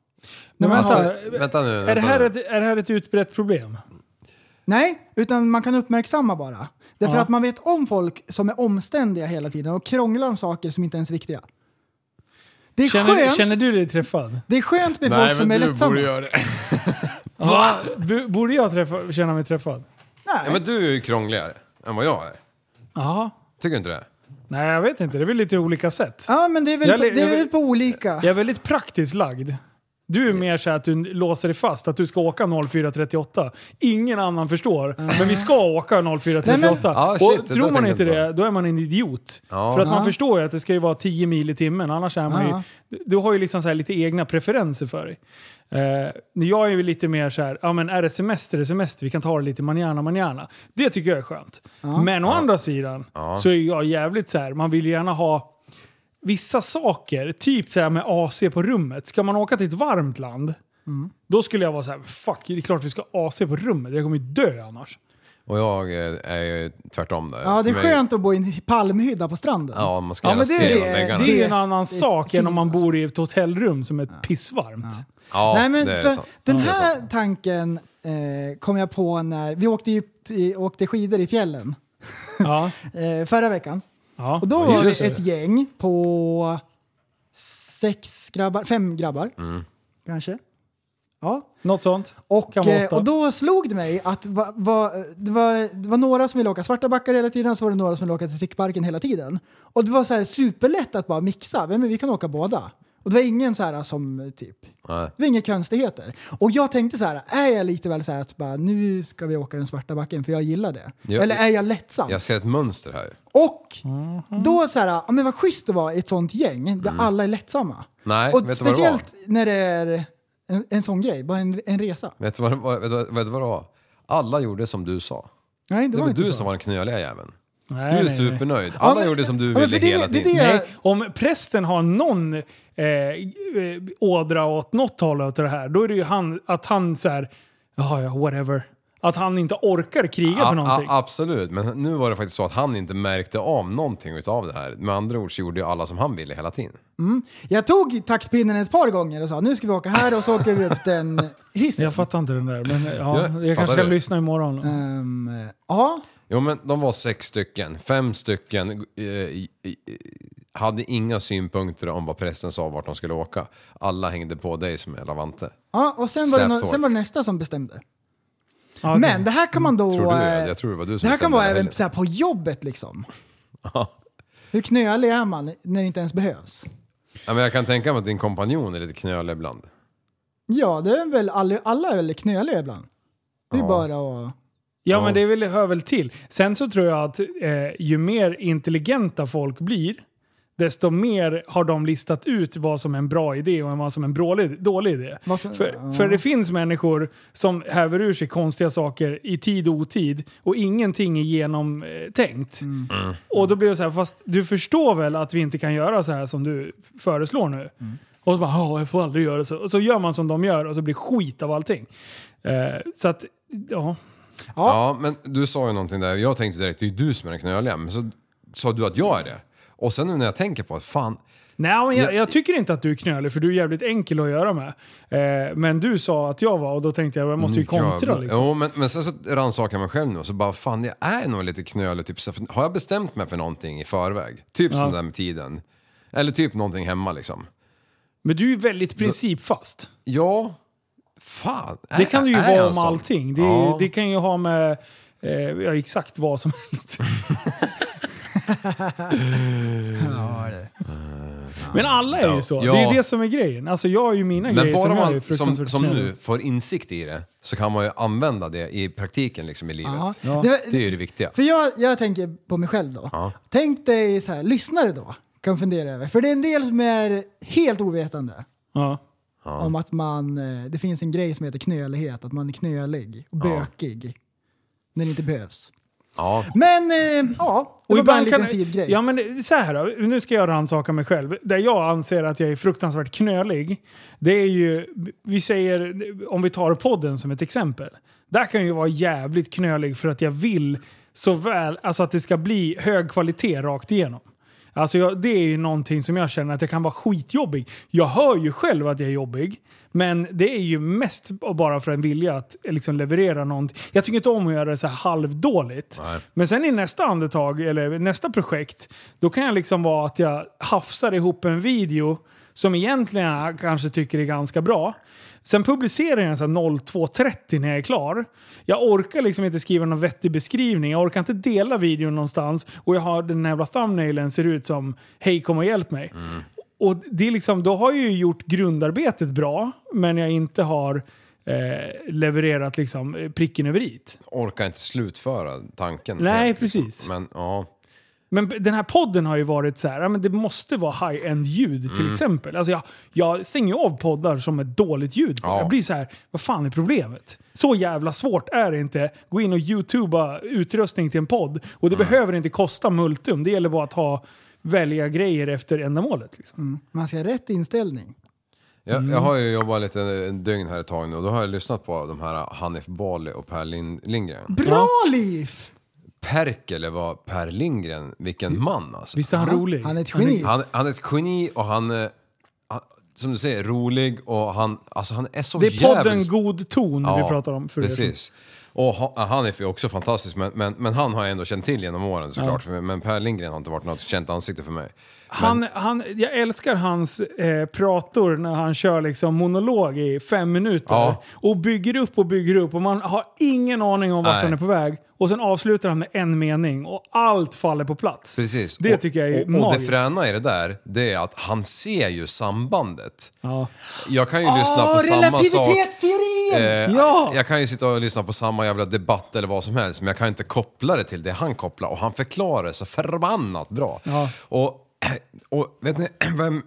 När man vänta. har, Alltså, vänta nu. Är det, vänta här nu. ett, är det här ett utbrett problem? nej, utan man kan uppmärksamma bara. Därför Ja. att man vet om folk som är omständiga hela tiden och krånglar om saker som inte ens är viktiga. Det är Känner, skönt. känner du dig träffad? Det är skönt med folk Nej, som är men du lättsamma. borde göra det. Ja, b- Borde jag träffa, känna mig träffad? Ja, men du är ju krångligare än vad jag är. Ja. Tycker du inte det? Nej, jag vet inte. Det är väl lite olika sätt. Ja, men det är väl, Jag le- det är jag väl vill- på olika. Jag är väldigt praktiskt lagd. Du är mer så här att du låser dig fast, att du ska åka 04.38. Ingen annan förstår, men vi ska åka 04.38. Nej, men- Ja, shit, och det tror där man inte tänkte jag inte det, eh, då är man en idiot. Ja. För att man Ja. förstår ju att det ska ju vara 10 mil i timmen, annars är man Ja. ju... Du har ju liksom så här lite egna preferenser för dig. Eh, jag är ju lite mer så här, ja men är det semester, är det semester, vi kan ta det lite manjana, manjana. Det tycker jag är skönt. Men å andra sidan så är jag jävligt så här, man vill ju gärna ha vissa saker, typ så här med AC på rummet. Ska man åka till ett varmt land, Mm. då skulle jag vara så här: fuck, det är klart vi ska ha AC på rummet. Jag kommer ju dö annars. Och jag eh, är ju tvärtom där. Ja, det är För mig- skönt att bo i en palmhydda på stranden. Ja, man ska Ja, gärna men det, se är, genom väggarna. det är en Det är- annan det är sak än om man fint, alltså. bor i ett hotellrum som är pissvarmt. Ja, Nej, men det är för sant. den Ja, det är här sant. tanken eh, kom jag på när vi åkte, ju, i- åkte skidor i fjällen Ja. eh, förra veckan. Ja. Och då Ja, var just vi ett gäng på sex grabbar, fem grabbar Mm. kanske. Ja, Något sånt. Och, Kan vara eh, åtta. och då slog det mig att va, va, det, var, det var några som ville åka svarta backar hela tiden och så var det några som ville åka till Trickparken hela tiden. Och det var så här superlätt att bara mixa. Men, men vi kan åka båda. Och det var ingen så här som typ... Nej. Det var inga konstigheter. Och jag tänkte så här, är jag lite väl så här att bara, nu ska vi åka den svarta backen för jag gillar det? Ja, Eller är jag lättsam? Jag ser ett mönster här. Och Mhm. då så här, ja, men vad schysst det var i ett sånt gäng där alla är lättsamma. Mm. Nej, och vet du vad det var? speciellt när det är en, en sån grej, bara en, en resa. Vet du vad, vad, vet, du- vet du vad det var? Alla gjorde som du sa. Nej, det, Det var var inte du så. som var den knöliga jäveln. Nej, Du nej, är nej. supernöjd. Alla men- gjorde som du ja, ville men för det- hela det är tiden. det- Nej, om prästen har någon eh, eh, ådra åt något håll åt det här, då är det ju han, att han så här, jaha ja, whatever. Att han inte orkar kriga Ja, för någonting. ja, absolut, men nu var det faktiskt så att han inte märkte av någonting utav det här. Med andra ord så gjorde ju alla som han ville hela tiden. Jag tog taxpinnen ett par gånger och sa nu ska vi åka här och så åker vi upp den hissen. Jag fattar inte den där, men eh, Ja, ja, fattar jag kanske kan du? lyssna imorgon. Ehm, ja, Jo men de var sex stycken, fem stycken eh, i- i- hade inga synpunkter om vad prästen sa vart de skulle åka. Alla hängde på dig som en lavante. ja, och sen var, det, nå- Släptåg. sen var det nästa som bestämde. Ja, okej. Men det här kan man då... Mm. Tror du det? eh, Jag tror det var du som det här kan bestämde vara den även helgen. så här, på jobbet liksom. Hur knölig är man när det inte ens behövs? Ja, men jag kan tänka mig att din kompanjon är lite knölig ibland. Ja, det är väl alla, alla är väl knöliga ibland. Det är bara att... Ja, men det vill, hör väl till. Sen så tror jag att eh, ju mer intelligenta folk blir, desto mer har de listat ut vad som är en bra idé och vad som är en dålig, dålig idé. Vad som- för, ja. för det finns människor som häver ur sig konstiga saker i tid och otid och ingenting är genomtänkt. Mm. Och då blir det så här, fast du förstår väl att vi inte kan göra så här som du föreslår nu? Mm. Och så bara, "Ja, jag får aldrig göra så. Och så gör man som de gör och så blir skit av allting. Eh, så att, ja. Ja. men du sa ju någonting där. Jag tänkte direkt, det är ju du som är den knöliga. Men så sa du att jag är det. Och sen nu när jag tänker på att fan, Nej, men jag, Jag- jag tycker inte att du är knölig för du är jävligt enkel att göra med. Eh, men du sa att jag var och då tänkte jag jag måste ju Mm, kontra Jävlar. liksom. Jo, men, men sen så rannsakar jag mig själv nu och så bara fan jag är nog lite knölig. Typ, så, här, har jag bestämt mig för någonting i förväg? Typ som det där med tiden. Eller typ någonting hemma liksom. Men du är ju väldigt principfast. Ja, fan. Det kan ju är vara jag om sån? allting. Det, Ja. det kan ju ha med eh, ja, exakt vad som helst. Men alla är ju så. Ja. Det är ju det som är grejen. Alltså jag har ju mina Men grejer bara som jag är man som, fruktansvärt som knäll. nu får insikt i det så kan man ju använda det i praktiken liksom i livet. Ja. Ja. Det, Det är ju det viktiga. För jag, jag tänker på mig själv då. Ja. Tänk dig så här, lyssnare då kan fundera över. För det är en del som är helt ovetande Ja. om att man, eh, det finns en grej som heter knölighet, att man är knölig och bökig när det inte behövs. Ja. Men eh, ja, det var bara en liten sidgrej. Ja men så här då, nu ska jag rannsaka mig själv. Där jag anser att jag är fruktansvärt knölig, det är ju, vi säger, om vi tar podden som ett exempel. Där kan jag ju vara jävligt knölig för att jag vill så väl, alltså att det ska bli hög kvalitet rakt igenom. Alltså jag, det är ju någonting som jag känner att jag kan vara skitjobbig. Jag hör ju själv att jag är jobbig, men det är ju mest bara för en vilja att liksom leverera någonting. Jag tycker inte om att göra det så här halvdåligt. Men sen i nästa andetag, eller nästa projekt, då kan jag liksom vara att jag hafsar ihop en video som egentligen jag kanske tycker är ganska bra. Sen publicerar jag den så här 02.30 när jag är klar. Jag orkar liksom inte skriva någon vettig beskrivning, jag orkar inte dela videon någonstans och jag har den här jävla thumbnailen ser ut som “Hej kom och hjälp mig”. Och det är liksom, då har jag ju gjort grundarbetet bra, men jag inte har eh, levererat liksom eh, pricken över it. Orkar inte slutföra tanken. Nej, helt, liksom. precis. Men ja. Men b- den här podden har ju varit så här, ja, men det måste vara high-end ljud till exempel. Alltså jag, jag stänger ju av poddar som ett dåligt ljud. på. Ja. Jag blir så här, vad fan är problemet? Så jävla svårt är det inte. Gå in och youtuba utrustning till en podd. Och det behöver inte kosta multum. Det gäller bara att ha, välja grejer efter ändamålet. Liksom. Man ska ha rätt inställning. Jag, Mm. jag har ju jobbat lite en dygn här ett tag nu och då har jag lyssnat på de här Hanif Bali och Per Lind- Lindgren. Bra liv! Perkele var Per Lindgren, vilken man alltså. Visst är han rolig? Han är ett geni. Han, han är ett geni och han, eh, han som du säger, rolig och han, alltså han är så Det är podden jävligt- God Ton vi Ja, pratar om. För er som- precis. Och ha- Hanif är också fantastisk, men, men, men han har jag ändå känt till genom åren såklart. För- Men Per Lindgren har inte varit något känt ansikte för mig. Han, han, jag älskar hans eh, prator när han kör liksom monolog i fem minuter. Ja. Och bygger upp och bygger upp och man har ingen aning om vart Nej. han är på väg. Och sen avslutar han med en mening och allt faller på plats. Precis. Det och, tycker jag är och, och det magiskt. fräna i det där, det är att han ser ju sambandet. ja. Jag kan ju lyssna på Åh, samma sak. relativitetsteorin! Eh, Ja. Jag kan ju sitta och lyssna på samma jävla debatt eller vad som helst men jag kan inte koppla det till det han kopplar och han förklarar det så förbannat bra. Ja. Och, och vet ni vem...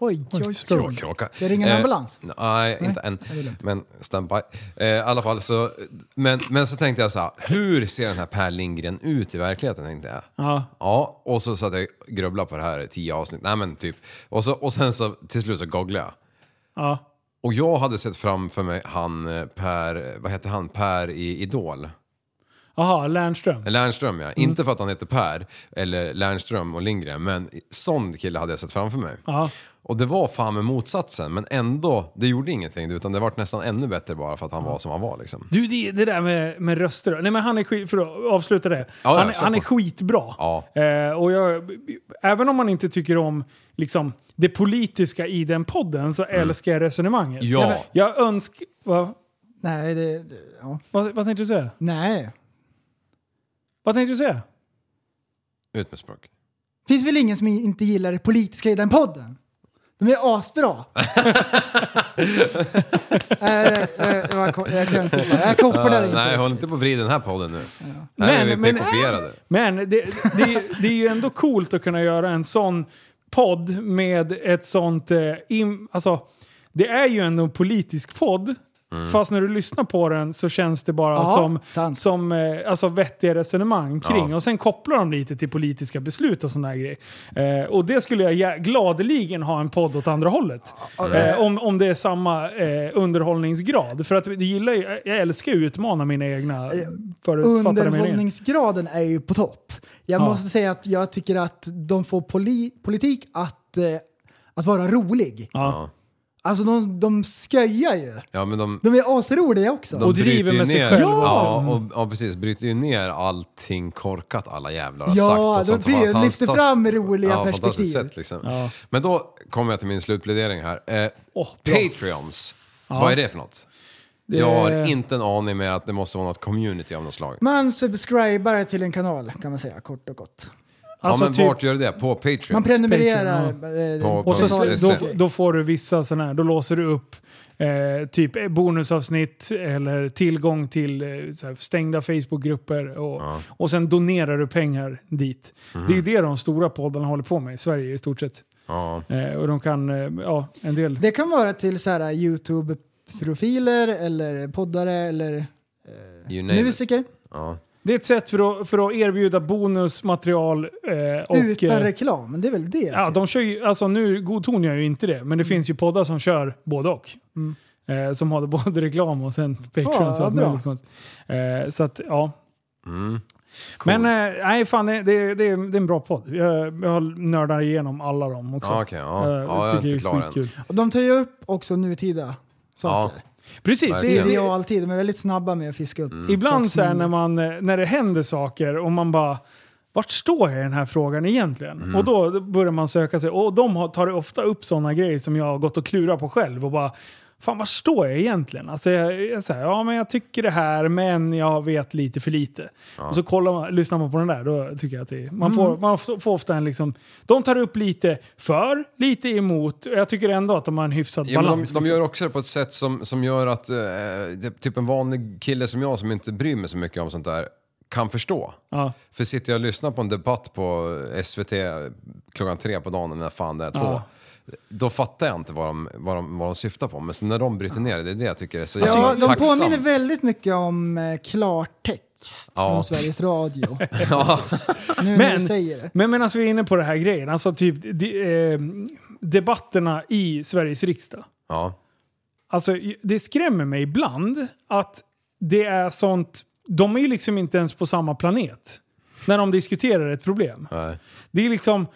Oj, oj, Krå, oj. kråka. Eh. Det ringer en ambulans. Nej, inte än. Men standby. Eh, I alla fall så... Men, men så tänkte jag så här, hur ser den här Per Lindgren ut i verkligheten? Tänkte jag. Ja. Ja, och så satt jag och grubblade på det här i tio avsnitt. Nej men typ. Och, så, och sen så till slut så googlade jag. Ja. Och jag hade sett framför mig han eh, Per, vad heter han, Per i Idol? Eh, Aha, Lernström. Lernström ja, inte för att han heter Per eller Lernström och Lindgren men sån kille hade jag sett framför mig. Ja. Och det var fan med motsatsen men ändå, det gjorde ingenting utan det vart nästan ännu bättre bara för att han var som han var liksom. Du, det, det där med, med röster. Nej, men han är skit, för att avsluta det. ja, han, kör han är på. skitbra. Ja. Eh, och jag, även om man inte tycker om liksom, det politiska i den podden så Mm. älskar jag resonemanget. Ja. Jag önskar... Vad, Nej, det... det- Ja. vad, vad tänkte du säga? Nej. Vad tänkte du säga? Ut med språk. finns väl ingen som inte gillar det politiska i den podden? De är asbra. Nej, eh, eh, det var ko- Jag kan inte släppa. Jag kopplade Uh, inte. nej, håll inte på och vrid den här podden nu. Här är vi Men- men- PK-fierade. Men det, det, det är ju ändå coolt att kunna göra en sån podd med ett sånt... Eh, im, alltså, det är ju ändå en politisk podd. Fast när du lyssnar på den så känns det bara Ja, som, sant. som eh, alltså vettiga resonemang kring. Ja. Och sen kopplar de lite till politiska beslut och sådana grejer. Eh, och det skulle jag ja- gladeligen ha en podd åt andra hållet. Eh, om, om det är samma eh, underhållningsgrad. För att det gillar, ju- jag älskar ju att utmana mina egna Eh, förutfattade meningar. Underhållningsgraden är ju på topp. Jag Ja. måste säga att jag tycker att de får poli politik att, eh, att vara rolig. Ja. Alltså de, de sköjar ju. Ja, men de, De är asroliga också. de Och driver bryter ju med sig ner, själva Ja, också. och, och precis. Bryter ju ner allting korkat alla jävlar har sagt. Ja, på ett de sånt fan- blir- lyfter fantastiskt- fram roliga ja, fantastiskt perspektiv. Sätt, liksom. Ja. Men då kommer jag till min slutplädering här. Eh, Åh, bra. Patreons, vad är det för något? Jag har inte en aning med att det måste vara något community av något slag. Man subscribar till en kanal kan man säga, kort och gott. Alltså ja men typ, vart gör du det? På Patreon? Man prenumererar. Patreon, eh, Ja, på och så, kanalen. precis. då, då får du vissa sådana här, då låser du upp eh, typ bonusavsnitt eller tillgång till eh, så här, stängda Facebookgrupper. Och, och sen donerar du pengar dit. Mhm. Det är ju det de stora poddarna håller på med i Sverige i stort sett. ja. Eh, och de kan, eh, ja en del. Det kan vara till så här eh, YouTube-profiler eller poddare eller You name it. musiker. Ja. Det är ett sätt för att, för att erbjuda bonusmaterial. Eh, och, Utan eh, reklam, det är väl det? Ja, de kör ju, alltså nu godtonar jag ju inte det, Mm. men det finns ju poddar som kör både och. Eh, som har det både reklam och sen Patreon. Ja, så, att bra. möjligt konstigt. eh, så att, ja. mm. Men eh, nej, fan, det, det, det, är- det är en bra podd. Jag, jag nördar igenom alla dem också. Ja, okej, ja. Eh, Ja, jag är tycker det inte klar än. skitkul. Och de tar ju upp också nutida Ja. saker. Precis, det, Verkligen. I det, realtid, de är väldigt snabba med att fiska upp. Mm. Ibland saker så här, som- när, man, eh, när det händer saker och man bara vart står jag i den här frågan egentligen? Mm. Och då börjar man söka sig. Och de har- tar ofta upp sådana grejer som jag har gått och klurat på själv och bara Fan, var står jag egentligen? Alltså jag, jag säger, ja men jag tycker det här men jag vet lite för lite. Och så kollar man, lyssnar man på den där, då tycker jag att det, man, får, Mm. man f- får ofta en liksom... De tar upp lite för, lite emot. Och Jag tycker ändå att de har en hyfsad Ja, men balans. de, de liksom. gör också det på ett sätt som, som gör att eh, det- typ en vanlig kille som jag som inte bryr mig så mycket om sånt där kan förstå. Ja. För sitter jag och lyssnar på en debatt på SVT klockan tre på dagen, eller när fan det är två, Ja. då fattar jag inte vad de, vad, de, vad de syftar på. Men så när de bryter ner det, det är det jag tycker är så Alltså, jävla Ja, de Alltså, tacksam. påminner väldigt mycket om eh, klartext Ja. från Sveriges Radio. Ja. Nu när Mm. du säger det. Men medan vi är inne på det här grejen, alltså typ de, eh, debatterna i Sveriges riksdag. Ja. Alltså det skrämmer mig ibland att det är sånt, de är ju liksom inte ens på samma planet när de diskuterar ett problem. Nej. Det är liksom...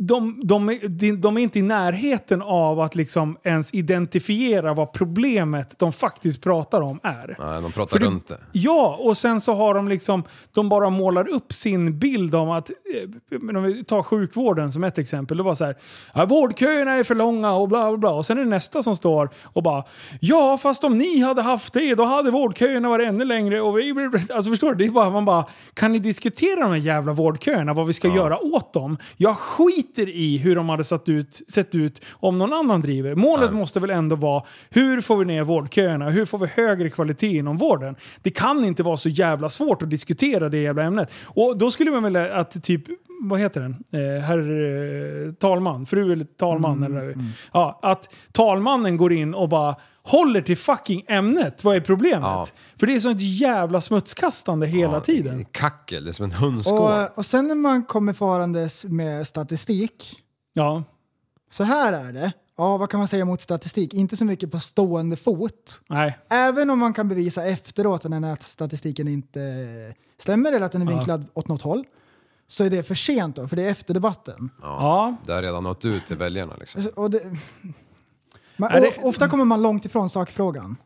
De, de, är- de, de är inte i närheten av att liksom ens identifiera vad problemet de faktiskt pratar om är. Nej, de pratar För runt det. Ja, och sen så har de liksom... De bara målar upp sin bild om att... eh, men Om vi tar sjukvården som ett exempel. Det var så här, "Ja, vårdköerna är för långa och bla bla bla. Och sen är det nästa som står och bara Ja, fast om ni hade haft det, då hade vårdköerna varit ännu längre. Och vi, alltså förstår du? Det är bara, man bara, kan ni diskutera de här jävla vårdköerna, vad vi ska göra åt dem? Jag skiter i hur de hade satt ut, sett ut om någon annan driver. Målet måste väl ändå vara, hur får vi ner vårdköerna? Hur får vi högre kvalitet inom vården? Det kan inte vara så jävla svårt att diskutera det jävla ämnet. Och då skulle man vilja att typ vad heter den? Eh, herr eh, talman, fru eller talman. eller, Ja, att talmannen går in och bara håller till fucking ämnet. Vad är problemet? Ja. För det är sånt jävla smutskastande hela tiden. eh, Kackel, det är som en hundskål. Och, och sen när man kommer farandes med statistik. Ja. Så här är det. Ja, vad kan man säga mot statistik? Inte så mycket på stående fot. Nej. Även om man kan bevisa efteråt att den här statistiken inte eh, stämmer eller att den är vinklad åt något håll. Så är det för sent då, för det är efter debatten. Ja. Det har redan nått ut till väljarna liksom. Och det, man, Är det- Ofta kommer man långt ifrån sakfrågan.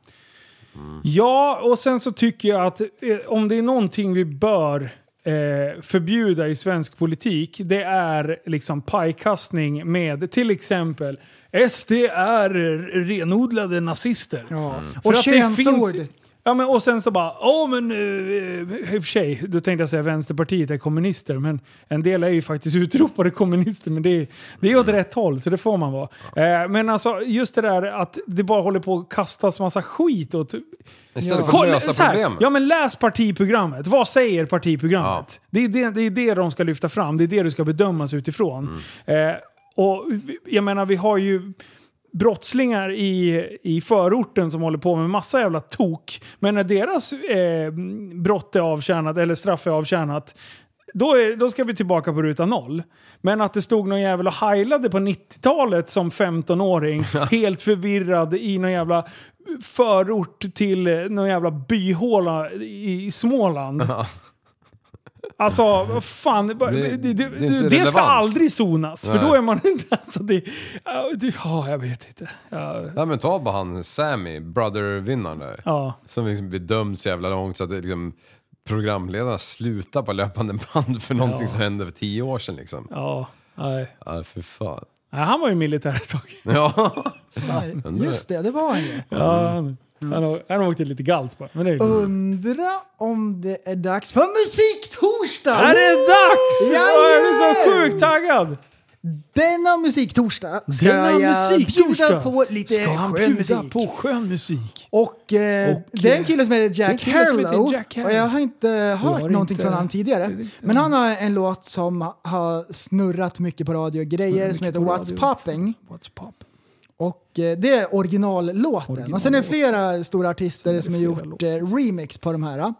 ja, och sen så tycker jag att eh, om det är någonting vi bör eh, förbjuda i svensk politik, det är liksom pajkastning med till exempel SD är renodlade nazister. Ja. Mm. För Och att det könsord. finns- Ja, men, och sen så bara, åh men eh, eh, i och för sig, då tänkte jag säga Vänsterpartiet är kommunister, men en del är ju faktiskt utropade kommunister, men det är, det är åt rätt håll, så det får man vara. Eh, men alltså just det där att det bara håller på att kastas massa skit åt... Istället för att så lösa här, problem. Ja men läs partiprogrammet, vad säger partiprogrammet? Det, är det, det är det de ska lyfta fram, det är det du ska bedömas utifrån. Mm. Eh, och vi- jag menar vi har ju brottslingar i, i förorten som håller på med massa jävla tok. Men när deras eh, brott är avtjänat, eller straff är avtjänat, då, är, då ska vi tillbaka på ruta noll. Men att det stod någon jävel och heilade på 90-talet som 15-åring, helt förvirrad i någon jävla förort till eh, någon jävla byhåla i i Småland. Alltså, vad fan. Det, det, Det- det, det är inte det, ska relevant. aldrig sonas. För Nej. då är man inte... Alltså det, ja, det, ja, jag vet inte. Ja, Nej men ta bara han Sammy, brother-vinnaren där. ja. Som liksom blir dömd så jävla långt så att det liksom, programledarna slutar på löpande band för någonting som hände för tio år sedan liksom. ja nej. Ja, för fan. Mm. Nej, han var ju militär ett tag. Ja. Mm. Just det, det var han ju. Ja, han- Han, har, han har åkt till lite galt bara. Men det är oh. Undra om det är dags för musiktorsdag! Här är det dags! Jag är så Jajamän! sjukt taggad! Denna musiktorsdag ska Denna jag bjuda musiktorsdag på lite ska han skön bjuda musik. på skön musik. Och, eh, Och, det är en eh, kille som heter det är en Jack kille som heter Harlow. Jack Harlow. och jag har inte hört har inte- någonting Mm. från honom tidigare. Men han har en låt som har snurrat mycket på radio och grejer som heter What's Popping. What's pop? Och eh, det är originallåten. Och sen är det flera stora artister som har flera gjort låtar. eh, remix på de här. Och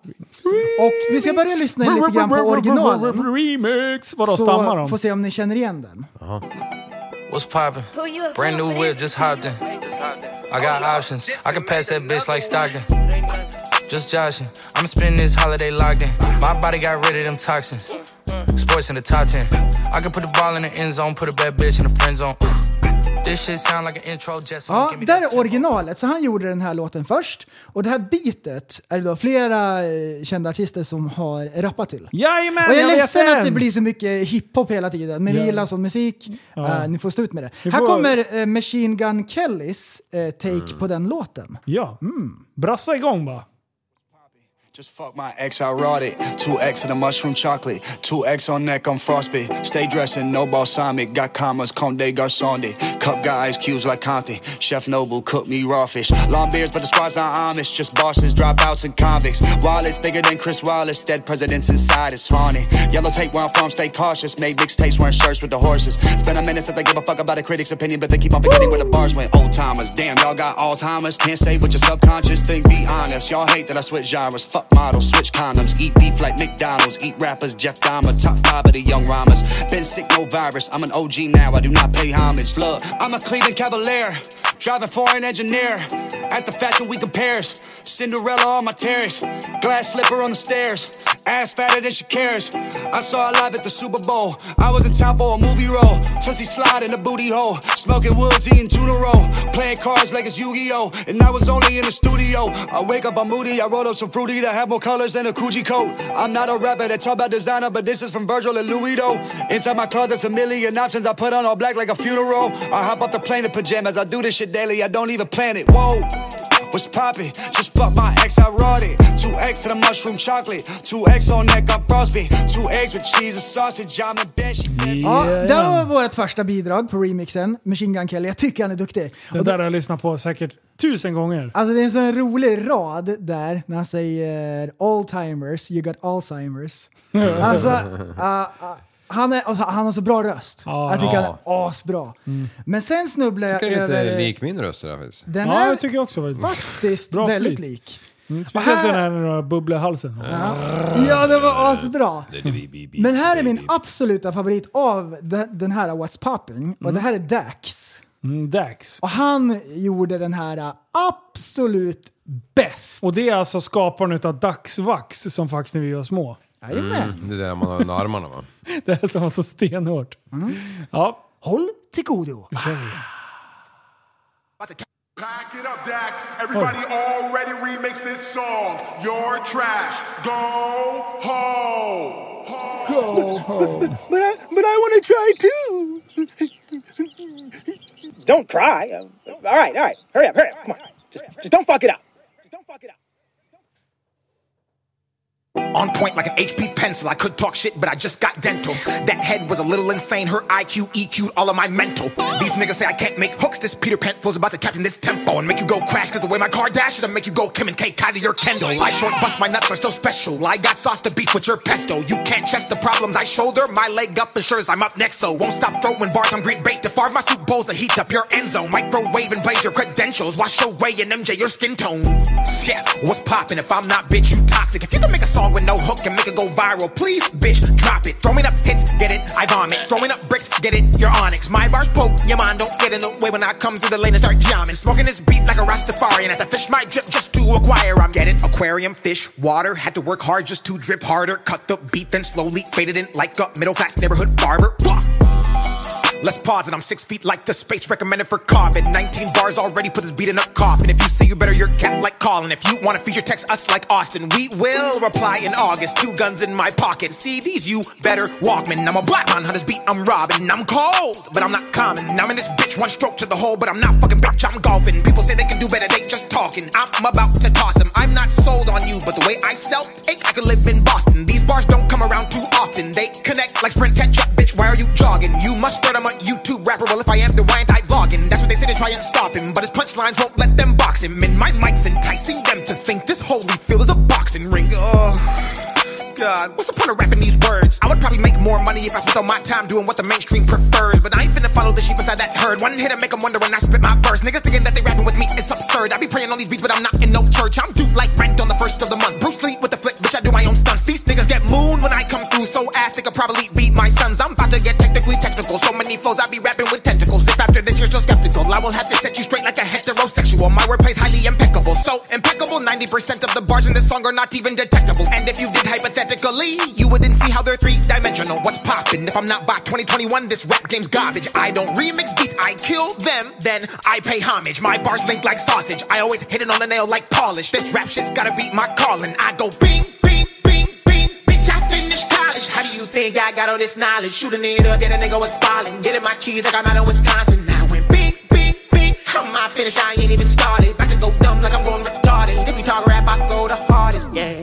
vi ska börja lyssna lite grann på originalen. Remix! Vadå, stammar Så får de? se om ni känner igen den. What's poppin'? Who you a Brand new fool whip, for just this? hopped in. I got options. I can pass that bitch like Stockton. Just joshing. I'm spending this holiday locked in. My body got rid of them toxins. Sports in the top 10. I can put the ball in the end zone, put a bad bitch in the friend zone. This shit sound like an intro, just Ja, give me där that är tempo. originalet. Så han gjorde den här låten först. Och det här bitet är det då flera eh, kända artister som har rappat till. Jajamän, Och jag är vet ledsen att det den. blir så mycket hiphop hela tiden, men vi gillar sån musik. Eh, ni får stå ut med det. Här får- kommer eh, Machine Gun Kellys eh, take på den låten. Ja. Mm. Brassa igång bara. Just fuck my ex, I wrought it. 2x of the mushroom chocolate. 2x on neck, I'm frostbit. Stay dressing, no balsamic. Got commas, Conde Garçonde. Cup got ice cubes like Conte. Chef Noble cook me raw fish. Long beards, but the squad's not Amish. Just bosses, dropouts, and convicts. Wallets bigger than Chris Wallace. Dead presidents inside, it's haunted. Yellow tape where I'm from, stay cautious. Made mixtapes wearing shirts with the horses. It's been a minute since I give a fuck about a critic's opinion, but they keep on forgetting where the bars went. Old timers, damn, y'all got Alzheimer's. Can't say what your subconscious think, be honest. Y'all hate that I switch genres. Fuck models, switch condoms. Eat beef like McDonald's. Eat rappers, Jeff Dahmer. Top five of the young rhymers. Been sick, no virus. I'm an OG now, I do not pay homage. Look, I'm a Cleveland Cavalier. Driving foreign engineer. At the fashion week in Paris. Cinderella on my terrace. Glass slipper on the stairs. Ass fatter than Shakira's. I saw her live at the Super Bowl. I was in town for a movie role. Tootsie slide in a booty hole. Smoking woods, eating tuna roll. Playing cards like it's Yu-Gi-Oh! And I was only in the studio. I wake up, I'm moody. I roll up some fruity that have more colors than a Gucci coat. I'm not a rapper that talk about designer, but this is from Virgil and Louis though. Inside my closet's a million options. I put on all black like a funeral. I hop off the plane in pajamas. I do this shit daily. I don't even plan it. Whoa. What's poppin'? Just fuck my ex, I wrought it. Two eggs to the mushroom chocolate. Two eggs on neck, I'm frostbit. Two eggs with cheese and sausage. I'm a bitch. Ja, Jajamän. det var vårt första bidrag på remixen, Machine Gun Kelly. Jag tycker han är duktig. Den där har jag lyssnat på säkert tusen gånger. Alltså det är en sån rolig rad där när han säger Alzheimers, you got Alzheimers. alltså, ah, ah, han, är, alltså, han har så bra röst. jag tycker han är asbra. Mm. Men sen snubblar jag Tycker det är lite över... lik min röst i det här faktiskt. Den Ja, är jag tycker också det. faktiskt Bra väldigt flyt. lik. Speciellt här- den här när du har bubbla i halsen. Ja, det var asbra. Men här är min absoluta favorit av de- den här What's Popping. Och det här är Dax. Mm, Dax. Och han gjorde den här äh, absolut bäst. Och det är alltså skaparen utav Dagsvax som faktiskt när vi var små. Jajamän. Mm, Det är det man har under armarna va? Det här som var så stenhårt. Mm. Ja, Håll till godo. Pack it up, Dax. Everybody Oh. already remixed this song. Your trash. Go home. home. Don't cry. Uh, All right, all right. Hurry up, hurry up. Come on. Just, just don't fuck it up. Just don't fuck it up. On point like an HP pencil. I could talk shit, but I just got dental. That head was a little insane. Her IQ EQ'd all of my mental. These niggas say I can't make hooks. This Peter Panflow's about to captain this tempo and make you go crash. Cause the way my car dashes, I make you go Kim and K, Kylie or Kendall. I short bust my nuts are still special. I got sauce to beef with your pesto. You can't chest the problems I shoulder. My leg up ensures I'm up next, so won't stop throwing bars. I'm great bait to farm. My soup bowls to heat up your end zone. Microwave and blaze your credentials. Wash away and MJ your skin tone. Yeah, what's poppin'? If I'm not bitch, you toxic. If you can make a song with no hook and make it go viral, please, bitch, drop it. Throwing up hits, get it? I vomit. Throwing up bricks, get it? Your onyx. My bars poke, your mind don't get in the way when I come through the lane and start jamming. Smoking this beat like a Rastafarian. At the fish my drip just to acquire. I'm getting aquarium fish water. Had to work hard just to drip harder. Cut the beat, then slowly faded in like a middle class neighborhood barber. Fuck. Let's pause it. I'm six feet like the space recommended for carbon. 19 bars already put this beat in a coffin. If you say you better, you're capped like Colin. If you want to feature, text us like Austin. We will reply in August. Two guns in my pocket. CDs, you better Walkman. I'm a black man, hunters beat, I'm robbing. I'm cold, but I'm not common. I'm in this bitch, one stroke to the hole, but I'm not fucking bitch, I'm golfing. People say they can do better, they just talking. I'm about to toss them. I'm not sold on you, but the way I sell, take, I could live in Boston. These bars don't come around too often. They connect like sprint catch up, bitch. Why are you jogging? You must start, I'm a YouTube rapper. Well, if I am, then why ain't I vlogging? That's what they say to try and stop him, but his punchlines won't let them box him. And my mic's enticing them to think this holy field is a boxing ring. Oh. God, what's the point of rapping these words? I would probably make more money if I spent all my time doing what the mainstream prefers. But I ain't finna follow the sheep inside that herd. One hit and make 'em wonder when I spit my verse. Niggas thinking that they rapping with me is absurd. I be praying on these beats, but I'm not in no church. I'm due like rent on the first of the month. Bruce Lee with the flick, bitch, I do my own stunts. These niggas get moon when I come through, so ass they could probably beat my sons. I'm about to get technically technical. So many flows, I be rapping with tentacles. If after this you're still skeptical, I will have to set you straight like a heterosexual. My wordplay's highly impeccable. So impeccable, 90% of the bars in this song are not even detectable. And if you did hypothetically, you wouldn't see how they're three dimensional. What's poppin'? If I'm not by 2021, this rap game's garbage. I don't remix beats, I kill them, then I pay homage. My bars link like sausage. I always hit it on the nail like polish. This rap shit's gotta beat my calling. I go bing, bing, bing, bing. Bitch, I finished college. How do you think I got all this knowledge? Shooting it up, yeah, the nigga was ballin'. Getting my cheese like I'm out of Wisconsin. I went bing, bing, bing. How am I finished? I ain't even started. About to go dumb like I'm going retarded. If we talk rap, I go the hardest, yeah.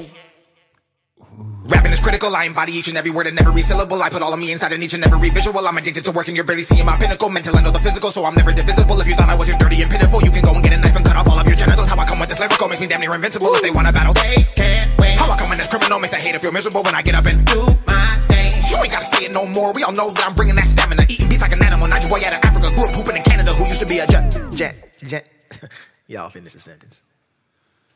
Rapping is critical. I embody each and every word and every syllable. I put all of me inside in each and every visual. I'm addicted to working. You're barely seeing my pinnacle. Mental and all the physical, so I'm never divisible. If you thought I was your dirty and pitiful, you can go and get a knife and cut off all of your genitals. How I come with this lyrical makes me damn near invincible. If they want to battle, they can't win. How I come in this criminal makes the hater feel miserable when I get up and do my thing. You ain't gotta say it no more. We all know that I'm bringing that stamina. Eating beats like an animal. Not your boy out of Africa. Grew up pooping in Canada. Who used to be a jet. Jet. Jet. Y'all finish the sentence.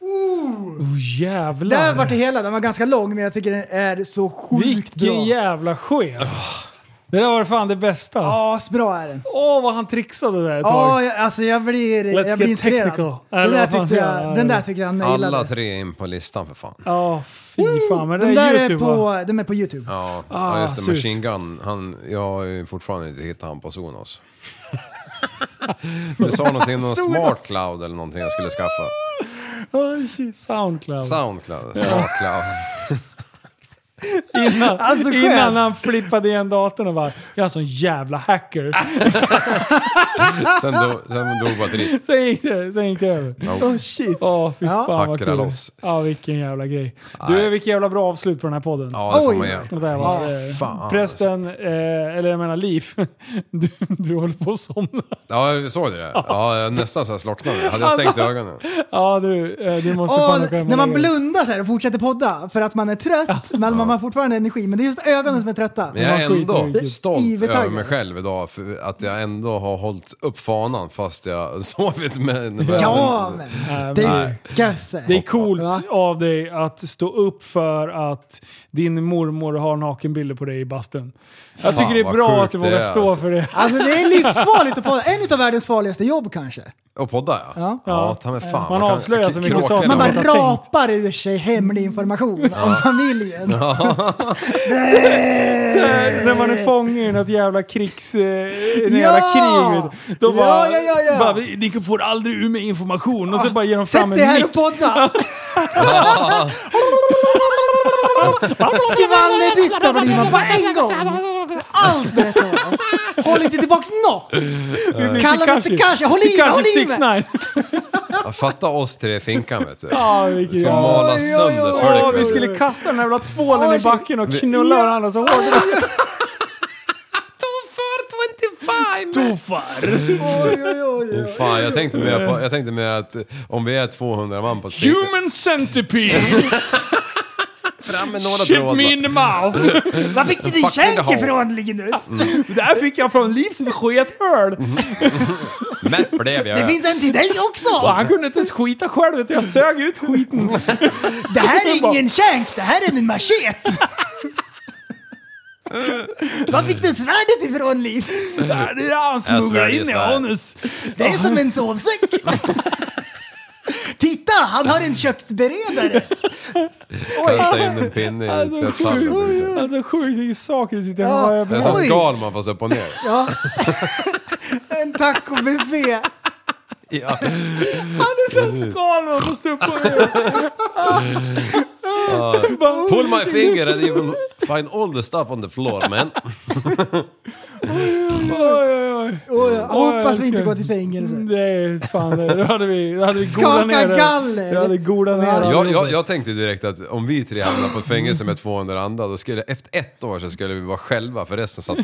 Oh, jävlar. Där vart det hela. Den var ganska lång, men jag tycker den är så sjukt Vilken bra. jävla chef. Det där var fan det bästa. Åh, Asbra är den. vad han trixade där ett Ja, tag. jag- alltså jag blir, Let's jag blir get inspirerad. technical. Den Eller där, vad fan tyckte det är. jag, den där tyckte jag han nailade. Alla tre in på listan för fan. Ja, fy fan. Men det de där är är Youtube va? på, de är på Youtube. Ja, Ah, ja just det. surt. Machine Gun. Han, jag har ju fortfarande inte hittat han på Sonos. Du sa någonting om någon smart cloud eller någonting jag skulle skaffa. Oh, shit. Soundcloud. Soundcloud, smart cloud. Innan, Alltså, skönt. innan han flippade igen datorn och bara “Jag är en sån jävla hacker”. Sen, do, sen dog batteriet. Sen gick det, sen gick det över. Oh shit. Åh fy Ja. fan vad Hackra kul. loss. Ja vilken jävla grej. Du vilken jävla bra avslut på den här podden. Ja, det får Oj. man göra. Det där var, eh, alltså. fan. Prästen, eh, eller jag menar Liv, du, du håller på att somna. Ja, jag såg det där. Ja, jag nästan så här slocknade. Hade jag stängt Alltså, ögonen? Ja du, eh, du måste Och fan åka hem och när man lägga dig. blundar så här och fortsätter podda för att man är trött, men man har fortfarande energi. Men det är just ögonen som är trötta. Men jag Man är skiter i ändå vilket. stolt Ivetaggen. över mig själv idag för att jag ändå har hållit upp fanan fast jag sovit med... med Ja, men Nej, det men- är ju gösse. Det är coolt Ja. av dig att stå upp för att din mormor har nakenbilder på dig i bastun. Jag tycker det är vad bra sjukt att du det vågar är, stå alltså. för det. Alltså det är livsfarligt att podda. En av världens farligaste jobb kanske. Och poddar ja. Ja. ja ta mig fan. Man kan- avslöjar så mycket kråkorna saker. Man Ja, bara jag har tänkt. rapar ur sig hemlig information om familjen. Så här, när man är fånge i något jävla krigs... Eh, något jävla Ja! krig. vet du. Då Ja, bara, ja, ja, ja. bara, "Vi- ni får aldrig ur mig information. Och så bara ger de fram Sätt en dig här mick. och podda! Skvallerbytta blir man på en gång! Allt berättar man! Håll inte tillbaks något! Kalla mig inte kanske, håll i mig, håll i mig! mig! Ja, Fatta oss tre i finkan vet du. Ja, vilken Som jävla- malas Oj, oj, oj, sönder oj, Ja, för vi dig. skulle kasta den här jävla tvålen i Oj, backen och knulla Ja. varandra så hårt. Tofar! Oj, oj, oj, oj. Oh, Fan, jag tänkte med, på, jag tänkte med att om vi är 200 man på ett fik- Human centipede! fram med några Shit trådar. me in the mouth! Var fick du din Fuck in the känk hole. ifrån Linus? Det där fick jag från Livs skethörd. Mhm. Mätt blev jag. Det finns en till dig Och också! han kunde inte ens skita själv utan jag sög ut skiten. Det här är ingen känk, det här är en machete! Var fick du svärdet ifrån Liv? Där, det är han smugglar Sverige, in i Sverige. anus. Det är som en sovsäck! Titta, han har en köksberedare! Kasta in en pinne i Alltså tvättsamlingen. sjukt alltså, sjuk, det är saker i sitt Ja. huvud. Det är som Skalman fast upp och ner. Ja. En tacobuffé. Ja. Han är som Skalman på stubben. Pull my finger and you will find all the stuff on the floor man. Och jag hoppas vi inte älskar. går till fängelse. Nej, fan. Då hade vi, då hade vi Skaka golat ner det. galler. Jag hade golat ner det. Jag, jag, jag tänkte direkt att om vi tre hamnar på ett fängelse med 200 andra, då skulle efter ett år så skulle vi vara själva för resten satt på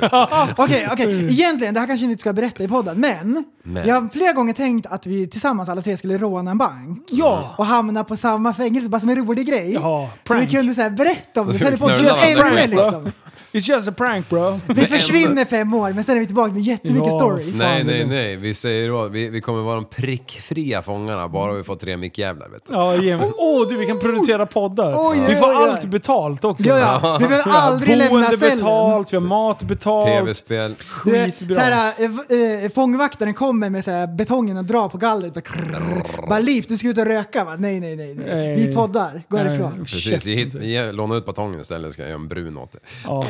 vet du. Ah, Okej, okej. Egentligen, det här kanske ni inte ska berätta i podden, men, Men. jag har flera gånger tänkt att vi tillsammans alla tre skulle råna en bank. Ja. Och hamna på samma fängelse, bara som en rolig grej. Ja, så vi prank. kunde så här, berätta om det, Då så är det ska vi knulla podden som varandra. ämne liksom. It's just a prank bro. Vi försvinner fem år, men sen är vi tillbaka med jättemycket Ja, stories. Nej, nej, nej. Vi säger då, vi, vi kommer vara de prickfria fångarna bara vi får tre mickjävlar vet du. Ja, ge mig. Åh du, vi kan producera poddar. Oh! Oj, vi får oj, oj. allt betalt också. Ja, ja. Vi behöver Vi har aldrig lämna boende cellen. betalt, vi har mat betalt. Tv-spel. Du vet, Skitbra. Så här, äh, äh, fångvaktaren kommer med så här, betongen och drar på gallret. Och krrr, bara Liv, du ska ut och röka va? Nej, nej, nej. nej. Nej. Vi poddar. Gå Nej. härifrån. Precis, ge hit, ge, låna ut batongen istället ska jag göra en brun åt det. Ja.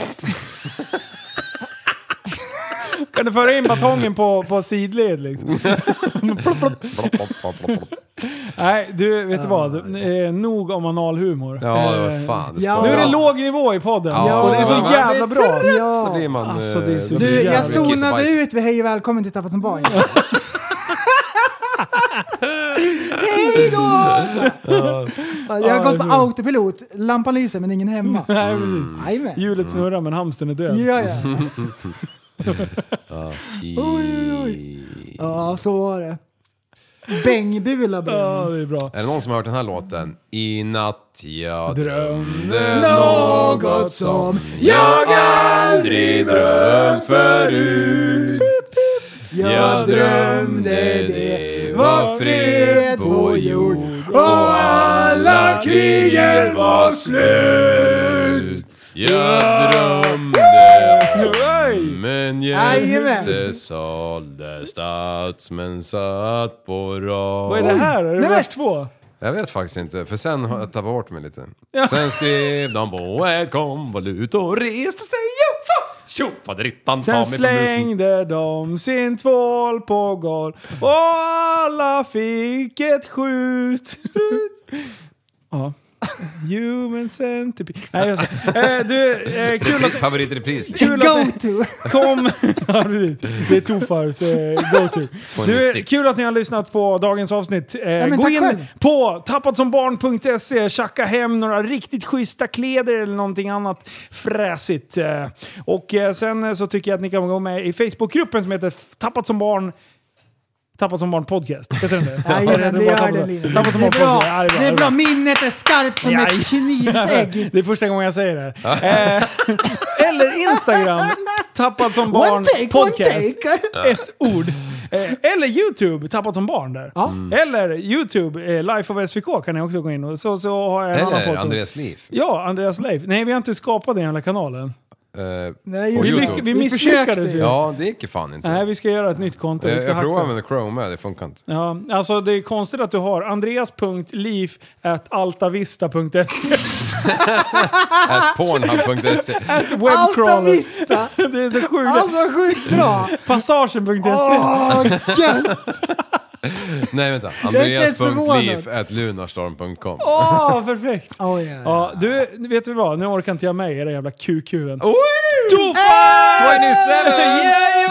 Kan du föra in batongen på, på sidled liksom? Plopp, plopp, plopp, plopp. Nej, du vet du vad? Eh, nog om analhumor. Ja, det Eh, var fan. Det Ja. sparar Nu är det jag. låg nivå i podden. Ja. och det är så Ja. jävla bra. Så Ja. blir man... Alltså, det är så eh, Du, jag Jävligt zonade kissebajs. ut vid Hej och välkommen till Tappat som barn. Hej då! Jag har gått på autopilot. Lampan lyser men ingen hemma. Nej, precis. Jajamän. Hjulet snurrar men hamstern är död. Ja, ja. Shit. ja, så var det. Bängbula Ja, bara. det är bra. Är det någon som har hört den här låten? I natt jag drömde Något som jag aldrig drömt förut Jag drömde det var fred på jord och alla krigen var slut Jag drömde Hej! men Jajamän. hjälte sålde statsmän satt på rad Vad är det här? Är det Nej, vers men- två? jag vet faktiskt inte, för sen har jag tappat bort mig lite. Sen skrev de på ett konvolut och reste sig och så tjofaderittan ta Sen mig på musen. slängde de sin tvål på golv och alla fick ett skjut. Sprut. Ja. Human centipede. Nej, jag ska. Eh, du, eh, kul att... Favorit i repris. liksom. Kul att Go to! Kom! Ja, precis. det är Tofars eh, go-to. Du, 26. kul att ni har lyssnat på dagens avsnitt. Eh, men gå tack in själv. på tappatsombarn.se, tjacka hem några riktigt schyssta kläder eller någonting annat fräsigt. Eh, och eh, sen eh, så tycker jag att ni kan gå med i Facebookgruppen som heter Tappat som barn Tappat som barn podcast. Heter den det? Jajamän, det bara gör Tappat- det Linus. Tappat som Det är barn bra. podcast. Ja, Det är bra. Minnet är skarpt som Jaj. ett knivsägg. Det är första gången jag säger det. här. Eh, eller Instagram, Tappat som barn One take, podcast. one take. Ett ord. Eh, eller YouTube, Tappat som barn där. Mm. Ja. Eller YouTube, eh, Life of SVK kan ni också gå in och så, så har jag en annan Eller podd som- Andreas Liv. Ja, Andreas Leif. Nej, vi har inte skapat den jävla kanalen. Eh, Nej, på vi Vi, Youtube. vi Vi misslyckades försökte. ju. Ja, det gick ju fan inte. Nej, vi ska göra ett nytt konto. Vi jag ska jag hacka. provade med Chrome med, det funkar inte. Ja, alltså det är konstigt att du har andreas.leaf.altavista.se Ah. At pornhub.se. Alta Webcrawler. Vista! Det är så sjukt. Alltså vad sjukt bra! Passagen.se. Åh, gött! Nej vänta, ens förvånad. Andreas.liv at lunarstorm.com. Åh, perfekt! Oj, oj, oj. Ja, du, vet du vad? Nu orkar inte jag med era jävla kukhuvuden. Oj! Tofan! 27! Jajamän!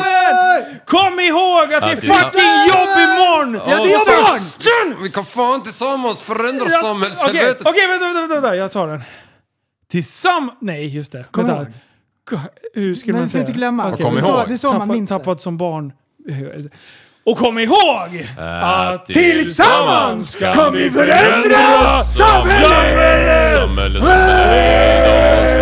Kom ihåg att det är det är- fucking jobb imorgon! Alltså, Ja, det är jag barn! Vi kan fan tillsammans förändra Jag- Okej, samhällshelvetet! okej, vänta, vänta, vänta, vänta, jag tar den. Tillsammans... Nej, just det. Kom vänta. Ko- Hur skulle Men man ska säga? inte glömma. kom Det är så- ihåg. Det är så man Tappa- minns det. Tappad som barn. Och kom ihåg att tillsammans kan vi förändra samhället! Samhället!